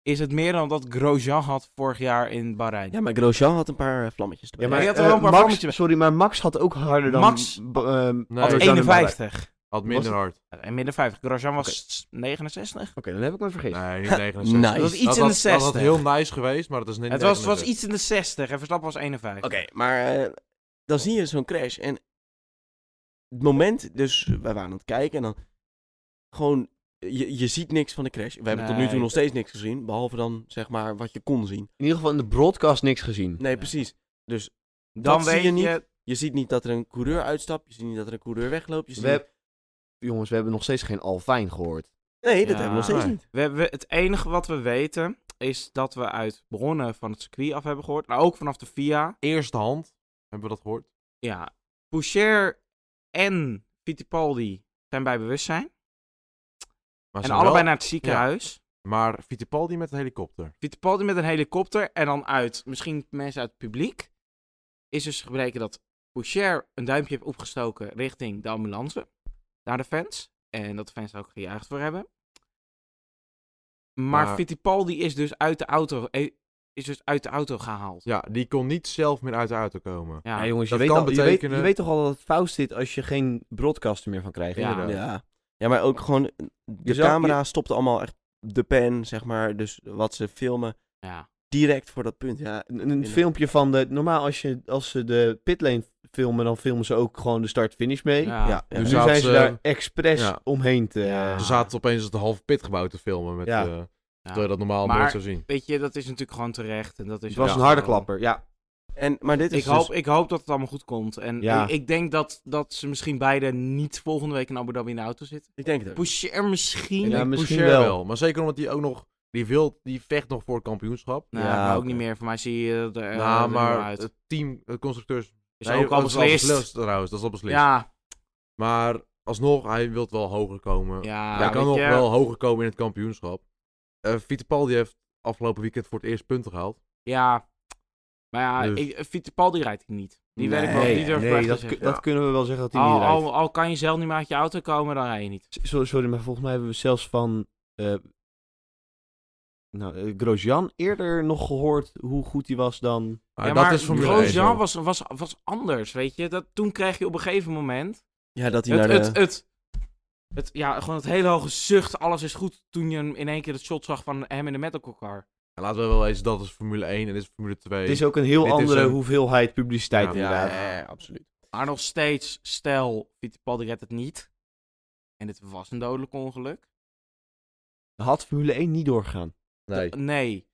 [SPEAKER 4] is het meer dan dat Grosjean had vorig jaar in Bahrein.
[SPEAKER 2] Ja, maar Grosjean had een paar eh, vlammetjes erbij.
[SPEAKER 1] Ja,
[SPEAKER 4] Hij
[SPEAKER 1] maar,
[SPEAKER 4] had
[SPEAKER 1] eh,
[SPEAKER 4] er wel een paar
[SPEAKER 1] Max,
[SPEAKER 4] vlammetjes bij.
[SPEAKER 1] sorry, maar Max had ook harder dan...
[SPEAKER 4] Max
[SPEAKER 1] b- ehm,
[SPEAKER 3] Nee.
[SPEAKER 1] had
[SPEAKER 3] Had
[SPEAKER 1] Grosjean en Bahrein.
[SPEAKER 4] 51.
[SPEAKER 3] Had
[SPEAKER 1] minder
[SPEAKER 3] minder hard.
[SPEAKER 4] En midden 50. Grosjean was 69.
[SPEAKER 1] Oké, dan heb ik me vergeten.
[SPEAKER 3] Nee, niet 69.
[SPEAKER 2] nice.
[SPEAKER 4] Dat was iets in de 60.
[SPEAKER 3] Dat had heel nice geweest, maar dat is niet
[SPEAKER 4] het was, het was iets in de 60 en Verstappen was 51.
[SPEAKER 2] Oké, maar eh, dan zie je zo'n crash. En het moment, dus wij waren aan het kijken en dan gewoon, eh, je, je ziet niks van de crash. We hebben tot nu toe
[SPEAKER 4] Nee.
[SPEAKER 2] nog steeds niks gezien, behalve dan zeg maar wat je kon zien.
[SPEAKER 1] In ieder geval in de broadcast niks gezien.
[SPEAKER 2] Nee, precies. Dus
[SPEAKER 4] Dan
[SPEAKER 2] dat
[SPEAKER 4] weet
[SPEAKER 2] zie je niet. Je ziet niet dat er een coureur uitstapt, je ziet niet dat er een coureur wegloopt. Je ziet
[SPEAKER 1] We hebben- Jongens, we hebben nog steeds geen Alfijn gehoord.
[SPEAKER 2] Nee, dat
[SPEAKER 4] Ja.
[SPEAKER 2] hebben we nog steeds
[SPEAKER 3] Nee.
[SPEAKER 2] niet.
[SPEAKER 4] We, we, het enige wat we weten is dat we uit bronnen van het circuit af hebben gehoord. Maar ook vanaf de FIA.
[SPEAKER 3] Eerste hand, hebben we dat gehoord.
[SPEAKER 4] Ja, Poucher en Fittipaldi zijn bij bewustzijn.
[SPEAKER 3] Maar
[SPEAKER 4] en
[SPEAKER 3] ze
[SPEAKER 4] allebei
[SPEAKER 3] wel-
[SPEAKER 4] naar het ziekenhuis.
[SPEAKER 3] Maar Fittipaldi met een helikopter.
[SPEAKER 4] Fittipaldi met een helikopter en dan uit, misschien mensen uit het publiek, is dus gebleken dat Boucher een duimpje heeft opgestoken richting de ambulance, naar de fans. En dat de fans daar ook gejuicht voor hebben. Maar,
[SPEAKER 3] Maar-
[SPEAKER 4] Fittipaldi is dus, uit de auto, eh, is dus uit de auto gehaald.
[SPEAKER 3] Ja, die kon niet zelf meer uit de auto komen.
[SPEAKER 4] Ja,
[SPEAKER 1] Ja, jongens, je
[SPEAKER 3] dat
[SPEAKER 1] weet,
[SPEAKER 3] kan
[SPEAKER 1] al, je, weet, je
[SPEAKER 3] betekenen-
[SPEAKER 1] weet toch al dat het fout zit als je geen broadcaster meer van krijgt?
[SPEAKER 4] Ja.
[SPEAKER 1] inderdaad.
[SPEAKER 2] Ja. ja, maar ook gewoon, eh, de
[SPEAKER 1] zou-
[SPEAKER 2] camera stopte allemaal echt de pen, zeg maar. Dus wat ze filmen,
[SPEAKER 4] ja.
[SPEAKER 2] direct voor dat punt. Ja,
[SPEAKER 1] Een, een filmpje van de... Normaal als, je, als ze de pitlane filmen, dan filmen ze ook gewoon de start-finish mee.
[SPEAKER 4] Ja. Dus
[SPEAKER 2] ja, ja.
[SPEAKER 1] nu
[SPEAKER 3] zaten
[SPEAKER 1] zijn ze
[SPEAKER 3] ze-
[SPEAKER 1] daar expres
[SPEAKER 3] Ja.
[SPEAKER 1] omheen te...
[SPEAKER 4] Ja.
[SPEAKER 3] Ze zaten opeens het halve pitgebouw te filmen. Met,
[SPEAKER 1] Ja.
[SPEAKER 3] eh, Terwijl je dat normaal
[SPEAKER 4] Maar-
[SPEAKER 3] nooit zou zien.
[SPEAKER 4] Weet je, dat is natuurlijk gewoon terecht. En dat is
[SPEAKER 1] Het was
[SPEAKER 4] ook
[SPEAKER 1] een harde
[SPEAKER 4] gewoon-
[SPEAKER 1] klapper, ja.
[SPEAKER 2] En, maar dit is
[SPEAKER 4] Ik
[SPEAKER 2] dus-
[SPEAKER 4] hoop, ik hoop dat het allemaal goed komt. En
[SPEAKER 1] Ja.
[SPEAKER 4] ik, ik denk dat, dat ze misschien beide niet volgende week in Abu Dhabi in de auto zitten.
[SPEAKER 2] ik denk het ook.
[SPEAKER 4] Boucher misschien.
[SPEAKER 1] Ja,
[SPEAKER 3] Ik denk
[SPEAKER 1] misschien
[SPEAKER 3] Boucher
[SPEAKER 1] wel.
[SPEAKER 3] Maar zeker omdat die ook nog... Die, wil, die vecht nog voor het kampioenschap.
[SPEAKER 4] Nou,
[SPEAKER 1] Ja,
[SPEAKER 4] maar ook
[SPEAKER 1] oké.
[SPEAKER 4] niet meer. Voor mij zie je er eh, er
[SPEAKER 3] nou,
[SPEAKER 4] niet meer
[SPEAKER 3] maar
[SPEAKER 4] uit.
[SPEAKER 3] het team, de constructeurs...
[SPEAKER 4] Is
[SPEAKER 3] Nee,
[SPEAKER 4] ook al
[SPEAKER 3] dat is
[SPEAKER 4] beslist.
[SPEAKER 3] trouwens, dat is al beslist.
[SPEAKER 4] Ja,
[SPEAKER 3] Maar alsnog, hij wil wel hoger komen.
[SPEAKER 4] ja.
[SPEAKER 3] hij kan
[SPEAKER 4] weet
[SPEAKER 3] nog
[SPEAKER 4] je.
[SPEAKER 3] wel hoger komen in het kampioenschap. Eh Fittipaldi heeft afgelopen weekend voor het eerst punten gehaald.
[SPEAKER 4] Ja. Maar ja,
[SPEAKER 3] Dus.
[SPEAKER 4] ik, Fittipaldi rijdt ik niet. Die weet ik wel.
[SPEAKER 1] Nee,
[SPEAKER 4] Die durf ik wel
[SPEAKER 1] nee
[SPEAKER 4] echt
[SPEAKER 1] dat,
[SPEAKER 4] te
[SPEAKER 1] kun-
[SPEAKER 4] zeggen.
[SPEAKER 1] dat kunnen we wel zeggen dat hij niet
[SPEAKER 4] Al,
[SPEAKER 1] rijdt.
[SPEAKER 4] al, al kan je zelf niet meer uit je auto komen, dan rij je niet.
[SPEAKER 1] S- Sorry, sorry, maar volgens mij hebben we zelfs van eh, nou, eh, Grosjean eerder nog gehoord hoe goed hij was dan...
[SPEAKER 3] Maar
[SPEAKER 4] ja,
[SPEAKER 3] dat
[SPEAKER 4] maar
[SPEAKER 3] is Formule 1
[SPEAKER 4] Grosjean
[SPEAKER 3] zo.
[SPEAKER 4] was, was, was anders, weet je. Dat, toen kreeg je op een gegeven moment...
[SPEAKER 2] Ja, dat hij
[SPEAKER 4] Het,
[SPEAKER 2] naar de...
[SPEAKER 4] het, het, het- ja, gewoon het hele hoge zucht, alles is goed. Toen je hem in één keer het shot zag van hem in de medical car.
[SPEAKER 3] En Laten we wel wezen, dat is Formule 1 en dit is Formule 2.
[SPEAKER 1] Het is ook een heel
[SPEAKER 3] Dit is
[SPEAKER 1] andere
[SPEAKER 3] een-
[SPEAKER 1] hoeveelheid publiciteit
[SPEAKER 3] Ja,
[SPEAKER 1] inderdaad.
[SPEAKER 2] ja, ja, absoluut.
[SPEAKER 4] Maar nog steeds, stel, Fittipaldi redt het niet. En het was een dodelijk ongeluk.
[SPEAKER 1] Had Formule 1 niet doorgegaan.
[SPEAKER 3] Nee.
[SPEAKER 4] Nee.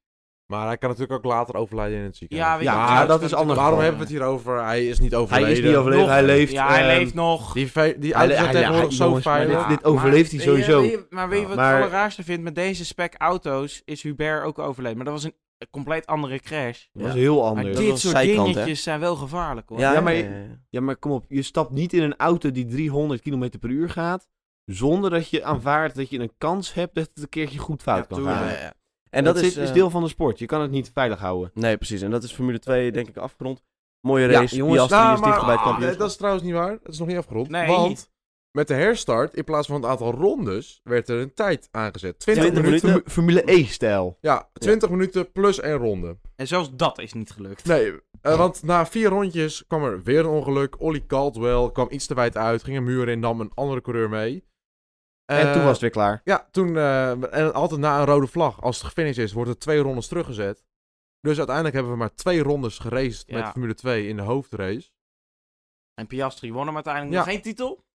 [SPEAKER 3] Maar hij kan natuurlijk ook later overlijden in het
[SPEAKER 4] Ja,
[SPEAKER 3] ziekenhuis.
[SPEAKER 4] weet
[SPEAKER 1] Ja,
[SPEAKER 4] je,
[SPEAKER 1] maar dat
[SPEAKER 4] kan
[SPEAKER 1] is
[SPEAKER 4] natuurlijk
[SPEAKER 1] anders.
[SPEAKER 4] ook.
[SPEAKER 3] Waarom hebben we het hier over? Hij is niet overleden.
[SPEAKER 1] Hij is niet overleden,
[SPEAKER 4] Nog.
[SPEAKER 1] hij leeft.
[SPEAKER 4] Ja, hij
[SPEAKER 1] ehm,
[SPEAKER 4] leeft nog.
[SPEAKER 3] Die, ve- die
[SPEAKER 1] Hij le-
[SPEAKER 3] auto's zijn
[SPEAKER 1] hij-
[SPEAKER 3] tegenwoordig
[SPEAKER 1] hij-
[SPEAKER 3] zo
[SPEAKER 1] jongens, maar
[SPEAKER 3] veilig.
[SPEAKER 1] dit- dit overleeft hij
[SPEAKER 4] maar-
[SPEAKER 1] sowieso.
[SPEAKER 4] weet je- maar weet je wat
[SPEAKER 1] Ja.
[SPEAKER 4] ik
[SPEAKER 1] Maar-
[SPEAKER 4] het allerraarste vind? Met deze spec auto's is Hubert ook overleden. Maar dat was een een compleet andere crash.
[SPEAKER 1] Dat was heel
[SPEAKER 4] Maar
[SPEAKER 1] anders.
[SPEAKER 2] Dat
[SPEAKER 4] dit
[SPEAKER 2] was
[SPEAKER 4] soort
[SPEAKER 2] zijkant, hè?
[SPEAKER 4] dingetjes zijn wel gevaarlijk hoor.
[SPEAKER 2] Ja,
[SPEAKER 1] Ja,
[SPEAKER 2] maar...
[SPEAKER 1] maar- Ja, maar kom op. Je stapt niet in een auto die 300 km per uur gaat... zonder dat je aanvaardt dat je een kans hebt dat het een keertje goed fout kan gaan.
[SPEAKER 2] ja,
[SPEAKER 1] En,
[SPEAKER 2] ja. En, dat, is,
[SPEAKER 1] is
[SPEAKER 2] eh,
[SPEAKER 1] deel van de sport. Je kan het niet veilig houden.
[SPEAKER 2] Nee, precies. En dat is Formule 2, denk ik, afgerond. Mooie
[SPEAKER 1] Ja,
[SPEAKER 2] race.
[SPEAKER 1] jongens,
[SPEAKER 2] Piastri
[SPEAKER 3] Nou,
[SPEAKER 2] is dicht
[SPEAKER 3] maar-
[SPEAKER 2] bij het
[SPEAKER 3] ah,
[SPEAKER 2] kampioenschap.
[SPEAKER 3] nee, Dat is trouwens niet waar. Dat is nog niet afgerond.
[SPEAKER 4] Nee.
[SPEAKER 3] Want met de herstart, in plaats van het aantal rondes, werd er een tijd aangezet. 20,
[SPEAKER 2] 20
[SPEAKER 3] minuten.
[SPEAKER 2] minuten.
[SPEAKER 1] Formu- Formule E-stijl.
[SPEAKER 3] Ja, 20 minuten plus één ronde.
[SPEAKER 4] En zelfs dat is niet gelukt.
[SPEAKER 3] Nee, eh, want na vier rondjes kwam er weer een ongeluk. Ollie Caldwell kwam iets te wijd uit, ging een muur in, nam een andere coureur mee.
[SPEAKER 1] En
[SPEAKER 3] Eh,
[SPEAKER 1] toen was het weer klaar.
[SPEAKER 3] Ja, toen... eh, en altijd na een rode vlag, als het gefinished is, wordt er twee rondes teruggezet. Dus uiteindelijk hebben we maar twee rondes geraced met
[SPEAKER 4] Ja.
[SPEAKER 3] Formule 2 in de hoofdrace.
[SPEAKER 4] En Piastri won hem uiteindelijk
[SPEAKER 3] Ja.
[SPEAKER 4] nog geen titel.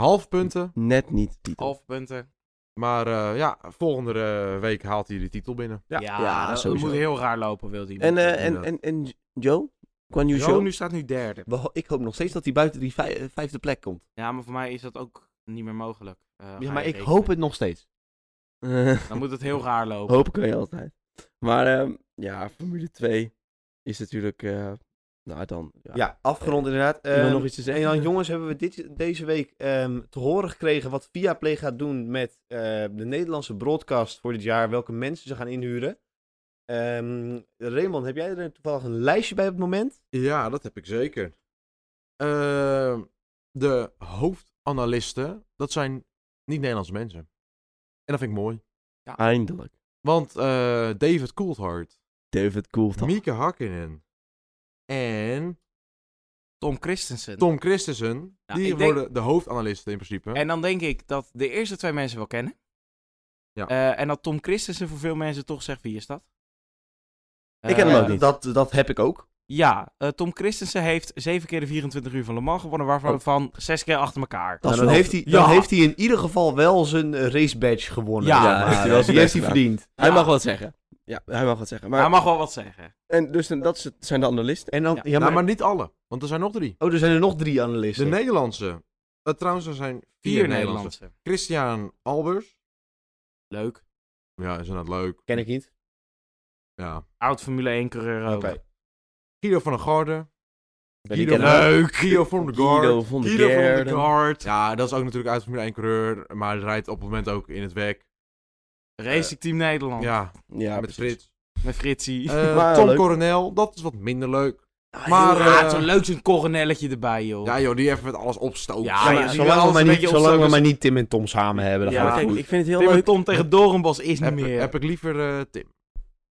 [SPEAKER 3] Half punten.
[SPEAKER 2] Net niet titel.
[SPEAKER 4] Half punten.
[SPEAKER 3] Maar eh, ja, volgende eh, week haalt hij de titel binnen.
[SPEAKER 4] Ja,
[SPEAKER 2] Ja,
[SPEAKER 4] dat,
[SPEAKER 2] sowieso.
[SPEAKER 4] moet heel raar lopen, wil die.
[SPEAKER 2] En, eh,
[SPEAKER 4] natuurlijk.
[SPEAKER 2] en, en, en Joe? Quan Yu
[SPEAKER 4] Zo,
[SPEAKER 2] Zhou?
[SPEAKER 4] nu staat nu derde.
[SPEAKER 1] We ho- Ik hoop nog steeds dat hij buiten die vij- eh, vijfde plek komt.
[SPEAKER 4] Ja, maar voor mij is dat ook niet meer mogelijk. eh, ga
[SPEAKER 1] Ja,
[SPEAKER 4] je
[SPEAKER 1] maar ik
[SPEAKER 4] rekenen.
[SPEAKER 1] hoop het nog steeds.
[SPEAKER 2] Eh,
[SPEAKER 4] Dan moet het heel raar lopen.
[SPEAKER 2] Hopen kun je altijd. Maar ehm, ja, Formule 2 is natuurlijk eh, Nou, dan. Ja.
[SPEAKER 1] Ja,
[SPEAKER 4] Eh,
[SPEAKER 1] afgerond inderdaad.
[SPEAKER 2] Iemand
[SPEAKER 1] Ehm,
[SPEAKER 2] nog iets te
[SPEAKER 1] en
[SPEAKER 2] zeggen?
[SPEAKER 1] dan jongens, hebben we dit, deze week ehm, te horen gekregen wat Viaplay gaat doen met eh, de Nederlandse broadcast voor dit jaar. Welke mensen ze gaan inhuren. Ehm Raymond, heb jij er toevallig een lijstje bij op het moment?
[SPEAKER 3] Ja, dat heb ik zeker. Ehm, de hoofdanalisten, dat zijn niet-Nederlandse mensen. En dat vind ik mooi.
[SPEAKER 2] Eindelijk.
[SPEAKER 3] Want eh, David Coulthard,
[SPEAKER 2] David Coulthard.
[SPEAKER 3] Mieke Hakkinen en
[SPEAKER 4] Tom Christensen.
[SPEAKER 3] Tom Christensen,
[SPEAKER 4] Ja,
[SPEAKER 3] die
[SPEAKER 4] ik denk-
[SPEAKER 3] worden de hoofdanalisten in principe.
[SPEAKER 4] En dan denk ik dat de eerste twee mensen wel kennen.
[SPEAKER 3] Ja.
[SPEAKER 4] Eh, en dat Tom Christensen voor veel mensen toch zegt, wie is dat?
[SPEAKER 1] ik ken
[SPEAKER 4] Eh,
[SPEAKER 1] hem ook niet. Dat, dat heb ik ook.
[SPEAKER 4] Ja, eh, Tom Christensen heeft 7 keer de 24 uur van Le Mans gewonnen, waarvan
[SPEAKER 1] Oh.
[SPEAKER 4] van 6 keer achter elkaar.
[SPEAKER 2] Dat
[SPEAKER 1] Nou,
[SPEAKER 2] is
[SPEAKER 1] dan,
[SPEAKER 2] wel-
[SPEAKER 1] heeft hij,
[SPEAKER 4] Ja.
[SPEAKER 1] dan heeft hij in ieder geval wel zijn eh, race badge gewonnen.
[SPEAKER 4] Ja,
[SPEAKER 1] zeg maar.
[SPEAKER 2] heeft hij wel zijn
[SPEAKER 1] die heeft hij
[SPEAKER 2] best
[SPEAKER 1] verdiend.
[SPEAKER 2] Hij
[SPEAKER 4] Ja.
[SPEAKER 2] mag wat zeggen. Ja, hij mag wat zeggen. Maar,
[SPEAKER 4] Hij mag wel wat zeggen.
[SPEAKER 2] En dus dan- dat is het- zijn de analisten.
[SPEAKER 1] En dan,
[SPEAKER 4] Ja.
[SPEAKER 1] ja.
[SPEAKER 3] Nou,
[SPEAKER 1] maar,
[SPEAKER 3] maar... niet alle, want er zijn nog drie.
[SPEAKER 1] Oh, er zijn er nog drie
[SPEAKER 3] De
[SPEAKER 1] analisten.
[SPEAKER 3] Nederlandse. Eh, trouwens, er zijn vier,
[SPEAKER 4] Vier
[SPEAKER 3] Nederlandse.
[SPEAKER 4] Nederlandse.
[SPEAKER 3] Christian Albers.
[SPEAKER 4] Leuk.
[SPEAKER 3] Ja, is inderdaad leuk.
[SPEAKER 1] Ken ik niet.
[SPEAKER 3] Ja.
[SPEAKER 4] Oud Formule 1 coureur ook.
[SPEAKER 1] Oké.
[SPEAKER 3] Guido van der Garde.
[SPEAKER 2] Ben ik
[SPEAKER 3] Guido
[SPEAKER 2] er-
[SPEAKER 3] van- Guido van der Garde.
[SPEAKER 2] Guido van de
[SPEAKER 3] Guido van der
[SPEAKER 2] Gerden.
[SPEAKER 4] Guard.
[SPEAKER 3] Ja, dat is ook natuurlijk uit Formule 1 coureur, maar hij rijdt op het moment ook in het WEC.
[SPEAKER 4] Racing Team Nederland.
[SPEAKER 3] Ja,
[SPEAKER 2] Ja,
[SPEAKER 3] met
[SPEAKER 2] precies.
[SPEAKER 3] Frits.
[SPEAKER 4] Met Fritsie.
[SPEAKER 3] Eh,
[SPEAKER 2] Maar
[SPEAKER 3] Tom
[SPEAKER 2] leuk.
[SPEAKER 3] Coronel, dat is wat minder leuk.
[SPEAKER 2] Ah,
[SPEAKER 3] Maar,
[SPEAKER 2] heel
[SPEAKER 3] eh,
[SPEAKER 2] raar.
[SPEAKER 4] ah, zo leuk zo'n coronelletje erbij, joh.
[SPEAKER 3] Ja joh, die even met alles opstoot.
[SPEAKER 4] Oh. Ja, maar die wil
[SPEAKER 1] zolang we,
[SPEAKER 4] alles
[SPEAKER 1] maar
[SPEAKER 4] een
[SPEAKER 1] niet,
[SPEAKER 4] beetje
[SPEAKER 1] zolang we
[SPEAKER 4] opstoken.
[SPEAKER 1] maar niet Tim en Tom samen hebben, dan
[SPEAKER 4] Ja,
[SPEAKER 1] gaat
[SPEAKER 2] maar
[SPEAKER 1] het
[SPEAKER 2] kijk,
[SPEAKER 1] goed.
[SPEAKER 2] ik vind het heel
[SPEAKER 4] Tim en
[SPEAKER 2] leuk.
[SPEAKER 4] Tom tegen Dorenbos is niet
[SPEAKER 3] heb,
[SPEAKER 4] meer.
[SPEAKER 3] ik- heb ik liever eh, Tim.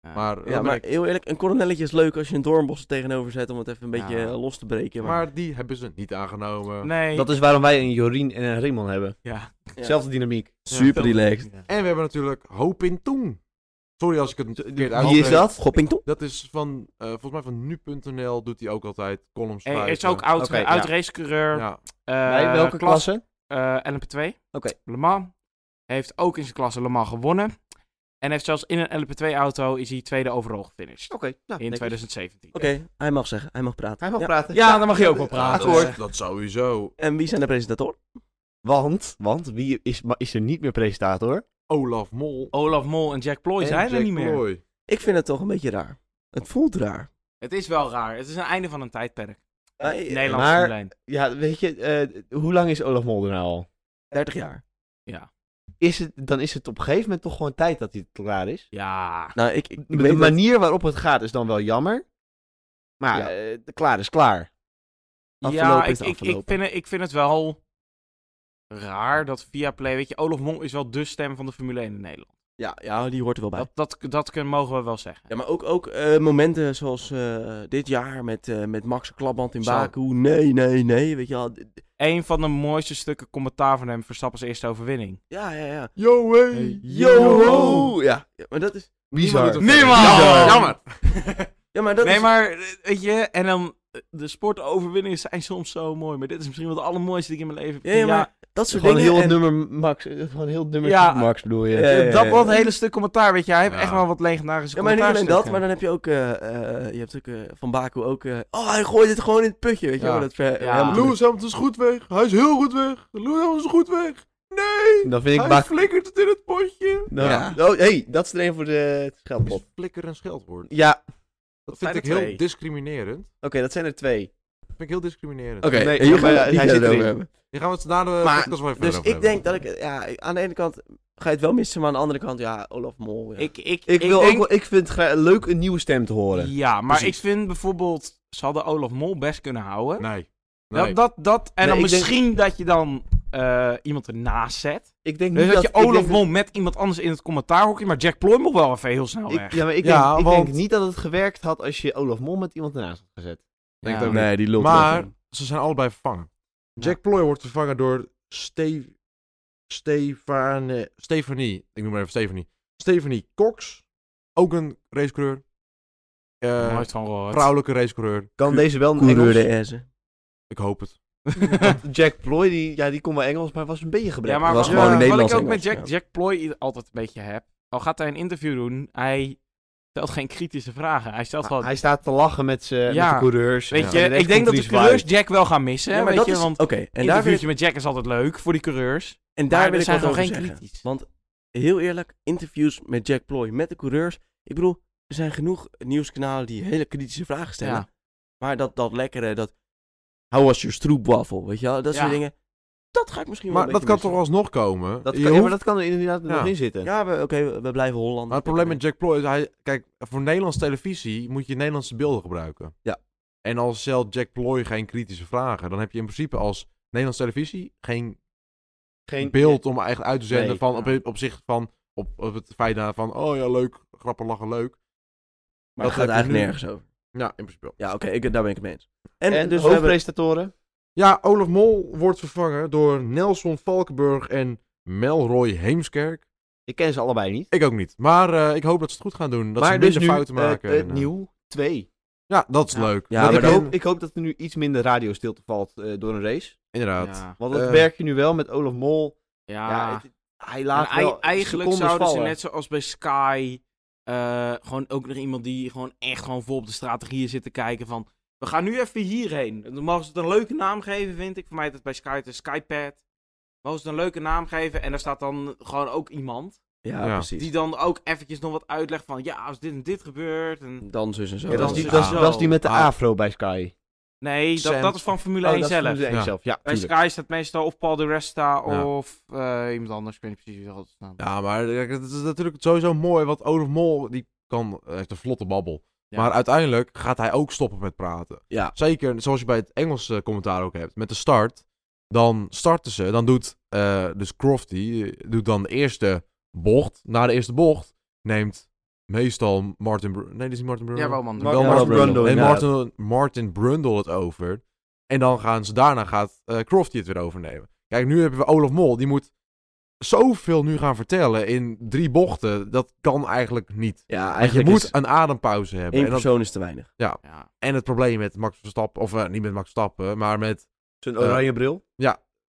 [SPEAKER 4] Ja.
[SPEAKER 3] Maar,
[SPEAKER 2] Ja,
[SPEAKER 3] dat
[SPEAKER 2] maar
[SPEAKER 3] ben ik-
[SPEAKER 2] heel eerlijk, een coronelletje is leuk als je een doornbos er tegenover zet om het even een beetje
[SPEAKER 4] Ja.
[SPEAKER 2] eh, los te breken. Maar,
[SPEAKER 3] maar die hebben ze niet aangenomen.
[SPEAKER 4] Nee.
[SPEAKER 1] Dat is waarom wij een Jorien en een Raymond hebben.
[SPEAKER 4] Ja.
[SPEAKER 2] Ja.
[SPEAKER 1] Zelfde dynamiek.
[SPEAKER 2] super relaxed.
[SPEAKER 4] Ja.
[SPEAKER 3] En we hebben natuurlijk Ho Pin Tong. Sorry als ik het verkeerd uitspreek.
[SPEAKER 1] Wie is dat?
[SPEAKER 2] Gopping Tom.
[SPEAKER 3] Dat is van, eh, volgens mij van nu.nl doet hij ook altijd columns
[SPEAKER 4] Hey,
[SPEAKER 3] schrijven.
[SPEAKER 4] is ook oud,
[SPEAKER 1] Oké,
[SPEAKER 4] oud
[SPEAKER 1] ja.
[SPEAKER 4] racecoureur.
[SPEAKER 3] Ja,
[SPEAKER 4] eh,
[SPEAKER 1] Bij welke
[SPEAKER 4] klas-
[SPEAKER 1] klasse?
[SPEAKER 4] eh LMP2.
[SPEAKER 1] Oké.
[SPEAKER 4] Le Mans. Hij Heeft ook in zijn klasse Le Mans gewonnen. En heeft zelfs in een LMP2-auto is hij tweede overal gefinished.
[SPEAKER 1] Oké, nou,
[SPEAKER 4] in
[SPEAKER 1] netjes.
[SPEAKER 4] 2017.
[SPEAKER 2] Oké, hij mag zeggen, hij mag praten.
[SPEAKER 1] Hij mag
[SPEAKER 2] Ja.
[SPEAKER 1] praten.
[SPEAKER 4] Ja, dan mag je ook wel praten.
[SPEAKER 3] akkoord. Dat sowieso.
[SPEAKER 2] En wie zijn de presentatoren?
[SPEAKER 1] Want, want wie is, ma- is er niet meer presentator?
[SPEAKER 3] Olaf Mol.
[SPEAKER 4] Olaf Mol en Jack Ploy zijn er Oh, niet meer.
[SPEAKER 3] meer.
[SPEAKER 2] Ik vind het toch een beetje raar. Het voelt raar.
[SPEAKER 4] Het is wel raar. Het is een einde van een tijdperk.
[SPEAKER 2] Hij-
[SPEAKER 4] Nederlands
[SPEAKER 1] eh, maar-
[SPEAKER 4] Formule 1.
[SPEAKER 1] Ja, weet je, eh, hoe lang is Olaf Mol er nou al?
[SPEAKER 2] 30 jaar.
[SPEAKER 1] Is het, dan is het op een gegeven moment toch gewoon tijd dat hij klaar is.
[SPEAKER 4] Ja.
[SPEAKER 2] Nou, ik, ik
[SPEAKER 1] De
[SPEAKER 2] weet dat-
[SPEAKER 1] manier waarop het gaat is dan wel jammer. Maar
[SPEAKER 2] Ja.
[SPEAKER 1] eh, klaar is klaar.
[SPEAKER 4] Ja,
[SPEAKER 2] Afgelopen
[SPEAKER 4] ik,
[SPEAKER 2] is
[SPEAKER 4] ik, ik,
[SPEAKER 2] afgelopen.
[SPEAKER 4] vind het, ik vind het wel raar dat via Play. Weet je, Olaf Mol is wel de stem van de Formule 1 in Nederland.
[SPEAKER 2] ja, ja, die hoort er wel bij.
[SPEAKER 4] Dat, dat, dat kunnen, mogen we wel zeggen.
[SPEAKER 2] Ja, maar ook, ook eh, momenten zoals eh, dit jaar met, eh, met Max Klapband in
[SPEAKER 3] Zo.
[SPEAKER 2] Baku. Nee, nee, nee. Weet je wel. D- d-
[SPEAKER 4] Een van de mooiste stukken commentaar van hem, Verstappen's eerste overwinning.
[SPEAKER 2] Ja, ja, ja.
[SPEAKER 3] Yo, hey.
[SPEAKER 2] Yo! Ja. ja, maar dat is...
[SPEAKER 1] Bizar.
[SPEAKER 3] Niemand doet dat.
[SPEAKER 4] Niemand!
[SPEAKER 3] Jammer. Jammer.
[SPEAKER 2] Ja, maar dat
[SPEAKER 4] nee,
[SPEAKER 2] is...
[SPEAKER 4] maar eh, weet je, en dan eh, de sportoverwinningen zijn soms zo mooi, maar dit is misschien wel het allermooiste die ik in mijn leven heb.
[SPEAKER 2] Ja, ja,
[SPEAKER 4] gezien.
[SPEAKER 2] maar dat soort
[SPEAKER 1] Gewoon
[SPEAKER 2] dingen.
[SPEAKER 1] heel het
[SPEAKER 2] en-
[SPEAKER 1] nummer Max. eh, Gewoon heel het nummer
[SPEAKER 4] Ja.
[SPEAKER 1] Max bedoel je.
[SPEAKER 2] Ja, ja, ja.
[SPEAKER 4] dat wat een hele stuk commentaar, weet je. Hij heeft
[SPEAKER 3] Ja.
[SPEAKER 4] echt wel wat legendarische
[SPEAKER 2] Ja, maar niet alleen dat,
[SPEAKER 4] commentaarstukken.
[SPEAKER 2] maar dan heb je ook, eh, eh, je hebt ook eh, van Baku ook, eh, oh hij gooit het gewoon in het putje, weet je
[SPEAKER 3] Ja.
[SPEAKER 2] wel. Dat, ver-
[SPEAKER 4] Ja.
[SPEAKER 2] helemaal terug.
[SPEAKER 3] Lewis Hamilton is goed weg. Hij is heel goed weg. Lewis Hamilton is goed weg. Nee.
[SPEAKER 1] Dan vind Oh, ik
[SPEAKER 3] hij
[SPEAKER 1] Max.
[SPEAKER 3] flikkert het in het potje.
[SPEAKER 1] dan-
[SPEAKER 2] Ja.
[SPEAKER 1] Oh, hey, dat is er een voor de
[SPEAKER 3] Is
[SPEAKER 1] scheldpot.
[SPEAKER 3] flikker een scheldwoord?
[SPEAKER 1] Ja, oké,
[SPEAKER 3] Dat
[SPEAKER 4] zijn
[SPEAKER 3] vind
[SPEAKER 4] er
[SPEAKER 3] ik heel
[SPEAKER 4] twee.
[SPEAKER 3] discriminerend.
[SPEAKER 1] dat zijn er twee.
[SPEAKER 3] Dat vind ik heel discriminerend.
[SPEAKER 2] Oké,
[SPEAKER 1] Nee,
[SPEAKER 2] en hier
[SPEAKER 1] maar
[SPEAKER 2] gaan we
[SPEAKER 1] hij
[SPEAKER 2] het niet
[SPEAKER 1] zit
[SPEAKER 2] verder over
[SPEAKER 1] erin.
[SPEAKER 2] hebben.
[SPEAKER 3] Hier gaan we het na de
[SPEAKER 2] Maar,
[SPEAKER 3] podcast wel even
[SPEAKER 2] Dus
[SPEAKER 3] verder over
[SPEAKER 2] ik denk dat ik, eh, ja, aan de ene kant ga je het wel missen, maar aan de andere kant, ja, Olaf Mol. Ja.
[SPEAKER 4] Ik, ik,
[SPEAKER 1] Ik, wil
[SPEAKER 4] denk-
[SPEAKER 1] ook wel, ik vind het gra- leuk een nieuwe stem te horen.
[SPEAKER 4] Ja, maar
[SPEAKER 3] Precies.
[SPEAKER 4] ik vind bijvoorbeeld, ze hadden Olaf Mol best kunnen houden.
[SPEAKER 3] hebben. Nee.
[SPEAKER 4] Dat,
[SPEAKER 3] Nee.
[SPEAKER 4] dat, dat, en
[SPEAKER 1] Nee,
[SPEAKER 4] dan
[SPEAKER 1] ik denk-
[SPEAKER 4] misschien dat je dan eh, iemand ernaast zet.
[SPEAKER 1] Ik denk
[SPEAKER 4] Dus
[SPEAKER 1] niet
[SPEAKER 4] dat,
[SPEAKER 1] dat,
[SPEAKER 4] je
[SPEAKER 1] ik
[SPEAKER 4] Olaf
[SPEAKER 1] denk
[SPEAKER 4] Mol met iemand anders in het commentaarhokje, maar Jack Ploy mocht wel even heel snel
[SPEAKER 1] dat-
[SPEAKER 4] weg.
[SPEAKER 1] ik, ja, maar ik,
[SPEAKER 3] Ja,
[SPEAKER 1] denk, ik
[SPEAKER 3] want-
[SPEAKER 1] denk niet dat het gewerkt had als je Olaf Mol met iemand ernaast had gezet.
[SPEAKER 3] Denk
[SPEAKER 4] Ja.
[SPEAKER 3] het ook niet.
[SPEAKER 2] nee, die lult
[SPEAKER 3] Maar
[SPEAKER 2] wel van.
[SPEAKER 3] ze zijn allebei vervangen.
[SPEAKER 4] Ja.
[SPEAKER 3] Jack Ploy wordt vervangen door Steve, Stefane, Stefanie. Ik noem maar even Stefanie. Stefanie Cox. Ook een racecoureur. Eh,
[SPEAKER 4] Nooit van gehoord.
[SPEAKER 3] vrouwelijke racecoureur.
[SPEAKER 1] Kan deze wel een
[SPEAKER 2] coureur
[SPEAKER 1] Engels?
[SPEAKER 2] de S'en.
[SPEAKER 3] Ik hoop het.
[SPEAKER 1] Jack Ploy, die, ja, die kon wel Engels, maar was een beetje
[SPEAKER 4] ja,
[SPEAKER 1] gebrekkig.
[SPEAKER 4] maar
[SPEAKER 2] was
[SPEAKER 4] wat,
[SPEAKER 2] gewoon
[SPEAKER 4] wat
[SPEAKER 2] een
[SPEAKER 4] ik ook
[SPEAKER 2] Nederlands
[SPEAKER 4] met
[SPEAKER 2] Engels,
[SPEAKER 4] Jack, Jack Ploy altijd een beetje heb, al gaat hij een interview doen, hij stelt geen kritische vragen. Hij stelt gewoon...
[SPEAKER 1] Ah, Hij staat te lachen met zijn
[SPEAKER 4] Ja.
[SPEAKER 1] coureurs.
[SPEAKER 4] Weet
[SPEAKER 1] Ja.
[SPEAKER 4] je,
[SPEAKER 1] En rechts
[SPEAKER 4] ik denk dat
[SPEAKER 1] komt
[SPEAKER 4] de
[SPEAKER 1] Dries
[SPEAKER 4] coureurs
[SPEAKER 1] White.
[SPEAKER 4] Jack wel gaan missen,
[SPEAKER 2] Ja, maar
[SPEAKER 4] weet
[SPEAKER 2] dat
[SPEAKER 4] je,
[SPEAKER 2] is...
[SPEAKER 4] want
[SPEAKER 2] Oké, en
[SPEAKER 4] een
[SPEAKER 2] daar wil ik,
[SPEAKER 4] interviewtje met Jack is altijd leuk voor die coureurs.
[SPEAKER 2] en
[SPEAKER 4] maar
[SPEAKER 2] daar
[SPEAKER 4] er
[SPEAKER 2] wil ik
[SPEAKER 4] zijn
[SPEAKER 2] wat
[SPEAKER 4] gewoon
[SPEAKER 2] over
[SPEAKER 4] geen
[SPEAKER 2] zeggen.
[SPEAKER 4] kritisch.
[SPEAKER 2] Want heel eerlijk, interviews met Jack Ploy, met de coureurs. Ik bedoel, er zijn genoeg nieuwskanalen die hele kritische vragen stellen.
[SPEAKER 4] Ja.
[SPEAKER 2] Maar dat, dat lekkere, dat... Hou als je stroopwafel, weet je wel? Dat soort
[SPEAKER 4] Ja.
[SPEAKER 2] dingen. Dat ga ik misschien wel
[SPEAKER 3] Maar
[SPEAKER 2] een
[SPEAKER 3] dat
[SPEAKER 2] beetje
[SPEAKER 3] kan toch alsnog komen?
[SPEAKER 1] Dat kan,
[SPEAKER 3] Je
[SPEAKER 1] ja, maar
[SPEAKER 3] hoeft-
[SPEAKER 1] dat kan er inderdaad nog
[SPEAKER 3] Ja.
[SPEAKER 1] in zitten.
[SPEAKER 2] missen. Ja, we- oké, we, we blijven Holland.
[SPEAKER 3] Maar het probleem met Jack Ploy is, hij, kijk, voor Nederlandse televisie moet je Nederlandse beelden gebruiken.
[SPEAKER 2] Ja.
[SPEAKER 3] En als stelt Jack Ploy geen kritische vragen, dan heb je in principe als Nederlandse televisie geen
[SPEAKER 1] Geen
[SPEAKER 3] beeld om echt uit te zenden
[SPEAKER 1] Nee.
[SPEAKER 3] van, op, op zich van, op, op het feit daar van, oh ja, leuk, grappen lachen, leuk.
[SPEAKER 2] Maar
[SPEAKER 3] heb
[SPEAKER 2] dat gaat
[SPEAKER 3] je
[SPEAKER 2] eigenlijk
[SPEAKER 3] nu.
[SPEAKER 2] nergens over.
[SPEAKER 3] Ja, in principe wel.
[SPEAKER 2] Ja, oké, ik- daar ben ik het mee eens.
[SPEAKER 1] En,
[SPEAKER 2] En, dus we hebben...
[SPEAKER 1] hoofdpresentatoren.
[SPEAKER 3] Ja, Olaf Mol wordt vervangen door Nelson Valkenburg en Melroy Heemskerk.
[SPEAKER 1] Ik ken ze allebei niet.
[SPEAKER 3] Ik ook niet. Maar eh, ik hoop dat ze het goed gaan doen. Dat ze
[SPEAKER 1] maar
[SPEAKER 3] minder
[SPEAKER 1] dus nu
[SPEAKER 3] fouten
[SPEAKER 1] eh,
[SPEAKER 3] maken.
[SPEAKER 1] eh,
[SPEAKER 3] en, eh,
[SPEAKER 1] nieuw 2.
[SPEAKER 3] Ja, dat is
[SPEAKER 4] Ja.
[SPEAKER 3] leuk.
[SPEAKER 2] Ja,
[SPEAKER 3] Dat
[SPEAKER 1] ik,
[SPEAKER 2] maar
[SPEAKER 3] heb je-
[SPEAKER 1] hoop, ik hoop dat er nu iets minder radiostilte valt eh, door een race.
[SPEAKER 3] Inderdaad.
[SPEAKER 4] Ja.
[SPEAKER 1] Want dat
[SPEAKER 3] Eh.
[SPEAKER 1] merk je nu wel met Olaf Mol.
[SPEAKER 4] Ja.
[SPEAKER 1] Ja,
[SPEAKER 3] Ah.
[SPEAKER 1] het- hij laat
[SPEAKER 4] En ei-
[SPEAKER 1] wel
[SPEAKER 4] eigenlijk
[SPEAKER 1] secondes
[SPEAKER 4] zouden ze
[SPEAKER 1] vallen.
[SPEAKER 4] net zoals bij Sky... eh, gewoon ook nog iemand die gewoon echt gewoon vol op de strategieën zit te kijken van... We gaan nu even hierheen. En Dan mogen ze het een leuke naam geven, vind ik. Voor mij is het bij Sky het een Skypad. Mogen ze het een leuke naam geven. En daar staat dan gewoon ook iemand.
[SPEAKER 2] Ja,
[SPEAKER 3] Ja.
[SPEAKER 2] precies.
[SPEAKER 4] Die dan ook eventjes nog wat uitlegt van... Ja, als dit en dit gebeurt. En...
[SPEAKER 2] Dansers en zo.
[SPEAKER 1] Ja, dat, is die,
[SPEAKER 4] Ja.
[SPEAKER 1] dat, is, dat is die met de
[SPEAKER 3] Ah.
[SPEAKER 1] afro bij Sky.
[SPEAKER 4] Nee, dat,
[SPEAKER 3] Sam-
[SPEAKER 4] dat is van Formule
[SPEAKER 1] Oh,
[SPEAKER 4] 1
[SPEAKER 1] dat is
[SPEAKER 4] zelf.
[SPEAKER 1] Formule 1
[SPEAKER 3] Ja.
[SPEAKER 1] zelf. Ja,
[SPEAKER 4] Bij
[SPEAKER 1] tuurlijk.
[SPEAKER 4] Sky staat meestal of Paul de Resta
[SPEAKER 3] Ja.
[SPEAKER 4] of eh, iemand anders. Ik weet niet precies wie er altijd staat.
[SPEAKER 3] Ja, maar eh, kijk, het is natuurlijk sowieso mooi, want Olaf Mol die kan, hij heeft een vlotte babbel.
[SPEAKER 4] Ja.
[SPEAKER 3] Maar uiteindelijk gaat hij ook stoppen met praten.
[SPEAKER 2] Ja.
[SPEAKER 3] Zeker zoals je bij het Engelse commentaar ook hebt, met de start. Dan starten ze, dan doet eh, dus Crofty, eh, doet dan de eerste bocht. Na de eerste bocht neemt meestal Martin... Br- nee, dat is niet Martin Brundle.
[SPEAKER 4] Ja, wel man.
[SPEAKER 1] Mark-
[SPEAKER 3] wel
[SPEAKER 1] Ja,
[SPEAKER 3] Martin
[SPEAKER 1] Brundle,
[SPEAKER 3] Brundle. En
[SPEAKER 1] inderdaad.
[SPEAKER 3] Martin, Martin Brundle het over. En dan gaan ze daarna gaat eh, Crofty het weer overnemen. Kijk, nu hebben we Olaf Mol. Die moet zoveel nu gaan vertellen in drie bochten. Dat kan eigenlijk niet.
[SPEAKER 2] Ja,
[SPEAKER 3] Want je
[SPEAKER 2] eigenlijk
[SPEAKER 3] moet
[SPEAKER 2] is
[SPEAKER 3] een adempauze hebben.
[SPEAKER 2] één
[SPEAKER 3] En, dat-
[SPEAKER 2] persoon is te weinig.
[SPEAKER 4] Ja.
[SPEAKER 3] en het probleem met Max Verstappen, of eh, niet met Max Verstappen, maar met
[SPEAKER 1] Zijn oranje bril.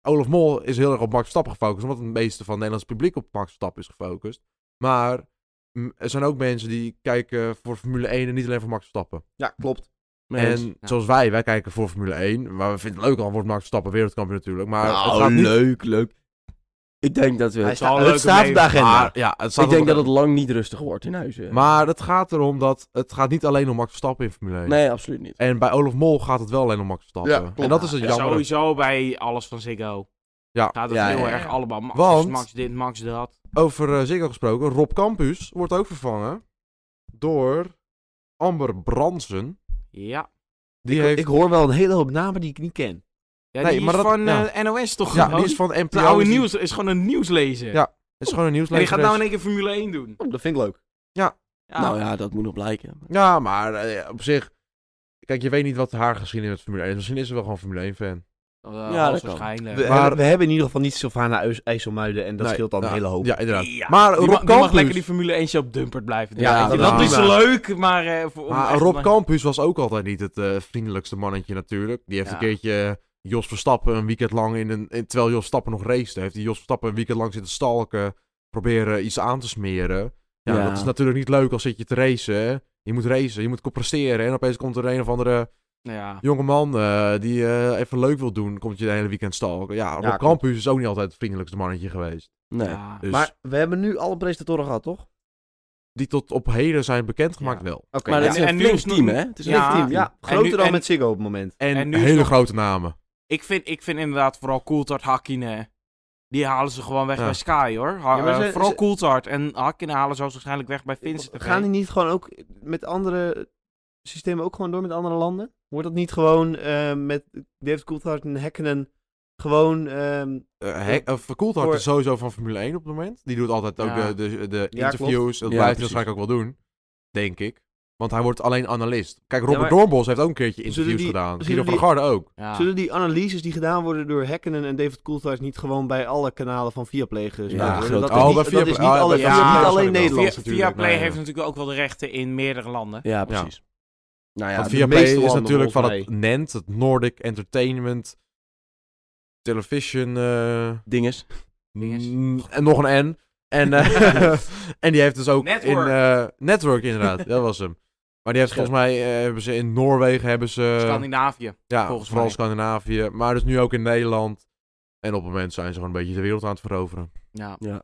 [SPEAKER 3] Olaf Mol is heel erg op Max Verstappen gefocust. Omdat het meeste van het Nederlands publiek op Max Verstappen is gefocust. Maar mm, er zijn ook mensen die kijken voor Formule 1 en niet alleen voor Max Verstappen.
[SPEAKER 1] Ja, klopt.
[SPEAKER 2] Nee,
[SPEAKER 3] En
[SPEAKER 2] eens.
[SPEAKER 4] Ja.
[SPEAKER 3] zoals wij, wij kijken voor Formule 1. Maar we vinden het leuk al, wordt Max Verstappen wereldkampioen natuurlijk. Maar
[SPEAKER 2] Nou,
[SPEAKER 3] het gaat niet...
[SPEAKER 2] leuk, leuk. Ik denk dat we...
[SPEAKER 1] Hij
[SPEAKER 4] al
[SPEAKER 1] sta,
[SPEAKER 4] een leuke
[SPEAKER 1] het staat op de
[SPEAKER 4] leven.
[SPEAKER 1] agenda.
[SPEAKER 3] Maar, ja, het staat
[SPEAKER 2] Ik denk
[SPEAKER 3] op-
[SPEAKER 2] dat het lang niet rustig wordt in huizen.
[SPEAKER 3] Maar het gaat erom dat het gaat niet alleen om Max Verstappen in Formule 1.
[SPEAKER 2] Nee, absoluut niet.
[SPEAKER 3] En bij Olaf Mol gaat het wel alleen om Max Verstappen.
[SPEAKER 1] Ja, klopt.
[SPEAKER 3] en dat is het
[SPEAKER 4] Ja,
[SPEAKER 3] jammer.
[SPEAKER 4] Sowieso bij alles van Ziggo.
[SPEAKER 3] Ja.
[SPEAKER 4] Gaat het
[SPEAKER 2] Ja,
[SPEAKER 4] heel
[SPEAKER 2] ja, ja.
[SPEAKER 4] erg allemaal. Max,
[SPEAKER 3] Want-
[SPEAKER 4] Max dit, Max dat.
[SPEAKER 3] Over eh, Ziggo gesproken, Rob Campus wordt ook vervangen door Amber Bransen.
[SPEAKER 4] Ja.
[SPEAKER 3] Die
[SPEAKER 1] Ik,
[SPEAKER 3] heeft...
[SPEAKER 1] ik hoor wel een hele hoop namen die ik niet ken.
[SPEAKER 4] ja
[SPEAKER 3] Nee,
[SPEAKER 4] die
[SPEAKER 3] maar
[SPEAKER 4] is
[SPEAKER 3] dat-
[SPEAKER 4] van
[SPEAKER 3] ja.
[SPEAKER 4] eh, NOS toch
[SPEAKER 3] ja,
[SPEAKER 4] gewoon?
[SPEAKER 3] die is van NPO.
[SPEAKER 4] de oude
[SPEAKER 3] dus die-
[SPEAKER 4] nieuws is gewoon een nieuwslezer.
[SPEAKER 3] Ja, Het is gewoon een
[SPEAKER 4] En die
[SPEAKER 3] nieuwslezer.
[SPEAKER 4] gaat nou in één keer Formule 1 doen.
[SPEAKER 1] Oh, Dat vind ik leuk.
[SPEAKER 4] Ja.
[SPEAKER 2] Nou ja, dat moet nog blijken.
[SPEAKER 3] Ja, maar eh, op zich... Kijk, je weet niet wat haar geschiedenis met Formule 1 is. Misschien is ze wel gewoon Formule 1-fan.
[SPEAKER 4] dat,
[SPEAKER 2] Ja, dat kan.
[SPEAKER 4] waarschijnlijk.
[SPEAKER 1] We,
[SPEAKER 3] Maar-
[SPEAKER 1] hebben, we hebben in ieder geval niet Sylvana Eus- IJsselmuiden en dat
[SPEAKER 3] Nee,
[SPEAKER 1] scheelt dan
[SPEAKER 3] nou,
[SPEAKER 1] een hele hoop.
[SPEAKER 3] Ja, inderdaad.
[SPEAKER 4] Oh, Ja.
[SPEAKER 3] Maar
[SPEAKER 4] die,
[SPEAKER 3] Rob
[SPEAKER 4] ma- die mag
[SPEAKER 3] Campus-
[SPEAKER 4] lekker die Formule 1 show op Dumpert blijven doen.
[SPEAKER 2] Ja,
[SPEAKER 4] Ja,
[SPEAKER 2] dat
[SPEAKER 4] dat
[SPEAKER 3] is
[SPEAKER 4] is leuk, maar... eh, voor, om
[SPEAKER 3] Maar
[SPEAKER 4] echt
[SPEAKER 3] Rob
[SPEAKER 4] maar-
[SPEAKER 3] Campus was ook altijd niet het eh, vriendelijkste mannetje natuurlijk. Die heeft
[SPEAKER 4] Ja.
[SPEAKER 3] een keertje eh, Jos Verstappen een weekend lang in een... in- terwijl Jos Verstappen nog racete, heeft hij Jos Verstappen een weekend lang zitten stalken. Proberen iets aan te smeren. Ja,
[SPEAKER 2] Ja.
[SPEAKER 3] dat is natuurlijk niet leuk als zit je te racen. hè. Je moet racen, je moet co- presteren. En opeens komt er een of andere
[SPEAKER 4] Ja.
[SPEAKER 3] jongeman eh die eh, even leuk wil doen. Komt je de hele weekend stalken. Ja, Rob
[SPEAKER 1] klopt.
[SPEAKER 3] Campus is ook niet altijd het vriendelijkste mannetje geweest.
[SPEAKER 2] Nee.
[SPEAKER 4] Ja.
[SPEAKER 3] Dus
[SPEAKER 1] Maar we hebben nu alle presentatoren gehad, toch?
[SPEAKER 3] die tot op heden zijn bekendgemaakt
[SPEAKER 4] Ja.
[SPEAKER 3] wel.
[SPEAKER 1] Oké.
[SPEAKER 2] Maar
[SPEAKER 1] ja.
[SPEAKER 2] dat is een
[SPEAKER 4] En
[SPEAKER 2] flink
[SPEAKER 4] nieuws-
[SPEAKER 2] team, hè? Het is een
[SPEAKER 4] Ja.
[SPEAKER 2] flink team.
[SPEAKER 1] Ja,
[SPEAKER 4] En nu-
[SPEAKER 1] groter dan
[SPEAKER 4] en-
[SPEAKER 1] met Ziggo op het moment.
[SPEAKER 3] En,
[SPEAKER 4] En nu is
[SPEAKER 3] hele
[SPEAKER 4] nog-
[SPEAKER 3] grote namen.
[SPEAKER 4] Ik vind, ik vind inderdaad vooral Coulthard, Hakkinen. Die halen ze gewoon weg
[SPEAKER 3] Ja.
[SPEAKER 4] bij Sky hoor. Ha-
[SPEAKER 1] Ja, maar
[SPEAKER 4] eh,
[SPEAKER 1] ze-
[SPEAKER 4] vooral
[SPEAKER 1] ze-
[SPEAKER 4] Coulthard en Hakkinen halen ze waarschijnlijk weg bij Vincent. TV.
[SPEAKER 1] Gaan die niet gewoon ook met andere systemen ook gewoon door met andere landen? Wordt dat niet gewoon eh, met David Coulthard en Hakkinen gewoon... ehm,
[SPEAKER 3] eh Hek- eh, Coulthard
[SPEAKER 1] Voor-
[SPEAKER 3] is sowieso van Formule 1 op het moment. Die doet altijd ook
[SPEAKER 4] Ja.
[SPEAKER 3] de, de, de
[SPEAKER 1] Ja,
[SPEAKER 3] interviews. dat
[SPEAKER 2] Ja,
[SPEAKER 3] blijft hij
[SPEAKER 2] precies.
[SPEAKER 3] waarschijnlijk ook wel doen. Denk ik. Want hij wordt alleen analist. Kijk, Robert
[SPEAKER 1] maar-
[SPEAKER 3] Dornbos heeft ook een keertje
[SPEAKER 1] Zullen
[SPEAKER 3] interviews
[SPEAKER 1] die-
[SPEAKER 3] gedaan.
[SPEAKER 1] zullen
[SPEAKER 3] Guido van der
[SPEAKER 1] die-
[SPEAKER 3] Garde ook.
[SPEAKER 2] Ah.
[SPEAKER 4] Ja.
[SPEAKER 1] Zullen die analyses die gedaan worden door Hakkinen en David Coulthard niet gewoon bij alle kanalen van Viaplay gespeeld
[SPEAKER 2] Ja,
[SPEAKER 1] worden?
[SPEAKER 2] groot.
[SPEAKER 1] Dat
[SPEAKER 2] Oh,
[SPEAKER 1] is niet,
[SPEAKER 3] bij
[SPEAKER 1] dat
[SPEAKER 3] Viaplay-
[SPEAKER 1] is niet
[SPEAKER 3] oh,
[SPEAKER 1] alleen,
[SPEAKER 3] bij
[SPEAKER 1] dat is niet
[SPEAKER 4] Viaplay waarschijnlijk
[SPEAKER 1] alleen
[SPEAKER 3] wel.
[SPEAKER 1] Nederlands
[SPEAKER 4] Via,
[SPEAKER 1] natuurlijk. eh,
[SPEAKER 4] Viaplay
[SPEAKER 3] nee, ja.
[SPEAKER 4] heeft natuurlijk ook wel de rechten in meerdere landen.
[SPEAKER 2] Ja, precies. Nou ja,
[SPEAKER 3] Want
[SPEAKER 1] de
[SPEAKER 3] Viaplay
[SPEAKER 1] meeste
[SPEAKER 3] is
[SPEAKER 1] landen
[SPEAKER 3] natuurlijk van
[SPEAKER 1] volgens
[SPEAKER 3] het NENT, het Nordic Entertainment Television... eh,
[SPEAKER 2] dinges.
[SPEAKER 4] Dinges.
[SPEAKER 3] mm, en nog een N. En, eh, en die heeft dus ook
[SPEAKER 4] Network.
[SPEAKER 3] in... eh, network inderdaad, dat was hem. Maar die heeft volgens mij... eh, hebben ze in Noorwegen hebben ze...
[SPEAKER 4] Scandinavië.
[SPEAKER 3] Ja,
[SPEAKER 4] Volgens
[SPEAKER 3] vooral
[SPEAKER 4] mij.
[SPEAKER 3] Scandinavië. Maar dus nu ook in Nederland. En op het moment zijn ze gewoon een beetje de wereld aan het veroveren.
[SPEAKER 4] Ja.
[SPEAKER 2] Ja.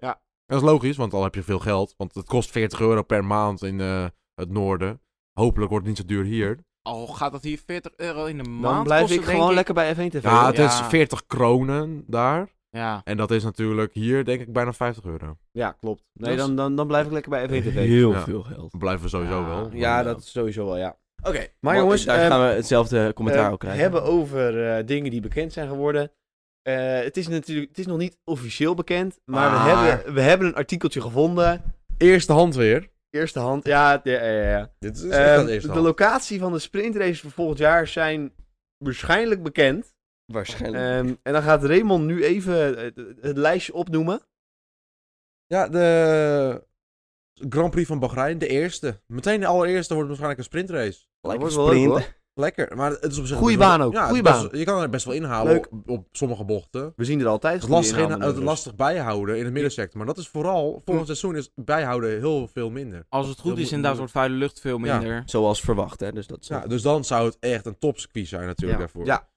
[SPEAKER 3] Dat is logisch, want al heb je veel geld. Want het kost 40 euro per maand in eh, het noorden. Hopelijk wordt het niet zo duur hier.
[SPEAKER 4] al Oh, gaat dat hier 40 euro in de maand
[SPEAKER 1] Dan blijf
[SPEAKER 4] kosten,
[SPEAKER 1] ik
[SPEAKER 4] denk
[SPEAKER 1] gewoon lekker bij F1 TV.
[SPEAKER 3] Ja, het is
[SPEAKER 4] Ja.
[SPEAKER 3] 40 kronen daar.
[SPEAKER 4] Ja.
[SPEAKER 3] En dat is natuurlijk hier, denk ik, bijna 50 euro.
[SPEAKER 1] Ja, klopt. Nee,
[SPEAKER 2] Dat is-
[SPEAKER 1] dan, dan, dan blijf ik lekker bij F1 TV.
[SPEAKER 2] Heel
[SPEAKER 3] Ja.
[SPEAKER 2] veel geld.
[SPEAKER 3] Dat blijven we sowieso
[SPEAKER 4] Ja.
[SPEAKER 3] wel.
[SPEAKER 1] Ja, dat is sowieso wel, ja.
[SPEAKER 2] Oké,
[SPEAKER 1] Maar jongens,
[SPEAKER 2] daar
[SPEAKER 1] ehm,
[SPEAKER 2] gaan we hetzelfde commentaar
[SPEAKER 1] Eh,
[SPEAKER 2] ook krijgen.
[SPEAKER 1] hebben over eh, dingen die bekend zijn geworden. Eh, het is natuurlijk het is nog niet officieel bekend, maar we,
[SPEAKER 3] Maar-
[SPEAKER 1] hebben, we hebben een artikeltje gevonden.
[SPEAKER 3] Eerste hand weer.
[SPEAKER 1] Eerste hand, ja, ja, ja, ja.
[SPEAKER 3] Dit is
[SPEAKER 1] Ehm, de locatie van de sprintrace voor volgend jaar zijn waarschijnlijk bekend.
[SPEAKER 2] waarschijnlijk.
[SPEAKER 1] Ehm, en dan gaat Raymond nu even eh, het, het lijstje opnoemen.
[SPEAKER 3] Ja, de Grand Prix van Bahrein, de eerste. Meteen de allereerste wordt waarschijnlijk een sprintrace.
[SPEAKER 1] Dat
[SPEAKER 2] Lijkt
[SPEAKER 1] wordt
[SPEAKER 2] een
[SPEAKER 1] wel leuk,
[SPEAKER 2] sprint.
[SPEAKER 1] hoor.
[SPEAKER 3] Lekker, maar het is op zich...
[SPEAKER 1] Goeie
[SPEAKER 3] best wel-
[SPEAKER 1] baan ook,
[SPEAKER 3] Ja,
[SPEAKER 1] goeie
[SPEAKER 3] het is best-
[SPEAKER 1] baan.
[SPEAKER 3] je kan er best wel inhalen
[SPEAKER 1] Leuk.
[SPEAKER 3] op, op sommige bochten.
[SPEAKER 1] We zien er altijd
[SPEAKER 3] Het is
[SPEAKER 1] goede
[SPEAKER 3] lastig, in, het
[SPEAKER 1] inhaalmanoeuvres.
[SPEAKER 3] lastig bijhouden in het middensector. Maar dat is vooral, volgend seizoen is bijhouden heel veel minder.
[SPEAKER 4] Als het goed
[SPEAKER 3] Dan
[SPEAKER 4] is,
[SPEAKER 3] moet-
[SPEAKER 4] inderdaad wordt vuile lucht veel
[SPEAKER 3] Ja.
[SPEAKER 4] minder.
[SPEAKER 2] Zoals verwacht, hè. Dus dat is
[SPEAKER 3] Ja, dus dan zou het echt een topcircuit zijn natuurlijk
[SPEAKER 4] Ja.
[SPEAKER 3] daarvoor.
[SPEAKER 1] Ja.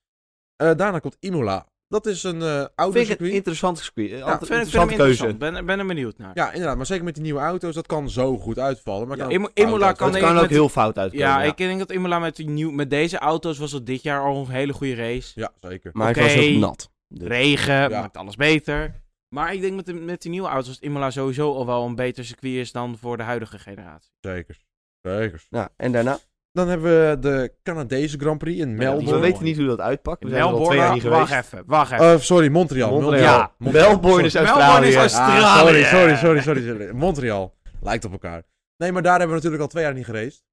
[SPEAKER 3] Eh, daarna komt Imola. Dat is een eh oude
[SPEAKER 1] Vind ik een
[SPEAKER 3] circuit.
[SPEAKER 1] interessante, circuit, eh,
[SPEAKER 4] Ja, vind, ik- vind hem
[SPEAKER 1] interessante keuze.
[SPEAKER 4] interessant. Ben, ben er benieuwd naar.
[SPEAKER 3] Ja, inderdaad. Maar zeker met die nieuwe auto's, dat kan zo goed uitvallen. Maar
[SPEAKER 4] Ja,
[SPEAKER 3] kan
[SPEAKER 4] Imo-
[SPEAKER 3] ook fout
[SPEAKER 4] Imola
[SPEAKER 1] Het
[SPEAKER 3] uitvallen.
[SPEAKER 4] denk ik
[SPEAKER 1] kan ook
[SPEAKER 4] met-
[SPEAKER 1] heel fout uitkomen.
[SPEAKER 4] Ja,
[SPEAKER 1] ja.
[SPEAKER 4] ik denk dat Imola met, die nieuw, met deze auto's was het dit jaar al een hele goede race.
[SPEAKER 3] Ja, zeker.
[SPEAKER 2] Maar
[SPEAKER 4] Oké.
[SPEAKER 2] het was ook nat.
[SPEAKER 4] Regen,
[SPEAKER 3] Ja.
[SPEAKER 4] maakt alles beter. Maar ik denk met de, met die nieuwe auto's dat Imola sowieso al wel een beter circuit is dan voor de huidige generatie.
[SPEAKER 3] Zeker. Zeker.
[SPEAKER 2] Ja, Nou, en daarna?
[SPEAKER 3] Dan hebben we de Canadese Grand Prix in
[SPEAKER 1] Ja,
[SPEAKER 3] Melbourne.
[SPEAKER 1] We weten niet hoe dat uitpakt. We zijn er al twee
[SPEAKER 4] Melbourne,
[SPEAKER 1] jaar niet geweest.
[SPEAKER 4] wacht even, wacht even.
[SPEAKER 3] Eh, sorry, Montreal.
[SPEAKER 1] Montreal.
[SPEAKER 4] Ja,
[SPEAKER 1] Melbourne is
[SPEAKER 4] Melbourne
[SPEAKER 1] Australië.
[SPEAKER 4] is Australië.
[SPEAKER 3] Ah,
[SPEAKER 4] Australië.
[SPEAKER 3] sorry, sorry, sorry, sorry, sorry. Montreal. Lijkt op elkaar. Nee, maar daar hebben we natuurlijk al twee jaar niet gereisd.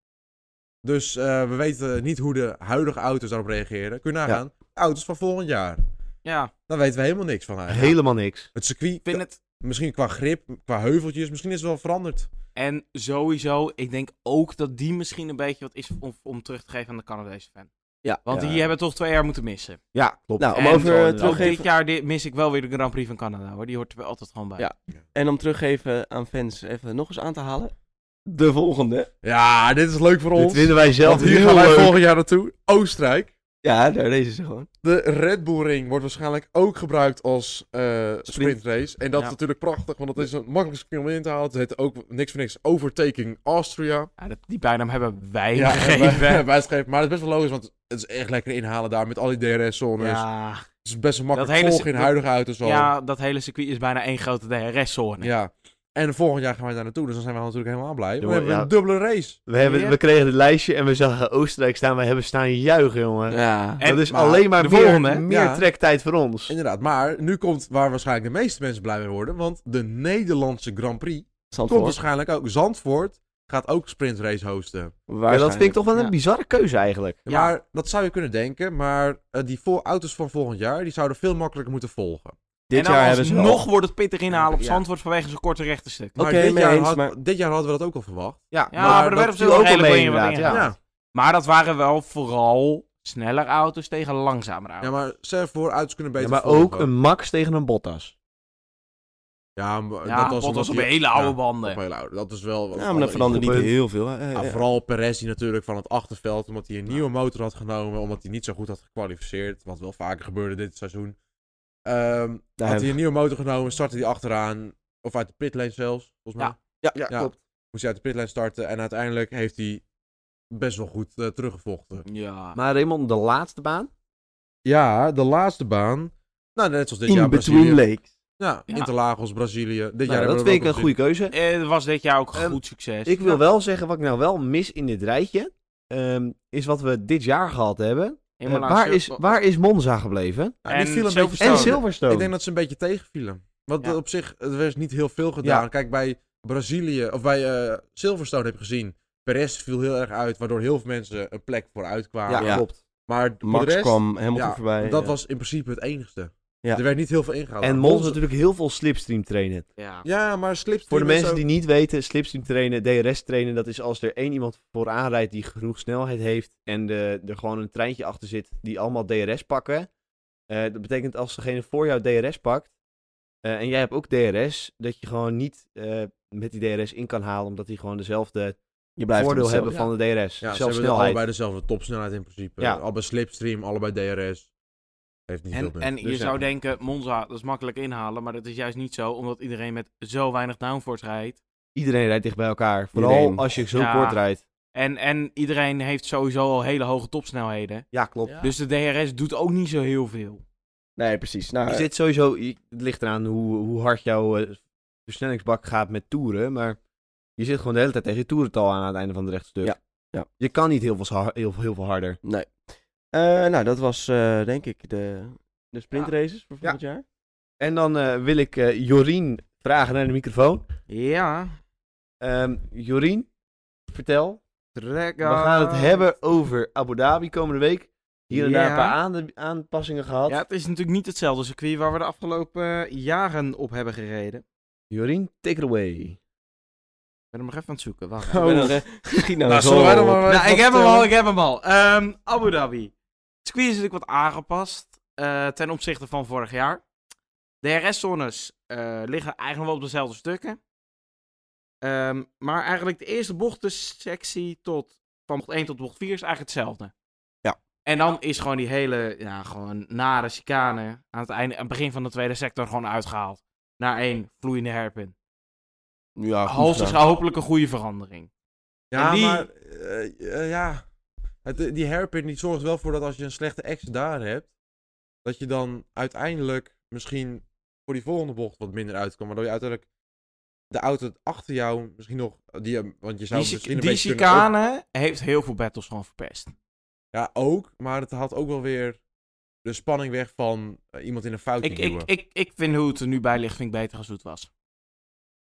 [SPEAKER 3] Dus eh, we weten niet hoe de huidige auto's daarop reageren. Kun je nagaan? Auto's van volgend jaar.
[SPEAKER 4] Ja, ik
[SPEAKER 3] Daar weten we helemaal niks van eigenlijk.
[SPEAKER 1] Ah, Helemaal niks.
[SPEAKER 3] Het circuit,
[SPEAKER 4] vind het...
[SPEAKER 3] misschien qua grip, qua heuveltjes, misschien is het wel veranderd.
[SPEAKER 4] En sowieso, ik denk ook dat die misschien een beetje wat is om, om terug te geven aan de Canadese fan.
[SPEAKER 2] Ja,
[SPEAKER 4] Want die hebben toch twee jaar moeten missen.
[SPEAKER 1] Ja, klopt.
[SPEAKER 2] Nou, om
[SPEAKER 4] En
[SPEAKER 2] over eh,
[SPEAKER 1] inderdaad.
[SPEAKER 4] Ook
[SPEAKER 2] teruggeven...
[SPEAKER 4] dit jaar di- mis ik wel weer de Grand Prix van Canada hoor. Die hoort er wel altijd gewoon bij.
[SPEAKER 2] Ja. En om teruggeven aan fans even nog eens aan te halen. De volgende.
[SPEAKER 3] Ja, dit is leuk voor
[SPEAKER 1] Dit
[SPEAKER 3] ons.
[SPEAKER 1] vinden wij zelf
[SPEAKER 3] Want hier
[SPEAKER 1] heel
[SPEAKER 3] gaan wij
[SPEAKER 1] leuk.
[SPEAKER 3] volgend jaar naartoe. Oostenrijk.
[SPEAKER 2] Ja, daar deze ze gewoon.
[SPEAKER 3] De Red Bull Ring wordt waarschijnlijk ook gebruikt als eh sprintrace. En dat
[SPEAKER 4] Ja.
[SPEAKER 3] is natuurlijk prachtig, want dat is een makkelijk circuit om in te halen. Het heet ook niks voor niks Overtaking Austria.
[SPEAKER 4] Ja, dat- die bijnaam hebben wij
[SPEAKER 3] Ja,
[SPEAKER 4] gegeven.
[SPEAKER 3] wij- wij schreven- Maar het is best wel logisch, want het is echt lekker inhalen daar met al die DRS-zones.
[SPEAKER 4] Ja.
[SPEAKER 3] Het is best een makkelijk
[SPEAKER 4] hele
[SPEAKER 3] volgen in
[SPEAKER 4] cir-
[SPEAKER 3] huidige auto's al.
[SPEAKER 4] ja, dat hele circuit is bijna één grote DRS-zone.
[SPEAKER 3] Ja. En volgend jaar gaan wij daar naartoe, dus dan zijn we natuurlijk helemaal blij. We
[SPEAKER 1] Jongen,
[SPEAKER 3] hebben
[SPEAKER 1] ja.
[SPEAKER 3] een dubbele race.
[SPEAKER 1] We, hebben, we kregen het lijstje en we zagen Oostenrijk staan. We hebben staan juichen, jongen.
[SPEAKER 2] Ja.
[SPEAKER 4] En-
[SPEAKER 1] dat is
[SPEAKER 4] maar
[SPEAKER 1] alleen maar
[SPEAKER 4] de
[SPEAKER 1] meer,
[SPEAKER 4] volgende, hè?
[SPEAKER 1] meer
[SPEAKER 3] Ja.
[SPEAKER 1] trektijd voor ons.
[SPEAKER 3] Inderdaad, maar nu komt waar waarschijnlijk de meeste mensen blij mee worden, want de Nederlandse Grand Prix komt
[SPEAKER 2] Zandvoort.
[SPEAKER 3] waarschijnlijk ook. Zandvoort gaat ook sprintrace hosten.
[SPEAKER 1] Ja, dat vind ik toch wel een
[SPEAKER 4] Ja.
[SPEAKER 1] bizarre keuze eigenlijk.
[SPEAKER 4] Ja.
[SPEAKER 3] Maar dat zou je kunnen denken, maar eh, die vol auto's van volgend jaar, die zouden veel makkelijker moeten volgen.
[SPEAKER 2] Dit
[SPEAKER 4] en dan
[SPEAKER 2] jaar hebben ze
[SPEAKER 4] nog
[SPEAKER 2] al-
[SPEAKER 4] wordt het pittig inhalen op
[SPEAKER 3] Ja.
[SPEAKER 4] Zandvoort vanwege zo'n korte rechte stuk.
[SPEAKER 3] Maar,
[SPEAKER 2] Oké,
[SPEAKER 3] dit,
[SPEAKER 2] mee
[SPEAKER 3] jaar
[SPEAKER 2] eens,
[SPEAKER 3] had-
[SPEAKER 2] maar-
[SPEAKER 3] dit jaar hadden we dat ook al verwacht.
[SPEAKER 1] Ja,
[SPEAKER 4] Ja, maar, er werd op zich wel redelijk mee inderdaad.
[SPEAKER 1] Ja.
[SPEAKER 3] Ja.
[SPEAKER 4] Maar dat waren wel vooral sneller auto's tegen langzamere auto's.
[SPEAKER 3] Ja, maar zelf voor auto's kunnen
[SPEAKER 1] Ja,
[SPEAKER 3] beter
[SPEAKER 1] maar
[SPEAKER 3] volgen.
[SPEAKER 1] ook een Max tegen een Bottas.
[SPEAKER 3] Ja, maar
[SPEAKER 4] Ja,
[SPEAKER 3] dat was
[SPEAKER 4] Bottas
[SPEAKER 3] omdat
[SPEAKER 4] op
[SPEAKER 3] die-
[SPEAKER 4] hele oude
[SPEAKER 3] ja,
[SPEAKER 4] banden.
[SPEAKER 3] Op hele oude. Dat is wel...
[SPEAKER 2] Ja, maar dat verandert niet
[SPEAKER 1] Punt.
[SPEAKER 2] heel veel. hè.
[SPEAKER 3] Ja, vooral Perez die natuurlijk van het achterveld, omdat hij een nieuwe motor had genomen, omdat hij niet zo goed had gekwalificeerd, wat wel vaker gebeurde dit seizoen. Ehm,
[SPEAKER 2] Daar
[SPEAKER 3] had
[SPEAKER 2] hebben
[SPEAKER 3] hij
[SPEAKER 2] we-
[SPEAKER 3] een nieuwe motor genomen, startte hij achteraan, of uit de pitlane zelfs, volgens mij.
[SPEAKER 4] Ja.
[SPEAKER 2] Ja,
[SPEAKER 3] Ja. klopt. moest hij uit de pitlane starten. En uiteindelijk heeft hij best wel goed eh, teruggevochten.
[SPEAKER 4] Ja.
[SPEAKER 1] Maar Raymond, de laatste baan?
[SPEAKER 3] Ja, de laatste baan. Nou, net zoals dit jaar
[SPEAKER 2] In between
[SPEAKER 3] Brazilië.
[SPEAKER 2] lakes.
[SPEAKER 3] Ja,
[SPEAKER 4] Ja.
[SPEAKER 3] Interlagos, Brazilië. Dit
[SPEAKER 1] Nou,
[SPEAKER 3] jaar hebben
[SPEAKER 1] dat
[SPEAKER 3] we
[SPEAKER 1] vind ik
[SPEAKER 3] ook
[SPEAKER 1] een goede keuze.
[SPEAKER 4] Eh, dat was dit jaar ook een
[SPEAKER 1] Ehm,
[SPEAKER 4] goed succes.
[SPEAKER 1] Ik wil
[SPEAKER 4] Ja.
[SPEAKER 1] wel zeggen, wat ik nou wel mis in dit rijtje, ehm, is wat we dit jaar gehad hebben. Eh,
[SPEAKER 4] Imola,
[SPEAKER 1] waar,
[SPEAKER 4] Sil-
[SPEAKER 1] is, waar is Monza gebleven?
[SPEAKER 3] Ja, Nou, die
[SPEAKER 4] En
[SPEAKER 3] viel een beetje
[SPEAKER 4] Silverstone.
[SPEAKER 1] En
[SPEAKER 4] Stone.
[SPEAKER 1] Silverstone.
[SPEAKER 3] Ik denk dat ze een beetje tegenvielen. Want
[SPEAKER 4] Ja.
[SPEAKER 3] op zich, er is niet heel veel gedaan.
[SPEAKER 1] Ja.
[SPEAKER 3] Kijk, bij Brazilië, of bij eh, Silverstone heb je gezien. Perez viel heel erg uit, waardoor heel veel mensen een plek vooruit kwamen.
[SPEAKER 1] ja,
[SPEAKER 2] Ja.
[SPEAKER 1] klopt.
[SPEAKER 3] Maar voor
[SPEAKER 2] Max
[SPEAKER 3] de rest,
[SPEAKER 2] kwam helemaal
[SPEAKER 3] ja,
[SPEAKER 2] goed voorbij. eh,
[SPEAKER 3] dat
[SPEAKER 2] ja.
[SPEAKER 3] was in principe het enigste.
[SPEAKER 2] Ja.
[SPEAKER 3] Er werd niet heel veel ingehaald.
[SPEAKER 1] En Monza natuurlijk heel veel slipstream trainen.
[SPEAKER 4] Ja.
[SPEAKER 3] Ja, maar slipstream
[SPEAKER 1] Voor de
[SPEAKER 3] is
[SPEAKER 1] mensen
[SPEAKER 3] ook-
[SPEAKER 1] die niet weten, slipstream trainen, DRS trainen, dat is als er één iemand vooraan rijdt die genoeg snelheid heeft en de, er gewoon een treintje achter zit die allemaal DRS pakken. Eh, dat betekent als degene voor jou DRS pakt eh, en jij hebt ook DRS, dat je gewoon niet eh, met die DRS in kan halen omdat die gewoon dezelfde
[SPEAKER 2] Je blijft
[SPEAKER 1] voordeel
[SPEAKER 2] hetzelfde.
[SPEAKER 1] hebben van de DRS.
[SPEAKER 3] Ja, ze
[SPEAKER 1] Zelfs
[SPEAKER 3] hebben de-
[SPEAKER 1] snelheid.
[SPEAKER 3] allebei dezelfde topsnelheid in principe.
[SPEAKER 1] Ja.
[SPEAKER 3] Allebei slipstream, allebei DRS. Heeft niet veel
[SPEAKER 4] En,
[SPEAKER 3] meer.
[SPEAKER 4] en je
[SPEAKER 3] Dus ja.
[SPEAKER 4] zou denken, Monza, dat is makkelijk inhalen. Maar dat is juist niet zo, omdat iedereen met zo weinig downforce rijdt.
[SPEAKER 1] Iedereen rijdt dicht bij elkaar, vooral
[SPEAKER 2] Iedereen.
[SPEAKER 1] als je zo
[SPEAKER 4] Ja.
[SPEAKER 1] kort rijdt.
[SPEAKER 4] En, en iedereen heeft sowieso al hele hoge topsnelheden.
[SPEAKER 1] Ja, klopt.
[SPEAKER 2] Ja.
[SPEAKER 4] Dus de DRS doet ook niet zo heel veel.
[SPEAKER 2] Nee, precies. Nou,
[SPEAKER 1] Je
[SPEAKER 4] Eh,
[SPEAKER 1] zit sowieso, je- het ligt eraan hoe, hoe hard jouw eh, versnellingsbak gaat met toeren, maar je zit gewoon de hele tijd tegen je toerental aan aan het einde van het rechtstuk.
[SPEAKER 2] Ja, ja.
[SPEAKER 1] Je kan niet heel veel, sa- heel, heel veel harder.
[SPEAKER 2] Nee. Eh, nou, dat was eh, denk ik de, de sprintraces voor
[SPEAKER 1] Ja.
[SPEAKER 2] volgend jaar.
[SPEAKER 1] En dan eh, wil ik eh, Jorien vragen naar de microfoon.
[SPEAKER 4] Ja.
[SPEAKER 1] Ehm, Jorien, vertel.
[SPEAKER 4] Trek
[SPEAKER 1] We gaan het hebben over Abu Dhabi komende week. Hier en daar
[SPEAKER 4] Ja.
[SPEAKER 1] een paar aan- aanpassingen gehad.
[SPEAKER 4] Ja, het is natuurlijk niet hetzelfde circuit waar we de afgelopen eh, jaren op hebben gereden. Ik
[SPEAKER 1] Jorien, take it away.
[SPEAKER 4] ben hem nog even aan het zoeken. Wacht.
[SPEAKER 2] Ik ben nog, eh, schiet nou,
[SPEAKER 3] Nou,
[SPEAKER 2] zo
[SPEAKER 3] zullen wij dan
[SPEAKER 2] op.
[SPEAKER 3] maar even eh,
[SPEAKER 4] nou, ik
[SPEAKER 3] wat
[SPEAKER 4] heb hem
[SPEAKER 3] vertellen?
[SPEAKER 4] al, ik heb hem al. Ehm, Abu Dhabi. Het circuit is natuurlijk wat aangepast eh, ten opzichte van vorig jaar. De RS-zones eh, liggen eigenlijk wel op dezelfde stukken. Ehm, maar eigenlijk de eerste bochtensectie tot, van bocht 1 tot bocht 4 is eigenlijk hetzelfde.
[SPEAKER 2] Ja.
[SPEAKER 4] En dan is gewoon die hele ja, gewoon nare chicane aan het, einde, aan het begin van de tweede sector gewoon uitgehaald. Naar één vloeiende herpin.
[SPEAKER 2] Ja, goed
[SPEAKER 4] Hoogstens
[SPEAKER 2] gedaan.
[SPEAKER 4] hopelijk een goede verandering.
[SPEAKER 3] Ja,
[SPEAKER 4] En die-
[SPEAKER 3] maar eh, eh, ja. Het, eh, die hairpin die zorgt wel voor dat als je een slechte exit daar hebt, dat je dan uiteindelijk misschien voor die volgende bocht wat minder uitkomt. Waardoor je uiteindelijk de auto achter jou misschien nog, die, eh, want je zou
[SPEAKER 4] die
[SPEAKER 3] misschien
[SPEAKER 4] chi-
[SPEAKER 3] een
[SPEAKER 4] die
[SPEAKER 3] beetje kunnen op-
[SPEAKER 4] chicane heeft heel veel battles gewoon verpest.
[SPEAKER 3] Ja, ook. Maar het haalt ook wel weer de spanning weg van eh, iemand in een fout
[SPEAKER 4] Ik, ik,
[SPEAKER 3] duwen.
[SPEAKER 4] ik, ik vind hoe het er nu bij ligt, vind ik beter als hoe het was.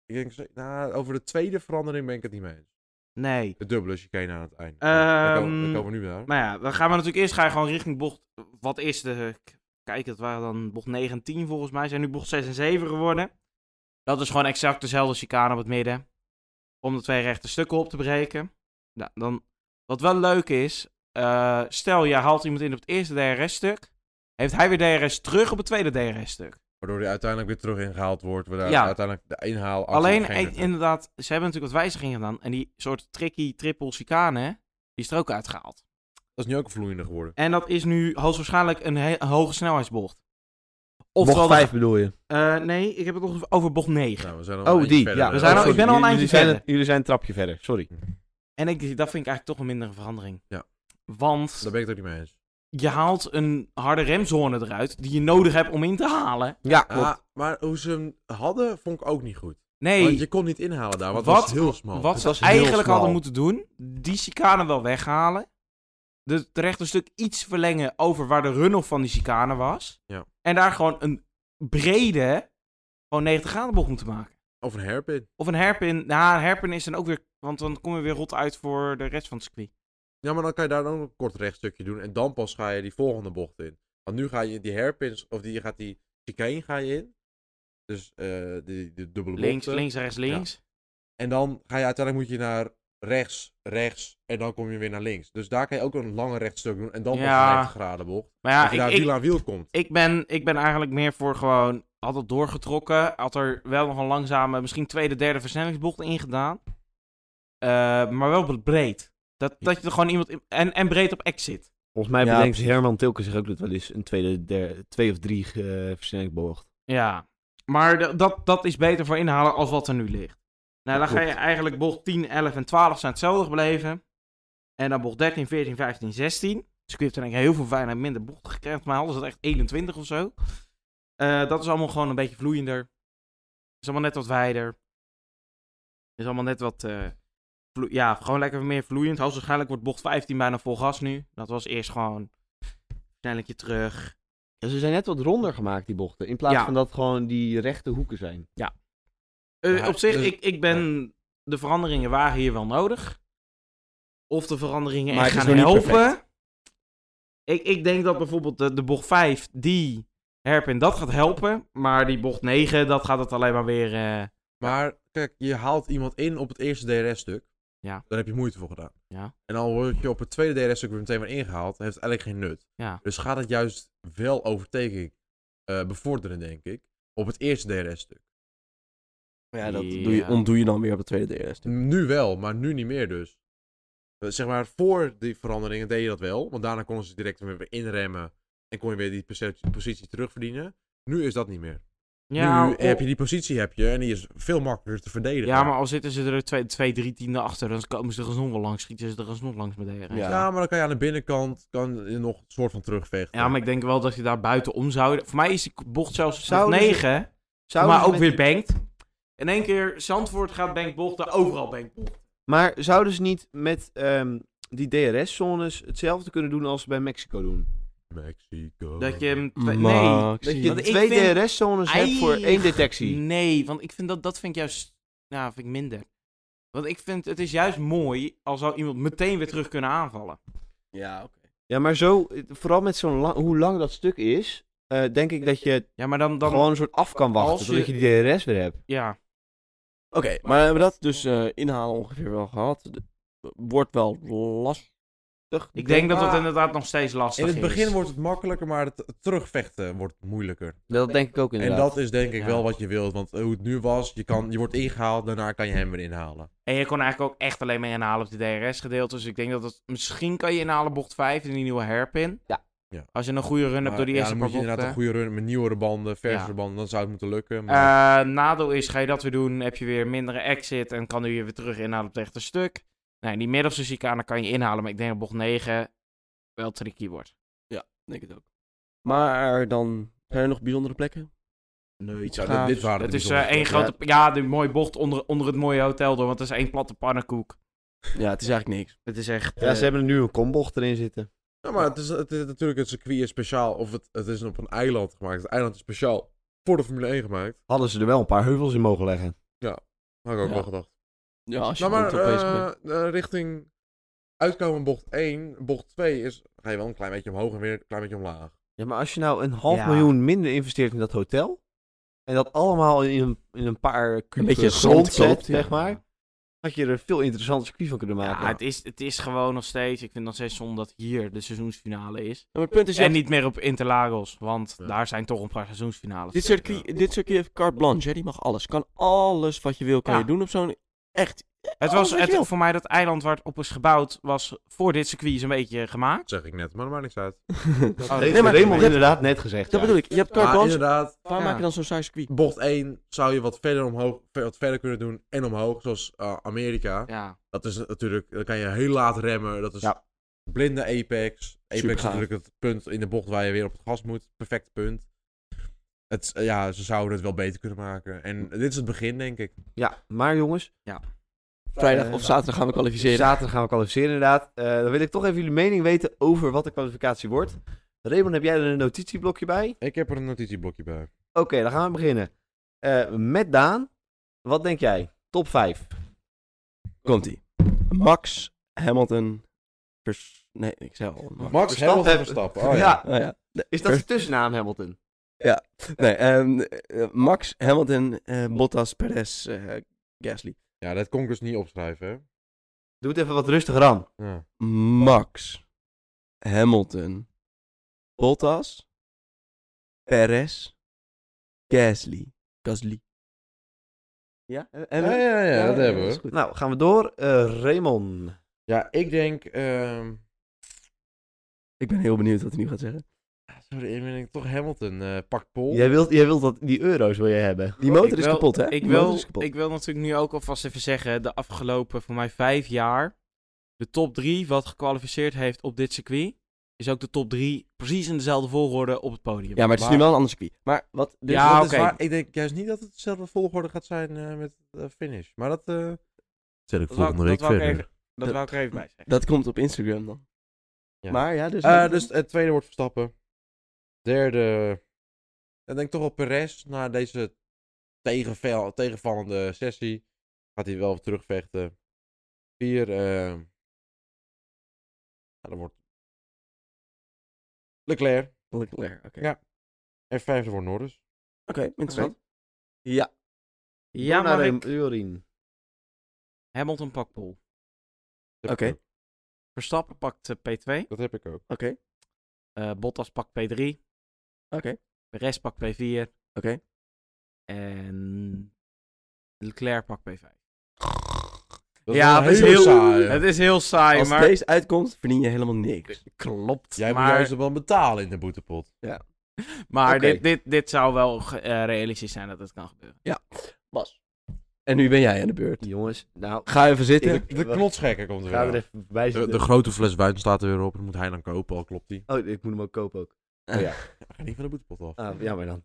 [SPEAKER 3] Ik denk, zo- nou, over de tweede verandering ben ik het niet mee eens.
[SPEAKER 4] Nee.
[SPEAKER 3] De dubbele chicane aan het eind. Ja, daar komen- daar
[SPEAKER 4] Ehm,
[SPEAKER 3] komen we nu naar.
[SPEAKER 4] Maar ja, dan gaan we natuurlijk eerst ga je gewoon richting bocht... Wat is de... k- Kijk, dat waren dan bocht 9 en 10 volgens mij. Zijn nu bocht 6 en 7 geworden. Dat is gewoon exact dezelfde chicane op het midden. Om de twee rechte stukken op te breken. Nou, dan... Wat wel leuk is... eh, stel, je haalt iemand in op het eerste DRS-stuk. Heeft hij weer DRS terug op het tweede DRS-stuk.
[SPEAKER 3] Waardoor hij uiteindelijk weer terug ingehaald wordt. Waardoor
[SPEAKER 4] Ja.
[SPEAKER 3] uiteindelijk de inhaal...
[SPEAKER 4] Alleen,
[SPEAKER 3] geen
[SPEAKER 4] ik-
[SPEAKER 3] return.
[SPEAKER 4] inderdaad, ze hebben natuurlijk wat wijzigingen gedaan. En die soort tricky triple chicane, die is er ook uitgehaald.
[SPEAKER 3] Dat is nu ook vloeiender geworden.
[SPEAKER 4] En dat is nu hoogstwaarschijnlijk een, he- een hoge snelheidsbocht.
[SPEAKER 1] Bocht
[SPEAKER 4] Oftewel,
[SPEAKER 1] 5 bedoel je?
[SPEAKER 4] eh, nee, ik heb het nog over bocht 9.
[SPEAKER 3] Nou, we zijn al een
[SPEAKER 1] Oh,
[SPEAKER 3] eindje
[SPEAKER 1] die.
[SPEAKER 3] verder.
[SPEAKER 1] Ja,
[SPEAKER 4] We zijn
[SPEAKER 1] oh,
[SPEAKER 4] al- ik
[SPEAKER 1] sorry.
[SPEAKER 4] ben al een
[SPEAKER 1] Jullie-
[SPEAKER 4] eindje
[SPEAKER 1] jullie zijn-
[SPEAKER 4] verder.
[SPEAKER 1] Jullie zijn een trapje verder, sorry.
[SPEAKER 4] En ik, dat vind ik eigenlijk toch wel minder een verandering.
[SPEAKER 3] Ja.
[SPEAKER 4] Want
[SPEAKER 3] Daar ben ik het ook niet mee eens.
[SPEAKER 4] je haalt een harde remzone eruit die je nodig hebt om in te halen.
[SPEAKER 1] Ja,
[SPEAKER 3] Ah, maar hoe ze hem hadden, vond ik ook niet goed. Want je
[SPEAKER 4] Nee,
[SPEAKER 3] kon niet inhalen daar, want
[SPEAKER 4] Wat-
[SPEAKER 3] het was heel smal.
[SPEAKER 4] wat
[SPEAKER 1] was
[SPEAKER 4] ze
[SPEAKER 1] heel
[SPEAKER 4] eigenlijk
[SPEAKER 1] smal.
[SPEAKER 4] hadden moeten doen, die chicane wel weghalen. De het rechte stuk iets verlengen over waar de runoff van die chicane was.
[SPEAKER 3] Ja.
[SPEAKER 4] En daar gewoon een brede, gewoon 90 graden bocht moeten maken.
[SPEAKER 3] Of een hairpin.
[SPEAKER 4] Of een herpin. Nou, een herpin is dan ook weer. Want dan kom je weer rot uit voor de rest van het circuit.
[SPEAKER 3] Ja, maar dan kan je daar dan ook een kort rechtstukje doen. En dan pas ga je die volgende bocht in. Want nu ga je die hairpins, of die, je gaat die chicane ga je in. Dus eh die, die dubbele
[SPEAKER 4] Links,
[SPEAKER 3] bochten.
[SPEAKER 4] links, rechts, links.
[SPEAKER 3] En dan ga je uiteindelijk moet je naar rechts, rechts. En dan kom je weer naar links. Dus daar kan je ook een lange rechtstuk doen. En dan pas
[SPEAKER 4] Ja.
[SPEAKER 3] een 90 graden bocht.
[SPEAKER 4] Maar
[SPEAKER 3] dat je
[SPEAKER 4] ja,
[SPEAKER 3] daar
[SPEAKER 4] ik,
[SPEAKER 3] wiel
[SPEAKER 4] ik,
[SPEAKER 3] aan wiel komt.
[SPEAKER 4] ik, ben, ik ben eigenlijk meer voor gewoon. Had het doorgetrokken. Had er wel nog een langzame, misschien tweede, derde versnellingsbocht in gedaan. Eh, maar wel op breed. Dat, dat je er gewoon iemand. in- en, en breed op exit.
[SPEAKER 1] Volgens mij
[SPEAKER 2] Ja,
[SPEAKER 1] bedenkt Herman Tilke zich ook dat wel eens een tweede, der- twee of drie eh versnellingsbocht.
[SPEAKER 4] Ja. Maar d- dat, dat is beter voor inhalen als wat er nu ligt. Nou, dan ga je
[SPEAKER 1] Klopt.
[SPEAKER 4] eigenlijk bocht 10, 11 en 12 zijn hetzelfde gebleven. En dan bocht 13, 14, 15, 16. Dus ik heb er denk ik heel veel bijna minder bochten gekregen. Maar hadden ze het echt 21 of zo. Eh, dat is allemaal gewoon een beetje vloeiender. Is allemaal net wat wijder. Is allemaal net wat... eh, vloe- ja, gewoon lekker meer vloeiend. Hoogstwaarschijnlijk wordt bocht 15 bijna vol gas nu. Dat was eerst gewoon... Snelletje terug.
[SPEAKER 1] Ja, ze zijn net wat ronder gemaakt, die bochten. In plaats
[SPEAKER 4] Ja.
[SPEAKER 1] van dat gewoon die rechte hoeken zijn.
[SPEAKER 4] Eh,
[SPEAKER 3] Ja,
[SPEAKER 4] op zich,
[SPEAKER 3] dus-
[SPEAKER 4] ik, ik ben... De veranderingen waren hier wel nodig. Of de veranderingen
[SPEAKER 2] Maar
[SPEAKER 4] echt
[SPEAKER 2] het is
[SPEAKER 4] gaan
[SPEAKER 2] nog niet
[SPEAKER 4] helpen. Ik, ik denk dat bijvoorbeeld de, de bocht 5, die herpin, dat gaat helpen. Maar die bocht 9, dat gaat het alleen maar weer... eh,
[SPEAKER 3] Maar kijk, je haalt iemand in op het eerste DRS-stuk.
[SPEAKER 4] Ja.
[SPEAKER 3] Daar heb je moeite voor gedaan.
[SPEAKER 4] Ja.
[SPEAKER 3] En dan word je op het tweede DRS-stuk weer meteen weer ingehaald. Heeft het eigenlijk geen nut.
[SPEAKER 4] Ja.
[SPEAKER 3] Dus gaat het juist wel overtaking eh, bevorderen, denk ik. Op het eerste DRS-stuk.
[SPEAKER 2] Ja, dat doe je,
[SPEAKER 4] Ja.
[SPEAKER 2] ontdoe je dan weer op het tweede DRS.
[SPEAKER 3] Nu wel, maar nu niet meer dus. Eh, Zeg maar, voor die veranderingen deed je dat wel. Want daarna konden ze direct weer inremmen. En kon je weer die perce- positie terugverdienen. Nu is dat niet meer.
[SPEAKER 4] Ja,
[SPEAKER 3] nu
[SPEAKER 4] o-
[SPEAKER 3] heb je die positie heb je, en die is veel makkelijker te verdedigen.
[SPEAKER 4] ja, maar al zitten ze er twee, twee drie tienden achter, dan komen ze er alsnog wel langs, schieten ze er alsnog langs met de heren.
[SPEAKER 2] Ja.
[SPEAKER 3] Ja. maar dan kan je aan de binnenkant kan je nog een soort van terugvechten.
[SPEAKER 4] Ja, maar ik denk wel dat je daar buitenom zou... Voor mij is die bocht zelfs nog
[SPEAKER 1] Zouden ze-
[SPEAKER 4] 9,
[SPEAKER 1] Zouden
[SPEAKER 4] maar
[SPEAKER 1] ze
[SPEAKER 4] ook
[SPEAKER 1] met
[SPEAKER 4] weer
[SPEAKER 1] die-
[SPEAKER 4] bankt. In één keer, Zandvoort gaat bankbochten, overal bankbochten.
[SPEAKER 1] Maar zouden ze niet met ehm, die DRS-zones hetzelfde kunnen doen als ze bij Mexico doen?
[SPEAKER 3] Mexico.
[SPEAKER 4] Dat je hem... twee- Nee,
[SPEAKER 2] Maxi.
[SPEAKER 1] Dat je
[SPEAKER 4] Want ik
[SPEAKER 1] twee
[SPEAKER 4] vind-
[SPEAKER 1] DRS-zones hebt voor één
[SPEAKER 4] Eigen-
[SPEAKER 1] detectie.
[SPEAKER 4] Nee, want ik vind dat, dat vind ik juist nou, vind ik minder. Want ik vind het is juist mooi als zou iemand meteen weer terug kunnen aanvallen.
[SPEAKER 2] Ja, oké.
[SPEAKER 1] Ja, maar zo, eh, vooral met zo'n lang, hoe lang dat stuk is, eh, denk ik dat je
[SPEAKER 4] Ja, maar dan. dan
[SPEAKER 1] gewoon een soort af kan wachten
[SPEAKER 4] als
[SPEAKER 1] totdat je
[SPEAKER 4] je-
[SPEAKER 1] die DRS weer hebt.
[SPEAKER 4] Ja.
[SPEAKER 2] Oké, maar we hebben dat dus eh, inhalen ongeveer wel gehad. De- wordt wel lastig.
[SPEAKER 4] Ik denk dat dat
[SPEAKER 3] Ah.
[SPEAKER 4] inderdaad nog steeds lastig
[SPEAKER 3] In
[SPEAKER 4] is.
[SPEAKER 3] het begin wordt het makkelijker, maar het het terugvechten wordt moeilijker.
[SPEAKER 1] Dat denk ik ook
[SPEAKER 3] En
[SPEAKER 1] inderdaad.
[SPEAKER 3] dat is denk ik
[SPEAKER 4] Ja.
[SPEAKER 3] wel wat je wilt, want hoe het nu was, je, kan, je wordt ingehaald, daarna kan je hem weer inhalen.
[SPEAKER 4] En je kon eigenlijk ook echt alleen maar inhalen op de DRS-gedeelte. Dus ik denk dat dat. Misschien kan je inhalen bocht 5 in die nieuwe hairpin.
[SPEAKER 1] Ja.
[SPEAKER 3] Ja.
[SPEAKER 4] Als je een goede run hebt
[SPEAKER 3] Maar
[SPEAKER 4] door die
[SPEAKER 3] ja,
[SPEAKER 4] eerste
[SPEAKER 3] dan
[SPEAKER 4] paar
[SPEAKER 3] moet je inderdaad
[SPEAKER 4] bochten.
[SPEAKER 3] een goede run met nieuwere banden, versere
[SPEAKER 4] Ja.
[SPEAKER 3] banden, dan zou het moeten lukken. Maar...
[SPEAKER 4] Eh, nadeel is, ga je dat weer doen, heb je weer mindere exit en kan nu je weer terug inhalen op het rechte stuk. Nou, die middelste chicane kan je inhalen, maar ik denk dat bocht 9 wel tricky wordt.
[SPEAKER 2] Denk het ook. Maar dan zijn er nog bijzondere plekken?
[SPEAKER 3] nee,
[SPEAKER 2] iets
[SPEAKER 3] dit,
[SPEAKER 2] gaafs.
[SPEAKER 3] dit waren de
[SPEAKER 4] Eh, Het is eh,
[SPEAKER 3] bijzondere
[SPEAKER 4] één
[SPEAKER 3] plekken.
[SPEAKER 4] grote. Ja, die mooie bocht onder, onder het mooie hotel door. Want het is één platte pannenkoek.
[SPEAKER 2] Ja, het is eigenlijk niks.
[SPEAKER 4] Het is echt.
[SPEAKER 1] Ja,
[SPEAKER 4] eh,
[SPEAKER 1] ze hebben er nu een kombocht erin zitten.
[SPEAKER 3] Ja, maar het is, het is natuurlijk het circuit is speciaal, of het, het is op een eiland gemaakt. Het eiland is speciaal voor de Formule 1 gemaakt.
[SPEAKER 1] Hadden ze er wel een paar heuvels in mogen leggen.
[SPEAKER 3] Had ik ook
[SPEAKER 2] Ja.
[SPEAKER 3] wel gedacht.
[SPEAKER 2] Ja, als je
[SPEAKER 3] Nou,
[SPEAKER 2] nou,
[SPEAKER 3] maar
[SPEAKER 2] bezig bent.
[SPEAKER 3] eh, eh, richting uitkomen bocht 1, bocht 2 is, ga je wel een klein beetje omhoog en weer een klein beetje omlaag.
[SPEAKER 1] Ja, maar als je nou een half
[SPEAKER 4] Ja.
[SPEAKER 1] miljoen minder investeert in dat hotel, en dat allemaal in een, in een paar kuben
[SPEAKER 2] beetje
[SPEAKER 1] grond
[SPEAKER 2] zand
[SPEAKER 1] zet,
[SPEAKER 2] koopt, ja.
[SPEAKER 1] zeg maar, had je er een veel interessanter circuit van kunnen maken.
[SPEAKER 4] ja, het, is, het is gewoon nog steeds. Ik vind nog steeds zonde dat hier de seizoensfinale is.
[SPEAKER 2] Ja, maar het punt is,
[SPEAKER 4] en
[SPEAKER 2] dat
[SPEAKER 4] niet meer op Interlagos. Want
[SPEAKER 3] Ja.
[SPEAKER 4] daar zijn toch een paar seizoensfinales.
[SPEAKER 2] dit, circuit, dit circuit heeft carte blanche, hè? die mag alles. Kan alles wat je wil, kan
[SPEAKER 4] Ja.
[SPEAKER 2] je doen op zo'n... Echt,
[SPEAKER 4] het
[SPEAKER 2] alles
[SPEAKER 4] was
[SPEAKER 2] wat Oh, je wil.
[SPEAKER 4] het, voor mij dat eiland waar het op is gebouwd. was voor dit circuit een beetje gemaakt.
[SPEAKER 3] Dat zeg ik net, maar dat maakt niks uit.
[SPEAKER 1] dat
[SPEAKER 4] Oh,
[SPEAKER 1] heeft
[SPEAKER 2] nee, maar-
[SPEAKER 1] Raymond
[SPEAKER 2] dat-
[SPEAKER 1] inderdaad net gezegd.
[SPEAKER 2] dat
[SPEAKER 1] ja.
[SPEAKER 2] bedoel ik. Je hebt carte
[SPEAKER 3] Maar
[SPEAKER 2] blanche,
[SPEAKER 3] inderdaad,
[SPEAKER 2] waar
[SPEAKER 4] Ja.
[SPEAKER 2] maak je dan zo'n saai circuit?
[SPEAKER 3] bocht 1 zou je wat verder omhoog, ver- wat verder kunnen doen en omhoog, zoals eh, Amerika.
[SPEAKER 4] Ja.
[SPEAKER 3] Dat is natuurlijk, dan kan je heel laat remmen. Dat is
[SPEAKER 1] Ja.
[SPEAKER 3] blinde apex. Apex
[SPEAKER 2] Supergaaf.
[SPEAKER 3] is natuurlijk het punt in de bocht waar je weer op het gas moet. Perfect punt. Het, is- eh, ja, ze zouden het wel beter kunnen maken. En dit is het begin, denk ik.
[SPEAKER 1] Ja, maar jongens,
[SPEAKER 2] Vrijdag of Eh, zaterdag gaan we kwalificeren.
[SPEAKER 1] zaterdag gaan we kwalificeren inderdaad. Eh, dan wil ik toch even jullie mening weten over wat de kwalificatie wordt. Raymond, heb jij er een notitieblokje bij?
[SPEAKER 3] Ik heb er een notitieblokje bij.
[SPEAKER 1] Oké, dan gaan we beginnen. Eh, met Daan, wat denk jij? Top 5.
[SPEAKER 2] Komt-ie. Max Hamilton... Vers... Nee, ik zei al... Max.
[SPEAKER 3] Max
[SPEAKER 1] Verstappen.
[SPEAKER 3] Hamilton Verstappen. Oh, ja.
[SPEAKER 2] Oh, ja.
[SPEAKER 1] is dat de tussennaam Hamilton?
[SPEAKER 2] Nee, ehm, eh, Max Hamilton, eh, Bottas, Perez, eh, Gasly.
[SPEAKER 3] ja, dat kon ik dus niet opschrijven. hè.
[SPEAKER 1] Doe het even wat rustiger aan.
[SPEAKER 3] Ja.
[SPEAKER 2] Max, Hamilton, Bottas, Perez, Gasly. Gasly. Ja?
[SPEAKER 3] Ja, ja, ja, dat hebben we.
[SPEAKER 1] Nou, gaan we door. Eh, Raymond.
[SPEAKER 3] Ja, ik denk... ehm,
[SPEAKER 2] Ik ben heel benieuwd wat hij nu gaat zeggen.
[SPEAKER 3] sorry, ik denk toch Hamilton. eh pak Pol.
[SPEAKER 1] Jij wilt, jij wilt dat, die euro's wil je hebben.
[SPEAKER 2] Die motor
[SPEAKER 4] Ik
[SPEAKER 2] is
[SPEAKER 4] wil-
[SPEAKER 2] kapot, hè?
[SPEAKER 4] Ik
[SPEAKER 2] Die
[SPEAKER 4] wil,
[SPEAKER 2] motor is kapot.
[SPEAKER 4] ik wil natuurlijk nu ook alvast even zeggen. De afgelopen voor mij vijf jaar. De top drie wat gekwalificeerd heeft op dit circuit. Is ook de top drie precies in dezelfde volgorde op het podium.
[SPEAKER 2] Ja, maar het is nu wel een ander circuit. Maar wat... Dus
[SPEAKER 4] Ja,
[SPEAKER 3] Dat is
[SPEAKER 2] wat is
[SPEAKER 4] oké.
[SPEAKER 2] waar-
[SPEAKER 3] waar. Ik denk juist niet dat het dezelfde volgorde gaat zijn eh, met de finish. Maar dat... eh Zet ik
[SPEAKER 4] Dat wou- volgende dat week wou ik verder. Dat wou ik er even bij zeggen.
[SPEAKER 2] Dat komt op Instagram dan.
[SPEAKER 3] Ja.
[SPEAKER 2] Maar ja, dus...
[SPEAKER 3] Eh, dus het tweede wordt Verstappen. Derde. Ik denk toch op Perez. Na deze tegenvel- tegenvallende sessie. Gaat hij wel terugvechten. Vier. eh ja, dat wordt. Leclerc.
[SPEAKER 2] Leclerc, oké.
[SPEAKER 3] Ja. En vijfde wordt Norris.
[SPEAKER 2] Oké, interessant. Ja.
[SPEAKER 4] Ja,
[SPEAKER 1] Door naar
[SPEAKER 4] maar
[SPEAKER 1] Raym-
[SPEAKER 4] ik...
[SPEAKER 1] Jorien.
[SPEAKER 4] Hamilton pakt pol.
[SPEAKER 3] Dat heb
[SPEAKER 2] Oké.
[SPEAKER 3] ik ook.
[SPEAKER 4] Verstappen pakt eh, P2.
[SPEAKER 3] Dat heb ik ook.
[SPEAKER 2] Oké,
[SPEAKER 4] eh, Bottas pakt P3.
[SPEAKER 2] oké,
[SPEAKER 4] Perez pakt P4.
[SPEAKER 2] oké.
[SPEAKER 4] En Leclerc pakt P5.
[SPEAKER 3] Dat
[SPEAKER 4] Ja,
[SPEAKER 3] wordt
[SPEAKER 4] het is
[SPEAKER 3] hele
[SPEAKER 4] heel-
[SPEAKER 3] saaie.
[SPEAKER 4] Het is heel saai,
[SPEAKER 2] Als
[SPEAKER 4] maar...
[SPEAKER 2] deze uitkomt, verdien je helemaal niks.
[SPEAKER 4] Klopt,
[SPEAKER 3] Jij moet
[SPEAKER 4] maar...
[SPEAKER 3] juist wel betalen in de boetepot.
[SPEAKER 4] Maar
[SPEAKER 2] Oké.
[SPEAKER 4] dit, dit, dit zou wel ge- eh, realistisch zijn dat het kan gebeuren.
[SPEAKER 2] Bas. En nu ben jij aan de beurt.
[SPEAKER 1] Jongens, nou,
[SPEAKER 2] Ga even zitten.
[SPEAKER 1] Ik-
[SPEAKER 3] De knotsgekker komt er
[SPEAKER 1] gaan we er
[SPEAKER 3] weer.
[SPEAKER 1] even bij
[SPEAKER 3] De,
[SPEAKER 1] zitten.
[SPEAKER 3] de grote fles wijn staat er weer op. Dat moet hij dan kopen, al klopt die.
[SPEAKER 1] Oh, ik moet hem ook kopen ook.
[SPEAKER 2] Oh ja.
[SPEAKER 3] Ga niet van de boetepot af.
[SPEAKER 1] Ah, jammer dan.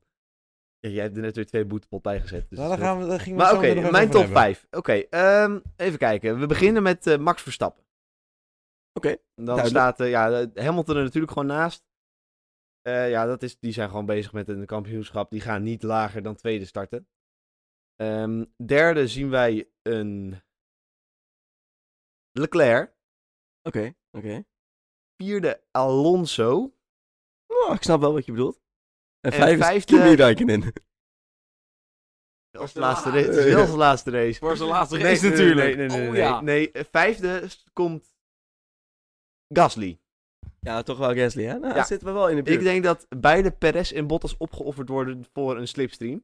[SPEAKER 1] Ja, jij hebt er net weer twee boetepot bij gezet. Dus
[SPEAKER 4] Nou,
[SPEAKER 1] dat-
[SPEAKER 3] we, Nou, dan gingen
[SPEAKER 1] Maar oké, mijn top 5. Oké, ehm, even kijken. We beginnen met eh, Max Verstappen.
[SPEAKER 2] Oké,
[SPEAKER 1] Dan
[SPEAKER 2] duidelijk.
[SPEAKER 1] staat eh, ja, Hamilton er natuurlijk gewoon naast. Eh, ja, dat is, die zijn gewoon bezig met een kampioenschap. Die gaan niet lager dan tweede starten. Ehm, derde zien wij een Leclerc.
[SPEAKER 2] Oké, oké.
[SPEAKER 1] Vierde Alonso.
[SPEAKER 2] Oh, Ik snap wel wat je bedoelt. En,
[SPEAKER 1] En
[SPEAKER 2] vijf is
[SPEAKER 1] vijfde-
[SPEAKER 2] Kimi Räikkönen.
[SPEAKER 1] Als laatste race. Het is wel zijn laatste race.
[SPEAKER 4] Voor zijn laatste
[SPEAKER 1] Nee,
[SPEAKER 4] race
[SPEAKER 1] nee,
[SPEAKER 4] natuurlijk.
[SPEAKER 1] Nee, nee, nee.
[SPEAKER 4] Oh,
[SPEAKER 1] nee,
[SPEAKER 4] ja.
[SPEAKER 1] nee. Eh, Vijfde komt Gasly.
[SPEAKER 2] Ja, toch wel Gasly, hè? Nou,
[SPEAKER 1] Ja.
[SPEAKER 2] zitten we wel in de buurt.
[SPEAKER 1] Ik denk dat beide Perez en Bottas opgeofferd worden voor een slipstream.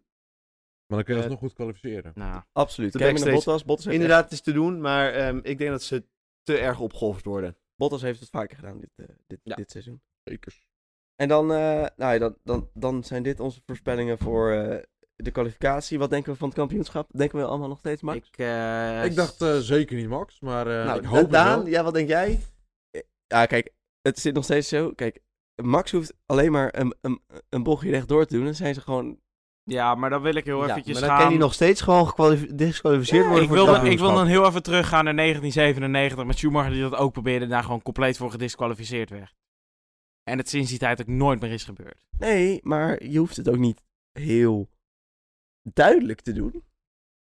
[SPEAKER 3] Maar dan kun je
[SPEAKER 1] Eh,
[SPEAKER 3] nog goed kwalificeren.
[SPEAKER 4] Nou,
[SPEAKER 2] Absoluut.
[SPEAKER 1] de
[SPEAKER 2] Kijk maar naar
[SPEAKER 1] backstage.
[SPEAKER 2] Bottas. Bottas heeft,
[SPEAKER 1] Inderdaad, het is te doen, maar ehm, ik denk dat ze te erg opgeofferd worden.
[SPEAKER 2] Bottas heeft het vaker gedaan dit, eh, dit,
[SPEAKER 1] Ja.
[SPEAKER 2] dit seizoen.
[SPEAKER 3] Zeker.
[SPEAKER 2] En dan, eh, nou ja, dan, dan, dan zijn dit onze voorspellingen voor eh, de kwalificatie. Wat denken we van het kampioenschap? Denken we allemaal nog steeds, Max?
[SPEAKER 4] ik, eh,
[SPEAKER 3] Ik dacht eh, zeker niet Max, maar eh,
[SPEAKER 1] nou,
[SPEAKER 3] ik hoop het
[SPEAKER 1] Daan,
[SPEAKER 3] wel.
[SPEAKER 1] ja, wat denk jij?
[SPEAKER 2] Ja, kijk, het zit nog steeds zo. Kijk, Max hoeft alleen maar een, een, een bochtje rechtdoor te doen. Dan zijn ze gewoon...
[SPEAKER 4] Ja, maar dan wil ik heel
[SPEAKER 1] Ja,
[SPEAKER 4] eventjes
[SPEAKER 1] maar dan
[SPEAKER 4] gaan...
[SPEAKER 1] kan hij nog steeds gewoon gekwalif- disqualificeerd
[SPEAKER 4] Ja,
[SPEAKER 1] worden
[SPEAKER 4] ik,
[SPEAKER 1] voor
[SPEAKER 4] wil
[SPEAKER 1] het
[SPEAKER 4] dan, ik wil
[SPEAKER 1] kampioenschap.
[SPEAKER 4] dan heel even teruggaan naar 1997 met Schumacher die dat ook probeerde en daar gewoon compleet voor gedisqualificeerd werd. En het sinds die tijd ook nooit meer is gebeurd.
[SPEAKER 2] Nee, maar je hoeft het ook niet heel duidelijk te doen.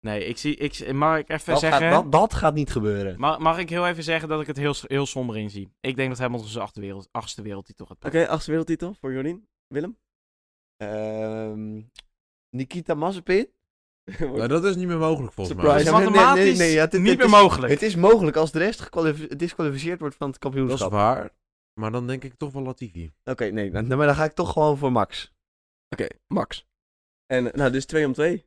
[SPEAKER 4] Nee, ik zie, ik, mag ik even
[SPEAKER 1] dat,
[SPEAKER 4] zeggen,
[SPEAKER 1] gaat, dat, dat gaat niet gebeuren.
[SPEAKER 4] mag, mag ik heel even zeggen dat ik het heel, s- heel somber in zie. Ik denk dat Hamilton zijn achtste, wereld, achtste wereldtitel gaat
[SPEAKER 2] Oké, achtste wereldtitel voor Jolien. Willem?
[SPEAKER 1] Ehm, Nikita Mazepin?
[SPEAKER 3] Nou, dat is niet meer mogelijk volgens
[SPEAKER 2] Surprise.
[SPEAKER 1] Ja,
[SPEAKER 4] Het
[SPEAKER 1] maar
[SPEAKER 4] is
[SPEAKER 1] nee,
[SPEAKER 4] mathematisch
[SPEAKER 1] nee, nee, ja, dit-
[SPEAKER 4] niet
[SPEAKER 1] dit
[SPEAKER 4] meer
[SPEAKER 1] is-
[SPEAKER 4] mogelijk.
[SPEAKER 1] Het is mogelijk als de rest gedisqualificeerd wordt van het
[SPEAKER 3] mij. Dat is
[SPEAKER 1] kampioenschap. Oké,
[SPEAKER 3] waar. Maar dan denk ik toch wel Latifi.
[SPEAKER 1] nee, dan, maar dan ga ik toch gewoon voor Max.
[SPEAKER 2] Oké, Max. En nou, dus twee om twee.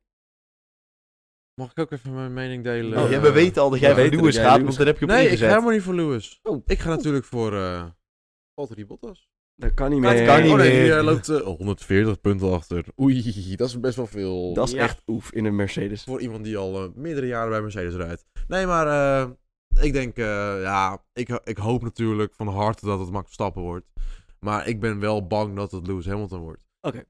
[SPEAKER 3] Mag ik ook even mijn mening delen?
[SPEAKER 1] Oh,
[SPEAKER 3] Eh,
[SPEAKER 1] ja, we weten al dat jij
[SPEAKER 2] we
[SPEAKER 1] voor
[SPEAKER 2] weten
[SPEAKER 1] Lewis
[SPEAKER 2] dat jij
[SPEAKER 1] gaat,
[SPEAKER 2] Lewis
[SPEAKER 1] want daar heb je op
[SPEAKER 3] Nee, ik ga
[SPEAKER 1] ingezet.
[SPEAKER 3] helemaal niet voor Lewis.
[SPEAKER 1] Oh.
[SPEAKER 3] Ik ga natuurlijk voor eh Valtteri Bottas.
[SPEAKER 2] Dat kan niet
[SPEAKER 1] Dat
[SPEAKER 2] meer.
[SPEAKER 1] kan niet
[SPEAKER 3] oh, nee,
[SPEAKER 1] meer.
[SPEAKER 3] die eh, loopt eh, 140 punten achter. Oei, dat is best wel veel.
[SPEAKER 2] Dat is
[SPEAKER 4] Ja.
[SPEAKER 2] echt oef in een Mercedes.
[SPEAKER 3] Voor iemand die al eh, meerdere jaren bij Mercedes rijdt. Nee, maar eh, ik denk, eh, ja, ik, ik hoop natuurlijk van harte dat het Max Verstappen wordt. Maar ik ben wel bang dat het Lewis Hamilton wordt.
[SPEAKER 2] Oké.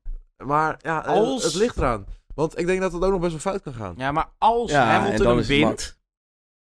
[SPEAKER 3] Maar ja, eh,
[SPEAKER 4] Als-
[SPEAKER 3] het ligt eraan. Want ik denk dat het ook nog best wel fout kan gaan.
[SPEAKER 4] Ja, maar als
[SPEAKER 2] Ja, en
[SPEAKER 4] Hamilton
[SPEAKER 2] dan
[SPEAKER 4] hem
[SPEAKER 2] is het
[SPEAKER 4] wint,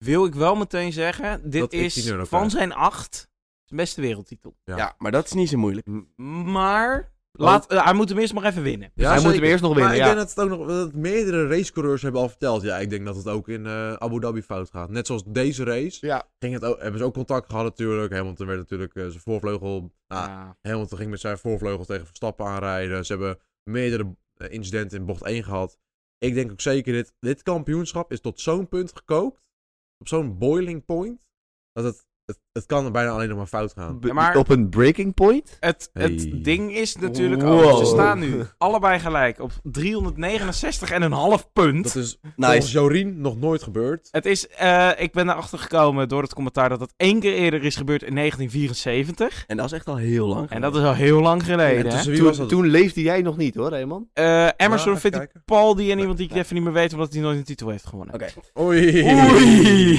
[SPEAKER 4] wil ik wel meteen zeggen, dit
[SPEAKER 3] Dat ik
[SPEAKER 4] is
[SPEAKER 3] die nu ook
[SPEAKER 4] van
[SPEAKER 3] krijg.
[SPEAKER 4] zijn acht zijn beste wereldtitel.
[SPEAKER 2] Ja.
[SPEAKER 3] Ja.
[SPEAKER 2] maar dat is niet zo moeilijk.
[SPEAKER 3] Oh.
[SPEAKER 4] Maar laat, eh, hij moet hem eerst maar even winnen.
[SPEAKER 3] Ja,
[SPEAKER 1] hij moet
[SPEAKER 3] zeker.
[SPEAKER 1] hem eerst nog
[SPEAKER 3] Maar
[SPEAKER 1] winnen,
[SPEAKER 3] ik
[SPEAKER 1] ja.
[SPEAKER 3] denk dat, het ook nog, dat meerdere racecoureurs hebben al verteld. Ja, ik denk dat het ook in eh, Abu Dhabi fout gaat. Net zoals deze race
[SPEAKER 1] Ja.
[SPEAKER 3] ging het ook, hebben ze ook contact gehad natuurlijk. Hamilton werd natuurlijk eh, zijn voorvleugel... Ah,
[SPEAKER 4] Ja.
[SPEAKER 3] Hamilton ging met zijn voorvleugel tegen Verstappen aanrijden. Ze hebben meerdere eh, incidenten in bocht 1 gehad. Ik denk ook zeker, dit, dit kampioenschap is tot zo'n punt gekookt. Op zo'n boiling point. Dat het, het, het kan bijna alleen nog maar fout gaan.
[SPEAKER 1] B-
[SPEAKER 4] Ja, maar-
[SPEAKER 1] Op een breaking point?
[SPEAKER 4] Het,
[SPEAKER 3] Hey.
[SPEAKER 4] het ding is natuurlijk
[SPEAKER 2] Wow.
[SPEAKER 4] ook, ze staan nu allebei gelijk op 369 en een half punt.
[SPEAKER 3] Dat is volgens
[SPEAKER 2] Nice.
[SPEAKER 3] Jorien nog nooit gebeurd.
[SPEAKER 4] Het is, eh, ik ben erachter gekomen door het commentaar dat dat één keer eerder is gebeurd in 1974.
[SPEAKER 2] En dat is echt al heel lang.
[SPEAKER 4] En dat is al heel lang geleden.
[SPEAKER 3] Oh. en
[SPEAKER 4] hè?
[SPEAKER 3] tussen wie was
[SPEAKER 1] Toen,
[SPEAKER 3] dat?
[SPEAKER 1] toen leefde jij nog niet hoor, Raymond.
[SPEAKER 4] Eh,
[SPEAKER 3] Ja,
[SPEAKER 4] Emerson
[SPEAKER 3] Nou, even
[SPEAKER 4] vindt
[SPEAKER 3] kijken.
[SPEAKER 4] Paul die en iemand die ik even niet meer weet omdat hij nooit een titel heeft gewonnen.
[SPEAKER 2] Oké.
[SPEAKER 3] Oei.
[SPEAKER 4] Oei.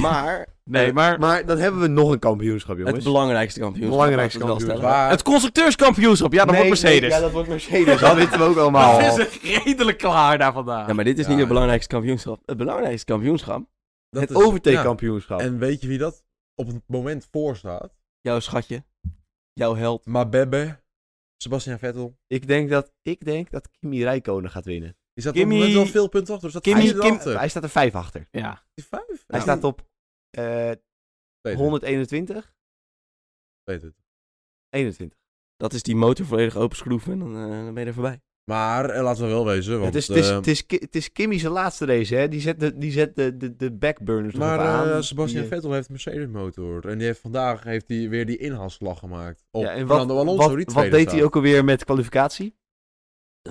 [SPEAKER 2] Maar
[SPEAKER 4] Nee, maar
[SPEAKER 1] Eh, Maar dan hebben we nog een kampioenschap, jongens.
[SPEAKER 2] het belangrijkste kampioenschap.
[SPEAKER 1] Belangrijkste
[SPEAKER 2] laten we het wel
[SPEAKER 1] kampioenschap.
[SPEAKER 3] Maar-
[SPEAKER 4] het constructeurskampioenschap, ja, dat
[SPEAKER 1] Nee,
[SPEAKER 4] wordt
[SPEAKER 1] nee,
[SPEAKER 4] Mercedes.
[SPEAKER 1] ja, dat wordt Mercedes. Dat weten we ook allemaal.
[SPEAKER 4] dat is redelijk klaar daar vandaag.
[SPEAKER 2] stellen. Ja, maar dit is
[SPEAKER 3] Ja,
[SPEAKER 2] niet het
[SPEAKER 3] ja.
[SPEAKER 2] belangrijkste kampioenschap. Het belangrijkste kampioenschap,
[SPEAKER 3] dat
[SPEAKER 1] het
[SPEAKER 3] is-
[SPEAKER 1] overtake-kampioenschap.
[SPEAKER 3] ja. En weet je wie dat op het moment voor staat?
[SPEAKER 2] jouw schatje, jouw held.
[SPEAKER 3] Mabebe, Sebastian Vettel.
[SPEAKER 1] Ik, denk dat, ik denk dat Kimi Räikkönen gaat winnen.
[SPEAKER 3] Die staat
[SPEAKER 4] Kimi-
[SPEAKER 3] op het moment wel veel punten achter. Dus dat
[SPEAKER 4] Kimi-
[SPEAKER 3] is
[SPEAKER 4] Kim-
[SPEAKER 3] achter.
[SPEAKER 1] Hij staat er vijf achter.
[SPEAKER 4] Ja.
[SPEAKER 3] Vijf?
[SPEAKER 1] Hij staat op eh, 121?
[SPEAKER 3] 100.
[SPEAKER 1] 21.
[SPEAKER 2] Dat is die motor volledig open schroeven en dan, eh, dan ben je er voorbij.
[SPEAKER 3] Maar eh, laten we wel wezen, want...
[SPEAKER 1] het, is, het, is,
[SPEAKER 3] eh,
[SPEAKER 1] het, is, Ki- het is Kimi zijn laatste race, hè. Die zet de, die zet de, de, de backburners nog
[SPEAKER 3] maar
[SPEAKER 1] even aan.
[SPEAKER 3] eh, Sebastian
[SPEAKER 1] Die, eh,
[SPEAKER 3] Vettel heeft een Mercedes motor. En die heeft vandaag heeft die weer die inhaalslag gemaakt. Op
[SPEAKER 1] eh, ja, en wat,
[SPEAKER 3] Oh, Fernando Alonso,
[SPEAKER 1] wat,
[SPEAKER 3] die
[SPEAKER 1] wat
[SPEAKER 3] tweede
[SPEAKER 1] deed hij
[SPEAKER 3] staat.
[SPEAKER 1] ook alweer met kwalificatie?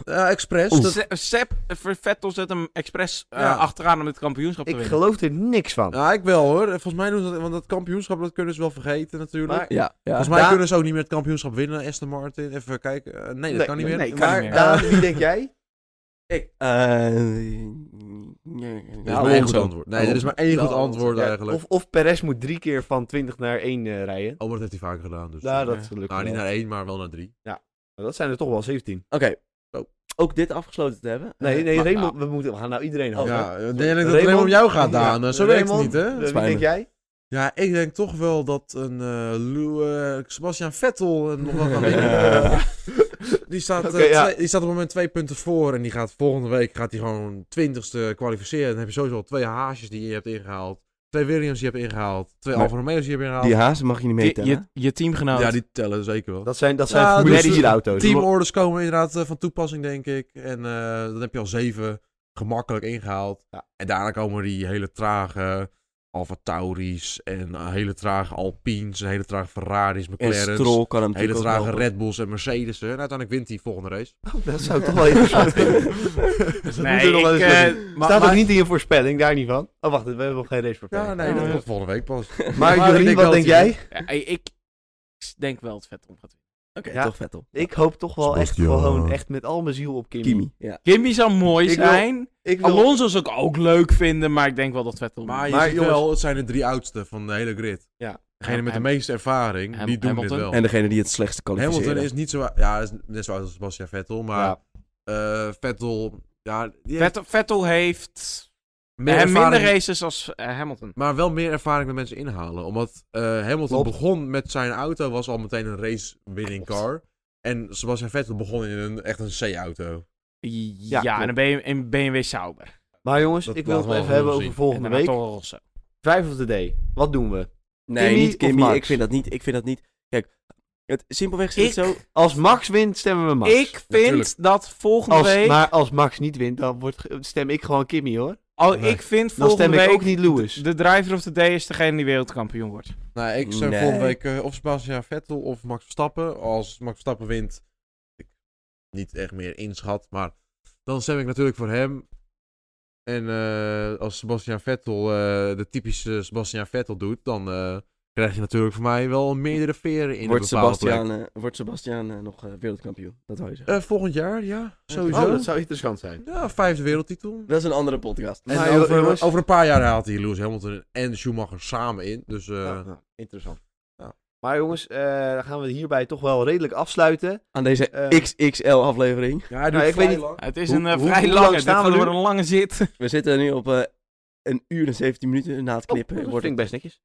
[SPEAKER 3] Ja, expres.
[SPEAKER 2] Oeh.
[SPEAKER 3] dat-
[SPEAKER 4] Se- Dus Sepp, eh, Vettel zet hem expres eh,
[SPEAKER 3] Ja.
[SPEAKER 4] achteraan om het kampioenschap te
[SPEAKER 1] Ik
[SPEAKER 4] winnen.
[SPEAKER 1] geloof er niks van.
[SPEAKER 3] Ja, ik wel hoor. Volgens mij doen ze dat, want dat kampioenschap dat kunnen ze wel vergeten natuurlijk.
[SPEAKER 1] Maar-
[SPEAKER 2] Ja, ja.
[SPEAKER 3] Volgens mij
[SPEAKER 1] Ja.
[SPEAKER 3] kunnen ze ook niet meer het kampioenschap winnen, Aston Martin. Even kijken. Eh, nee, dat
[SPEAKER 1] Nee,
[SPEAKER 3] kan niet meer.
[SPEAKER 4] nee, kan
[SPEAKER 3] maar,
[SPEAKER 4] niet meer.
[SPEAKER 1] Daan, wie denk jij?
[SPEAKER 2] Ik. eh
[SPEAKER 3] Er is
[SPEAKER 2] ja,
[SPEAKER 3] maar één goed
[SPEAKER 2] Alonso.
[SPEAKER 3] antwoord. Nee, er is maar één goed
[SPEAKER 2] Alonso.
[SPEAKER 3] antwoord
[SPEAKER 1] Ja,
[SPEAKER 3] eigenlijk.
[SPEAKER 1] Of, of Perez moet drie keer van 20 naar 1 eh, rijden.
[SPEAKER 3] Oh, maar dat heeft hij vaker gedaan. Dus.
[SPEAKER 1] Ja, dat
[SPEAKER 4] ja.
[SPEAKER 1] lukt
[SPEAKER 3] nou,
[SPEAKER 1] wel.
[SPEAKER 3] niet naar één, maar wel naar drie.
[SPEAKER 1] Maar Dat zijn er toch wel 17.
[SPEAKER 2] Oké.
[SPEAKER 3] Oh.
[SPEAKER 2] Ook dit afgesloten te hebben.
[SPEAKER 1] Nee, nee,
[SPEAKER 2] Maar-
[SPEAKER 1] Raymond, we, moeten, we gaan nou iedereen
[SPEAKER 2] Oh,
[SPEAKER 1] halen.
[SPEAKER 3] Eh, ja, eh, ik denk dat het
[SPEAKER 1] Raymond?
[SPEAKER 3] alleen maar om jou gaat, Daan.
[SPEAKER 1] Ja.
[SPEAKER 3] Zo werkt het
[SPEAKER 1] Raymond?
[SPEAKER 3] niet, hè?
[SPEAKER 1] Eh,
[SPEAKER 2] Spijt
[SPEAKER 1] wie
[SPEAKER 2] me.
[SPEAKER 1] denk jij?
[SPEAKER 3] Ja, ik denk toch wel dat een eh Lou- eh, Sebastian Vettel eh, nog wel gaat winnen.
[SPEAKER 2] Ja.
[SPEAKER 3] Die staat, eh,
[SPEAKER 1] Oké, ja.
[SPEAKER 3] twee- die staat op het moment twee punten voor. En die gaat volgende week gaat die gewoon twintigste kwalificeren. Dan heb je sowieso al twee haasjes die je hebt ingehaald. Twee Williams die je hebt ingehaald. Twee
[SPEAKER 2] Maar-
[SPEAKER 3] Alfa Romeo's die je hebt ingehaald.
[SPEAKER 2] Die hazen mag je niet
[SPEAKER 4] Je,
[SPEAKER 2] meetellen.
[SPEAKER 4] je, je teamgenoot.
[SPEAKER 3] ja, die tellen zeker wel.
[SPEAKER 1] Dat zijn, dat zijn
[SPEAKER 3] Ja,
[SPEAKER 1] Formule
[SPEAKER 3] dus-
[SPEAKER 1] 4 auto's.
[SPEAKER 3] Teamorders komen inderdaad eh, van toepassing, denk ik. En eh, dan heb je al zeven gemakkelijk ingehaald.
[SPEAKER 1] Ja.
[SPEAKER 3] En daarna komen die hele trage Alfa Tauris en eh, hele trage Alpines en hele trage Ferraris,
[SPEAKER 2] En
[SPEAKER 3] McLaren's.
[SPEAKER 2] Stroll kan hem
[SPEAKER 3] Hele
[SPEAKER 2] natuurlijk ook
[SPEAKER 3] trage
[SPEAKER 2] helpen.
[SPEAKER 3] Red Bulls en Mercedes. En uiteindelijk wint hij volgende race.
[SPEAKER 1] Dat zou ik toch wel interessant vinden. Dat moet er
[SPEAKER 4] nee,
[SPEAKER 1] nog wel
[SPEAKER 4] ik,
[SPEAKER 1] eens
[SPEAKER 4] eh,
[SPEAKER 1] lukken.
[SPEAKER 4] maar-
[SPEAKER 1] Staat
[SPEAKER 4] maar-
[SPEAKER 1] ook niet in je voorspelling, daar niet van. Oh, wacht, we hebben nog geen racevoorspelling.
[SPEAKER 3] Ja, nee,
[SPEAKER 4] dat
[SPEAKER 3] dat
[SPEAKER 4] komt
[SPEAKER 3] komt volgende week pas.
[SPEAKER 1] Maar,
[SPEAKER 3] Maar ik
[SPEAKER 1] Jorien,
[SPEAKER 3] denk
[SPEAKER 1] wat
[SPEAKER 3] wel
[SPEAKER 1] denk
[SPEAKER 3] dat hij-
[SPEAKER 1] jij?
[SPEAKER 4] Ja, ik, Eh, ik denk wel dat Vettel gaat winnen.
[SPEAKER 2] Oké,
[SPEAKER 1] Ja.
[SPEAKER 2] toch Vettel.
[SPEAKER 1] Ik hoop toch wel echt,
[SPEAKER 3] Sebastian.
[SPEAKER 1] gewoon echt met al mijn ziel op Kimi.
[SPEAKER 2] Kimi. Ja.
[SPEAKER 4] Kimmy zou mooi
[SPEAKER 1] Ik wil-
[SPEAKER 4] zijn.
[SPEAKER 1] Ik wil-
[SPEAKER 4] Alonso zou ik ook leuk vinden, maar ik denk wel dat Vettel...
[SPEAKER 3] Maar je
[SPEAKER 1] Maar
[SPEAKER 3] ziet
[SPEAKER 1] jongens-
[SPEAKER 3] wel, het zijn de drie oudste van de hele grid.
[SPEAKER 1] Ja.
[SPEAKER 3] Degene met de
[SPEAKER 4] Ham-
[SPEAKER 3] meeste ervaring,
[SPEAKER 4] Ham-
[SPEAKER 3] die doen
[SPEAKER 4] Hamilton.
[SPEAKER 3] dit wel.
[SPEAKER 2] En degene die het slechtste kwalificeren.
[SPEAKER 3] Hamilton is niet zo... Ja, is net zo oud als Sebastian Vettel, maar...
[SPEAKER 1] Ja.
[SPEAKER 3] eh, Vettel, ja, die heeft
[SPEAKER 4] Vettel, Vettel heeft
[SPEAKER 3] meer
[SPEAKER 4] eh, minder
[SPEAKER 3] ervaring-
[SPEAKER 4] races als eh, Hamilton.
[SPEAKER 3] Maar wel meer ervaring met mensen inhalen. Omdat eh, Hamilton
[SPEAKER 1] Klopt.
[SPEAKER 3] begon met zijn auto, was al meteen een race-winning
[SPEAKER 1] Klopt.
[SPEAKER 3] car. En Sebastian Vettel begon in een, echt een C-auto.
[SPEAKER 4] Ja,
[SPEAKER 1] klopt.
[SPEAKER 4] en een BMW, een BMW Sauber.
[SPEAKER 1] Maar jongens,
[SPEAKER 3] Dat
[SPEAKER 1] ik wil het
[SPEAKER 3] laten we
[SPEAKER 1] even
[SPEAKER 3] wel
[SPEAKER 1] hebben
[SPEAKER 3] zien.
[SPEAKER 1] over volgende
[SPEAKER 4] en daarna
[SPEAKER 1] week.
[SPEAKER 4] Toro Rosso.
[SPEAKER 1] Drive of the day. Wat doen we?
[SPEAKER 2] Nee,
[SPEAKER 1] Kimi
[SPEAKER 2] niet
[SPEAKER 1] of
[SPEAKER 2] Kimi.
[SPEAKER 1] Max?
[SPEAKER 2] Ik vind dat niet. Ik vind dat niet. Kijk, het, simpelweg zit
[SPEAKER 4] Ik-
[SPEAKER 2] het zo.
[SPEAKER 1] Als Max wint, stemmen we Max.
[SPEAKER 4] Ik vind
[SPEAKER 3] Natuurlijk.
[SPEAKER 4] dat volgende
[SPEAKER 1] als,
[SPEAKER 4] week...
[SPEAKER 1] maar als Max niet wint, dan wordt, ge- stem ik gewoon Kimmy hoor.
[SPEAKER 4] al,
[SPEAKER 3] Nee.
[SPEAKER 4] Oh, Ik vind
[SPEAKER 1] Dan
[SPEAKER 4] volgende
[SPEAKER 1] stem ik
[SPEAKER 4] week...
[SPEAKER 1] ook niet Lewis.
[SPEAKER 4] De driver of the day is degene die wereldkampioen wordt.
[SPEAKER 3] Nou, ik zou
[SPEAKER 2] Nee.
[SPEAKER 3] volgende week eh, of Sebastian Vettel of Max Verstappen. Als Max Verstappen wint, ik niet echt meer inschat. Maar dan stem ik natuurlijk voor hem. En eh, als Sebastian Vettel eh, de typische Sebastian Vettel doet, dan eh, krijg je natuurlijk voor mij wel meerdere veren in
[SPEAKER 2] Wordt
[SPEAKER 3] een bepaalde plek.
[SPEAKER 2] Sebastian, eh, wordt Sebastian eh, nog eh, wereldkampioen? Dat wou je zeggen.
[SPEAKER 3] Eh, volgend jaar, ja, sowieso.
[SPEAKER 1] Oh, dat zou interessant zijn.
[SPEAKER 3] Ja, vijfde wereldtitel.
[SPEAKER 2] Dat is een andere podcast.
[SPEAKER 3] En
[SPEAKER 1] Maar
[SPEAKER 3] over,
[SPEAKER 1] jongens-
[SPEAKER 3] over een paar jaar haalt hij Lewis Hamilton en Schumacher samen in. Dus eh,
[SPEAKER 1] Ja, nou, interessant.
[SPEAKER 3] Ja.
[SPEAKER 1] Maar jongens, eh, dan gaan we hierbij toch wel redelijk afsluiten.
[SPEAKER 2] Aan deze
[SPEAKER 1] Eh,
[SPEAKER 2] XXL-aflevering.
[SPEAKER 3] ja, hij
[SPEAKER 1] Nou, ik weet niet-
[SPEAKER 4] Het is
[SPEAKER 1] Hoe-
[SPEAKER 4] een eh,
[SPEAKER 1] hoe-
[SPEAKER 4] vrij
[SPEAKER 1] hoe lang
[SPEAKER 4] lange. Dit
[SPEAKER 1] staan we
[SPEAKER 4] gaat
[SPEAKER 1] nu?
[SPEAKER 4] door een lange zit.
[SPEAKER 2] We zitten nu op eh, een uur en 17 minuten na het knippen.
[SPEAKER 1] Oh, dat
[SPEAKER 2] wordt
[SPEAKER 1] vind ik
[SPEAKER 2] het-
[SPEAKER 1] best netjes.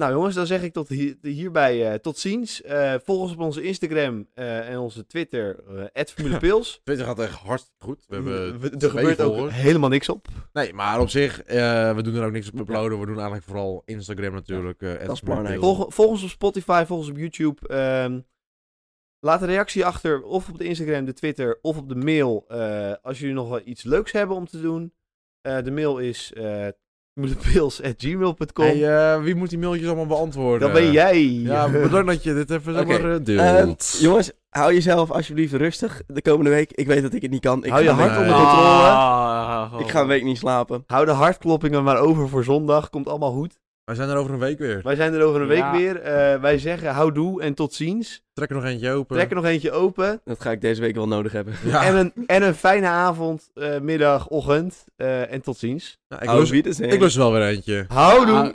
[SPEAKER 1] Nou jongens, dan zeg ik tot hier, hierbij eh, tot ziens. Eh, volg ons op onze Instagram eh, en onze Twitter, eh @formulepils.
[SPEAKER 3] Twitter gaat echt hartstikke goed. We hebben
[SPEAKER 1] We- er
[SPEAKER 3] twee
[SPEAKER 1] gebeurt ook
[SPEAKER 3] volgers.
[SPEAKER 1] helemaal niks op.
[SPEAKER 3] Nee, maar op zich, eh, we doen er ook niks op uploaden. We doen eigenlijk vooral Instagram natuurlijk. eh,
[SPEAKER 2] is
[SPEAKER 3] @smartmail.
[SPEAKER 2] belangrijk.
[SPEAKER 1] Volg, volg ons op Spotify, volg ons op YouTube. Ehm, laat een reactie achter, of op de Instagram, de Twitter, of op de mail. eh, als jullie nog wel iets leuks hebben om te doen. Eh, de mail is eh formulepils@gmail.com.
[SPEAKER 3] Hey, eh, wie moet die mailtjes allemaal beantwoorden?
[SPEAKER 1] Dan ben jij.
[SPEAKER 3] Ja, bedankt dat je dit even
[SPEAKER 2] Oké.
[SPEAKER 3] zomaar eh, deelt.
[SPEAKER 2] Eh, jongens, hou jezelf alsjeblieft rustig de komende week. Ik weet dat ik het niet kan. Ik
[SPEAKER 1] Hou je
[SPEAKER 2] ga een
[SPEAKER 1] hart
[SPEAKER 2] week-
[SPEAKER 1] onder
[SPEAKER 2] Ah,
[SPEAKER 1] controle. Oh.
[SPEAKER 4] Ah.
[SPEAKER 2] Ik ga een week niet slapen.
[SPEAKER 1] Hou de hartkloppingen maar over voor zondag. Komt allemaal goed.
[SPEAKER 3] We zijn er over een week weer.
[SPEAKER 1] Wij zijn er over een week
[SPEAKER 4] Ja.
[SPEAKER 1] weer. Eh, wij zeggen houdoe en tot ziens.
[SPEAKER 3] Trek er nog eentje open.
[SPEAKER 1] Trek er nog eentje open.
[SPEAKER 2] Dat ga ik deze week wel nodig hebben.
[SPEAKER 3] Ja.
[SPEAKER 1] En, een, en een fijne avond, eh, middag, ochtend. eh, en tot ziens.
[SPEAKER 3] Nou, ik,
[SPEAKER 2] Auf
[SPEAKER 3] lust,
[SPEAKER 1] Oh,
[SPEAKER 2] Wiedersehen.
[SPEAKER 3] ik lust wel weer eentje.
[SPEAKER 1] Houdoe.
[SPEAKER 4] Ah.